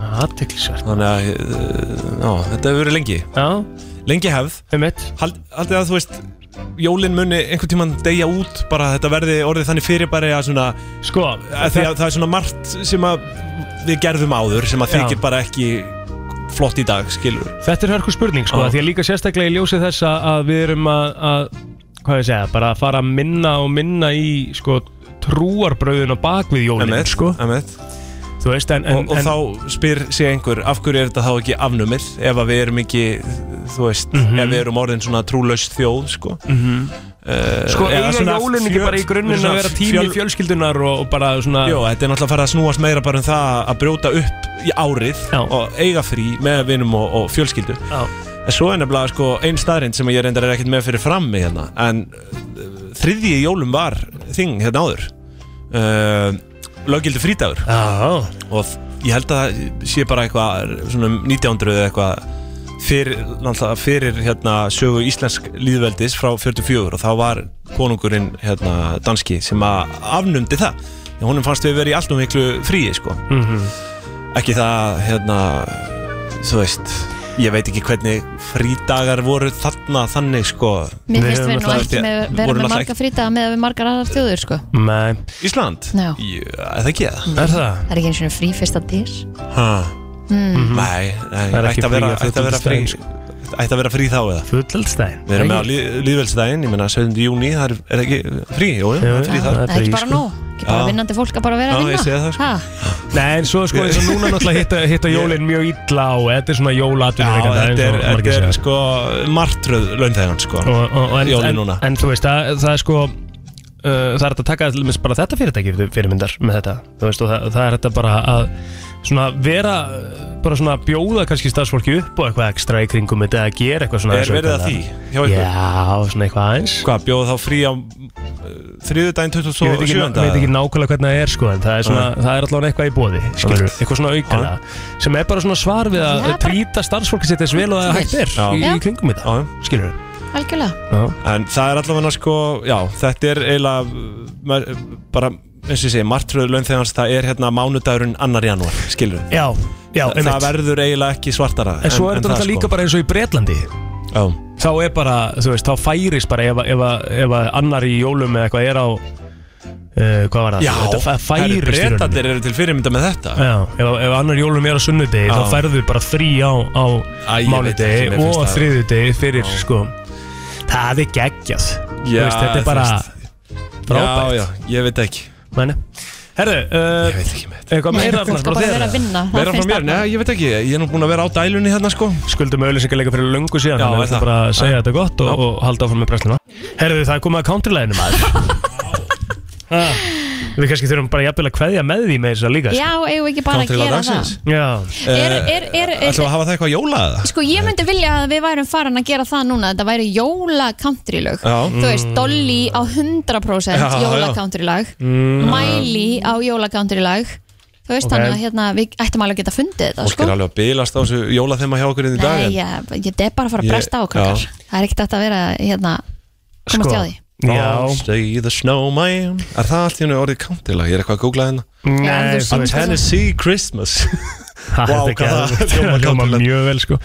Speaker 2: Aðteklisvert
Speaker 4: Þannig að, eh, já, þetta hefur verið lengi
Speaker 2: Já
Speaker 4: Lengi hefð
Speaker 2: Einmitt
Speaker 4: Hald, Haldið að þú veist, jólin muni einhvern tímann deyja út Bara þetta verði orðið þannig fyrir bara að svona
Speaker 2: Sko
Speaker 4: að Því að það er svona margt sem að við gerðum áður Sem að
Speaker 2: Já.
Speaker 4: þykir bara ekki flott í dag, skilur
Speaker 2: Þetta er hörku spurning sko,
Speaker 4: Já.
Speaker 2: því að líka sérstaklega í ljósi þess að- að við erum að, að hvað ég segja, bara að fara að minna og minna í sko trúarbröðin og bakvið jólinn
Speaker 4: Emmett,
Speaker 2: sko.
Speaker 4: Emmett.
Speaker 2: Þú veist, en, en,
Speaker 4: og, og
Speaker 2: en
Speaker 4: þá spyr sig einhver af hverju er þetta þá ekki afnumið ef að við erum ekki, þú veist
Speaker 2: Mhm.
Speaker 4: ef við erum orðin svona trúlaust þjóð sko,
Speaker 2: Mhm.
Speaker 4: Eh,
Speaker 2: sko
Speaker 4: eða
Speaker 2: eiga
Speaker 4: svona
Speaker 2: jólinn ekki
Speaker 4: fjö-
Speaker 2: bara í grunninn
Speaker 4: svona
Speaker 2: að vera tími
Speaker 4: fjöl-
Speaker 2: fjölskyldunar og, og bara svona
Speaker 4: Jó, þetta er náttúrulega að fara að snúast meira bara um það að brjóta upp í árið og eiga frí með vinum og, og fjölskyldu
Speaker 2: Já.
Speaker 4: en svo er nefnilega sko einn staðrind sem ég reyndar er ekkert með fyrir frammi hérna en uh, þriðji í jólum var þing hérna áður uh, löggildi frítagur
Speaker 2: Já.
Speaker 4: og þ- ég held að það sé bara eitthvað svona um 1900 eða eitthvað fyrir, náttúrulega fyrir hérna, sögu íslensk líðveldis frá 44 og þá var konungurinn hérna, danski sem að afnumdi það því honum fannst við verið í allt um miklu fríi sko.
Speaker 2: Mhm.
Speaker 4: ekki það hérna, þú veist ég veit ekki hvernig frídagar voru þarna þannig sko
Speaker 3: Mér finnst við nú
Speaker 4: náttúrulega
Speaker 3: ekki með, vera
Speaker 4: voru
Speaker 3: með
Speaker 4: náttúrulega
Speaker 3: marga frítaga með að við margar aðrar þjóður sko
Speaker 2: Nei
Speaker 4: Ísland?
Speaker 3: Já.
Speaker 4: Jú, er það ekki það?
Speaker 2: Er það?
Speaker 3: Það er ekki eins og frí fyrsta dyr
Speaker 4: Ha.
Speaker 3: Mm.
Speaker 4: Nei, nei
Speaker 2: Það er
Speaker 4: ætti
Speaker 2: ekki
Speaker 4: að vera,
Speaker 2: frí sko. á
Speaker 4: ætti að vera frí ætti að vera frí þá eða
Speaker 2: Fullöldstæðin
Speaker 4: Við erum með á lí- líðveldstæðin, ég menna 7. júni, það er, er ekki frí, jú, jú, það er frí þar
Speaker 3: Það er sko. ekki bara nóg, ekki bara
Speaker 4: Já.
Speaker 3: vinnandi fólk að bara vera
Speaker 4: Já,
Speaker 3: að
Speaker 4: ég
Speaker 3: vinna
Speaker 4: sé það, sko.
Speaker 3: Ha?
Speaker 2: Nei, en svo sko eins og núna náttúrulega hitta, hitta jólinn mjög illa og þetta er svona jólatvinni
Speaker 4: Já, þetta er, þetta er sko martröð launþegan sko,
Speaker 2: og, og, og en,
Speaker 4: jólin
Speaker 2: en,
Speaker 4: núna
Speaker 2: en þú veist, það, það er sko uh, það er hægt að taka til dæmis bara þetta fyrirtæki fyrir- fyrirmyndar með þetta þú veist, og það, það er þetta bara að svona vera uh, bara svona bjóða kannski starfsfólki upp og eitthvað ekstra í kringum þetta að gera eitthvað svona
Speaker 4: Er
Speaker 2: aðeins
Speaker 4: verið að því hjá
Speaker 2: aukalega.
Speaker 4: ykkur?
Speaker 2: Já, svona eitthvað aðeins
Speaker 4: Hvað, bjóða þá frí á uh, þriðudaginn
Speaker 2: Ég veit ekki,
Speaker 4: 27.
Speaker 2: veit ekki nákvæmlega hvernig það er sko en það er, svona, það er allavega eitthvað í bóði skilur, eitthvað svona aukana sem er bara svona svar við að
Speaker 3: Já, bara-
Speaker 2: trýta starfsfólki sitt eins vel og það hægt er í,
Speaker 3: Já.
Speaker 2: í kringum þetta skilur
Speaker 3: Algjörlega
Speaker 4: En það er allavega sko, já, þetta er eiginlega uh, maður, uh, bara, eins og ég segi, martröð launþegans, það er hérna mánudagurinn annar janúar, skilur
Speaker 2: Já, já,
Speaker 4: Það,
Speaker 2: einmitt.
Speaker 4: verður eiginlega ekki svartara
Speaker 2: En svo er þetta
Speaker 4: sko.
Speaker 2: náttúrulega líka bara eins og í Bretlandi
Speaker 4: Já.
Speaker 2: Þá er bara, þú veist, þá færis bara ef, ef, ef að annar í jólum eða eitthvað er á Uh, hvað var það?
Speaker 4: Já,
Speaker 2: Þetta fæ- færist í
Speaker 4: herru,
Speaker 2: rauninni.
Speaker 4: Bretarnir eru til fyrirmynda með þetta
Speaker 2: Já, ef, ef annar jólum er á sunnudegi
Speaker 4: Já.
Speaker 2: þá færðu bara þrý á, á
Speaker 4: Æ, ég veit
Speaker 2: mánudegi
Speaker 4: ekki, mér finnst
Speaker 2: og
Speaker 4: það-
Speaker 2: þriðudegi fyrir sko Það er geggjað Þú
Speaker 4: Já,
Speaker 2: veist, Þetta er
Speaker 4: þú
Speaker 2: bara
Speaker 4: veist.
Speaker 2: frábært
Speaker 4: Já, já, ég veit ekki
Speaker 2: Mæni Herðu, uh, ég veit ekki með Eitthvað
Speaker 4: Nei,
Speaker 2: meira
Speaker 4: þú
Speaker 2: Arnar,
Speaker 4: skal bara
Speaker 2: þér,
Speaker 4: vera að
Speaker 2: eða?
Speaker 4: vinna, það Meira frá finnst mér? Arnar. Nei, ég veit ekki, ég er nú búin að vera á dælunni hérna sko
Speaker 2: Skuldum auðlýsingarleika fyrir löngu síðan
Speaker 4: Já,
Speaker 2: Þannig að við
Speaker 4: er það?
Speaker 2: ætlum bara að segja þetta gott og, og halda áfram með pressluna Herðu, það er komið að countrylæðinu maður Ha, Við kannski þurfum bara jafnvel að kveðja með því með þess að líka sko.
Speaker 3: Já, eigum við ekki bara að gera það
Speaker 2: Já
Speaker 3: Er,
Speaker 4: Eh,
Speaker 3: er, er,
Speaker 4: Ætlum við að hafa það eitthvað jóla eða?
Speaker 3: Sko ég myndi vilja að við værum farin að gera það núna Þetta væri jóla country lög
Speaker 4: Já.
Speaker 3: Þú veist, Dolly á 100%
Speaker 4: Já, já.
Speaker 3: jóla country lag
Speaker 4: Mm.
Speaker 3: Miley á jóla country lag Þú þú veist
Speaker 4: Ok.
Speaker 3: þannig að hérna, við ættum alveg að geta fundið þetta
Speaker 4: Fólk
Speaker 3: sko.
Speaker 4: er alveg að bilast á þessu jólaþema hjá okkur inn í dag
Speaker 3: Nei,
Speaker 4: en-
Speaker 3: ég, ég er bara að fara að
Speaker 4: Ég-
Speaker 3: bresta á krakkar
Speaker 4: já. Sko.
Speaker 3: Það er ekkert hægt að vera hérna komast hjá því
Speaker 4: Já Stay the snowman Er það allt í hennu orðið countilag? Ég er eitthvað að googla hérna
Speaker 2: Já, en þú
Speaker 4: A
Speaker 2: syngst
Speaker 4: Tennessee Christmas
Speaker 2: Ha,
Speaker 4: Vá,
Speaker 2: þetta
Speaker 4: hvað
Speaker 2: er
Speaker 4: það
Speaker 2: ekki
Speaker 4: hljómar
Speaker 2: að hljóma
Speaker 4: countylegt.
Speaker 2: mjög vel sko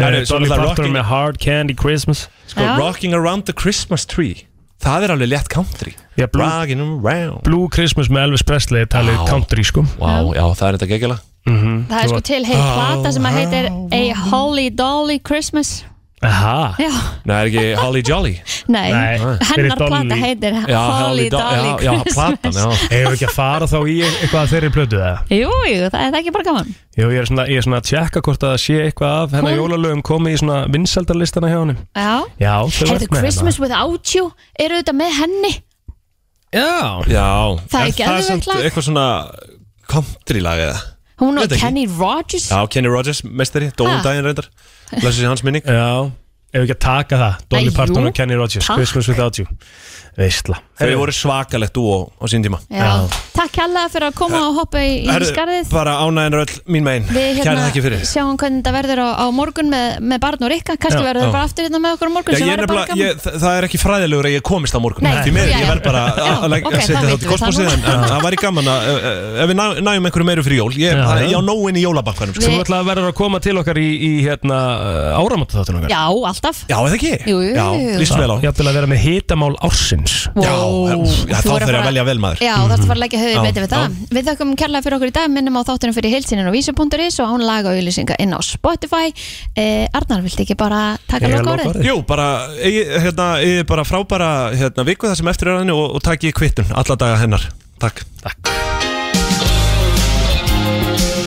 Speaker 4: Herru,
Speaker 2: Eh, Dolly
Speaker 4: svo náttúrulega
Speaker 2: Parton
Speaker 4: Rocking-
Speaker 2: með Hard Candy Christmas
Speaker 4: Sko, Rocking around the Christmas tree Það er alveg létt country
Speaker 2: Já, Blue-
Speaker 4: Rocking around
Speaker 2: Blue Christmas með Elvis Presley er talið
Speaker 4: Vá.
Speaker 2: country sko
Speaker 4: Vá, já, það er þetta geggjala
Speaker 3: Það er sko til heil
Speaker 4: Ah.
Speaker 3: plata sem að heitir A Holy Dolly Christmas
Speaker 2: Aha
Speaker 3: Já,
Speaker 4: Nei, er ekki Holly Jolly
Speaker 3: nei,
Speaker 2: Nei, fyrir
Speaker 3: hennar plata
Speaker 2: Dolly.
Speaker 3: heitir
Speaker 4: Já,
Speaker 3: Holy
Speaker 4: Holly Do-
Speaker 3: Dolly
Speaker 4: já, já,
Speaker 3: Christmas
Speaker 4: platan, já.
Speaker 2: Hefur ekki að fara þá í eitthvað að þeirri plötu það?
Speaker 3: Jú, jú, það er það ekki bara gaman
Speaker 2: Jú, ég er svona, ég er svona að tjekka hvort að það sé eitthvað af hennar jólalögum komið í svona vinseldarlistana hjá honum
Speaker 3: Já,
Speaker 2: Já, þau eru
Speaker 3: Heyrðu,
Speaker 2: með hérna.
Speaker 3: Christmas Without You eru þetta með henni
Speaker 2: Já
Speaker 4: Já
Speaker 3: Það er
Speaker 4: En
Speaker 3: geðveikt
Speaker 4: samt
Speaker 3: lag.
Speaker 4: Eitthvað svona country lag eða
Speaker 3: Hún og
Speaker 4: Veit ekki.
Speaker 3: Kenny Rogers
Speaker 4: Já, Kenny Rogers, mestari,
Speaker 3: Ha?
Speaker 4: dóum daginn reyndar Læsir sér hans minning
Speaker 2: Já, ef ekki að taka það
Speaker 3: Æ,
Speaker 2: Dolly
Speaker 3: jú,
Speaker 2: Parton og Kenny Rogers
Speaker 3: takk.
Speaker 2: Christmas Without You Veistla
Speaker 4: Þau voru svakalegt dúo á sín tíma
Speaker 3: Já. Takk hella fyrir að koma og hoppa í, í
Speaker 4: Herðu,
Speaker 3: skarðið
Speaker 4: Bara ánæðin öll mín megin
Speaker 3: Við
Speaker 4: Kæra
Speaker 3: hérna
Speaker 4: þakki fyrir
Speaker 3: sjáum hvernig þetta verður á, á morgun með, með barn og rikka, kannski
Speaker 4: Já,
Speaker 3: verður
Speaker 4: já.
Speaker 3: það bara aftur hérna með okkur á morgun
Speaker 4: Já,
Speaker 3: sem
Speaker 4: ég er
Speaker 3: verður bara
Speaker 4: nefnilega,
Speaker 3: gaman
Speaker 4: ég, þa- það er ekki fræðilegur að ég komist á morgun
Speaker 3: Nei,
Speaker 4: Því miður,
Speaker 3: já,
Speaker 4: ég
Speaker 3: já.
Speaker 4: verð bara að-
Speaker 3: Já,
Speaker 4: að legg-
Speaker 3: ok,
Speaker 4: að setja
Speaker 3: þá
Speaker 4: það
Speaker 3: vitum
Speaker 4: til
Speaker 3: við
Speaker 4: kosmosið
Speaker 3: það
Speaker 4: en, en það væri gaman að ef- ef við ná- næjum einhverju meiru fyrir jól ég,
Speaker 2: Já,
Speaker 4: það,
Speaker 2: já.
Speaker 4: ég á nóin í sko. jólabakkanum
Speaker 2: Svo
Speaker 3: Eh.
Speaker 2: þú ætlaði að verður að koma til okkar í, í hérna, áramóta þáttunum okkar
Speaker 3: Já, alltaf
Speaker 4: Já, eða ekki?
Speaker 3: Jú, jú, jú.
Speaker 4: líst vel á.
Speaker 2: Jafnvel að vera með hitamál ársins
Speaker 3: Vó. Já, já,
Speaker 4: þá
Speaker 3: Þú verður
Speaker 4: þarf ég
Speaker 3: bara-
Speaker 4: að velja vel maður
Speaker 3: Já, það er að fara að leggja höfðið
Speaker 4: Já,
Speaker 3: betur við það Við þakkum kærlega fyrir okkur í dag, minnum á þáttunum fyrir heilsinin og vísu.is og án laga og auðlýsinga inn á Spotify eh, Arnar, viltu ekki bara taka loka orðið?
Speaker 4: Jú, bara, ég, hérna, ég bara frábæra hérna, viku það sem eftir er á henni og, og takk ég kvittun alla daga hennar Takk
Speaker 2: Takk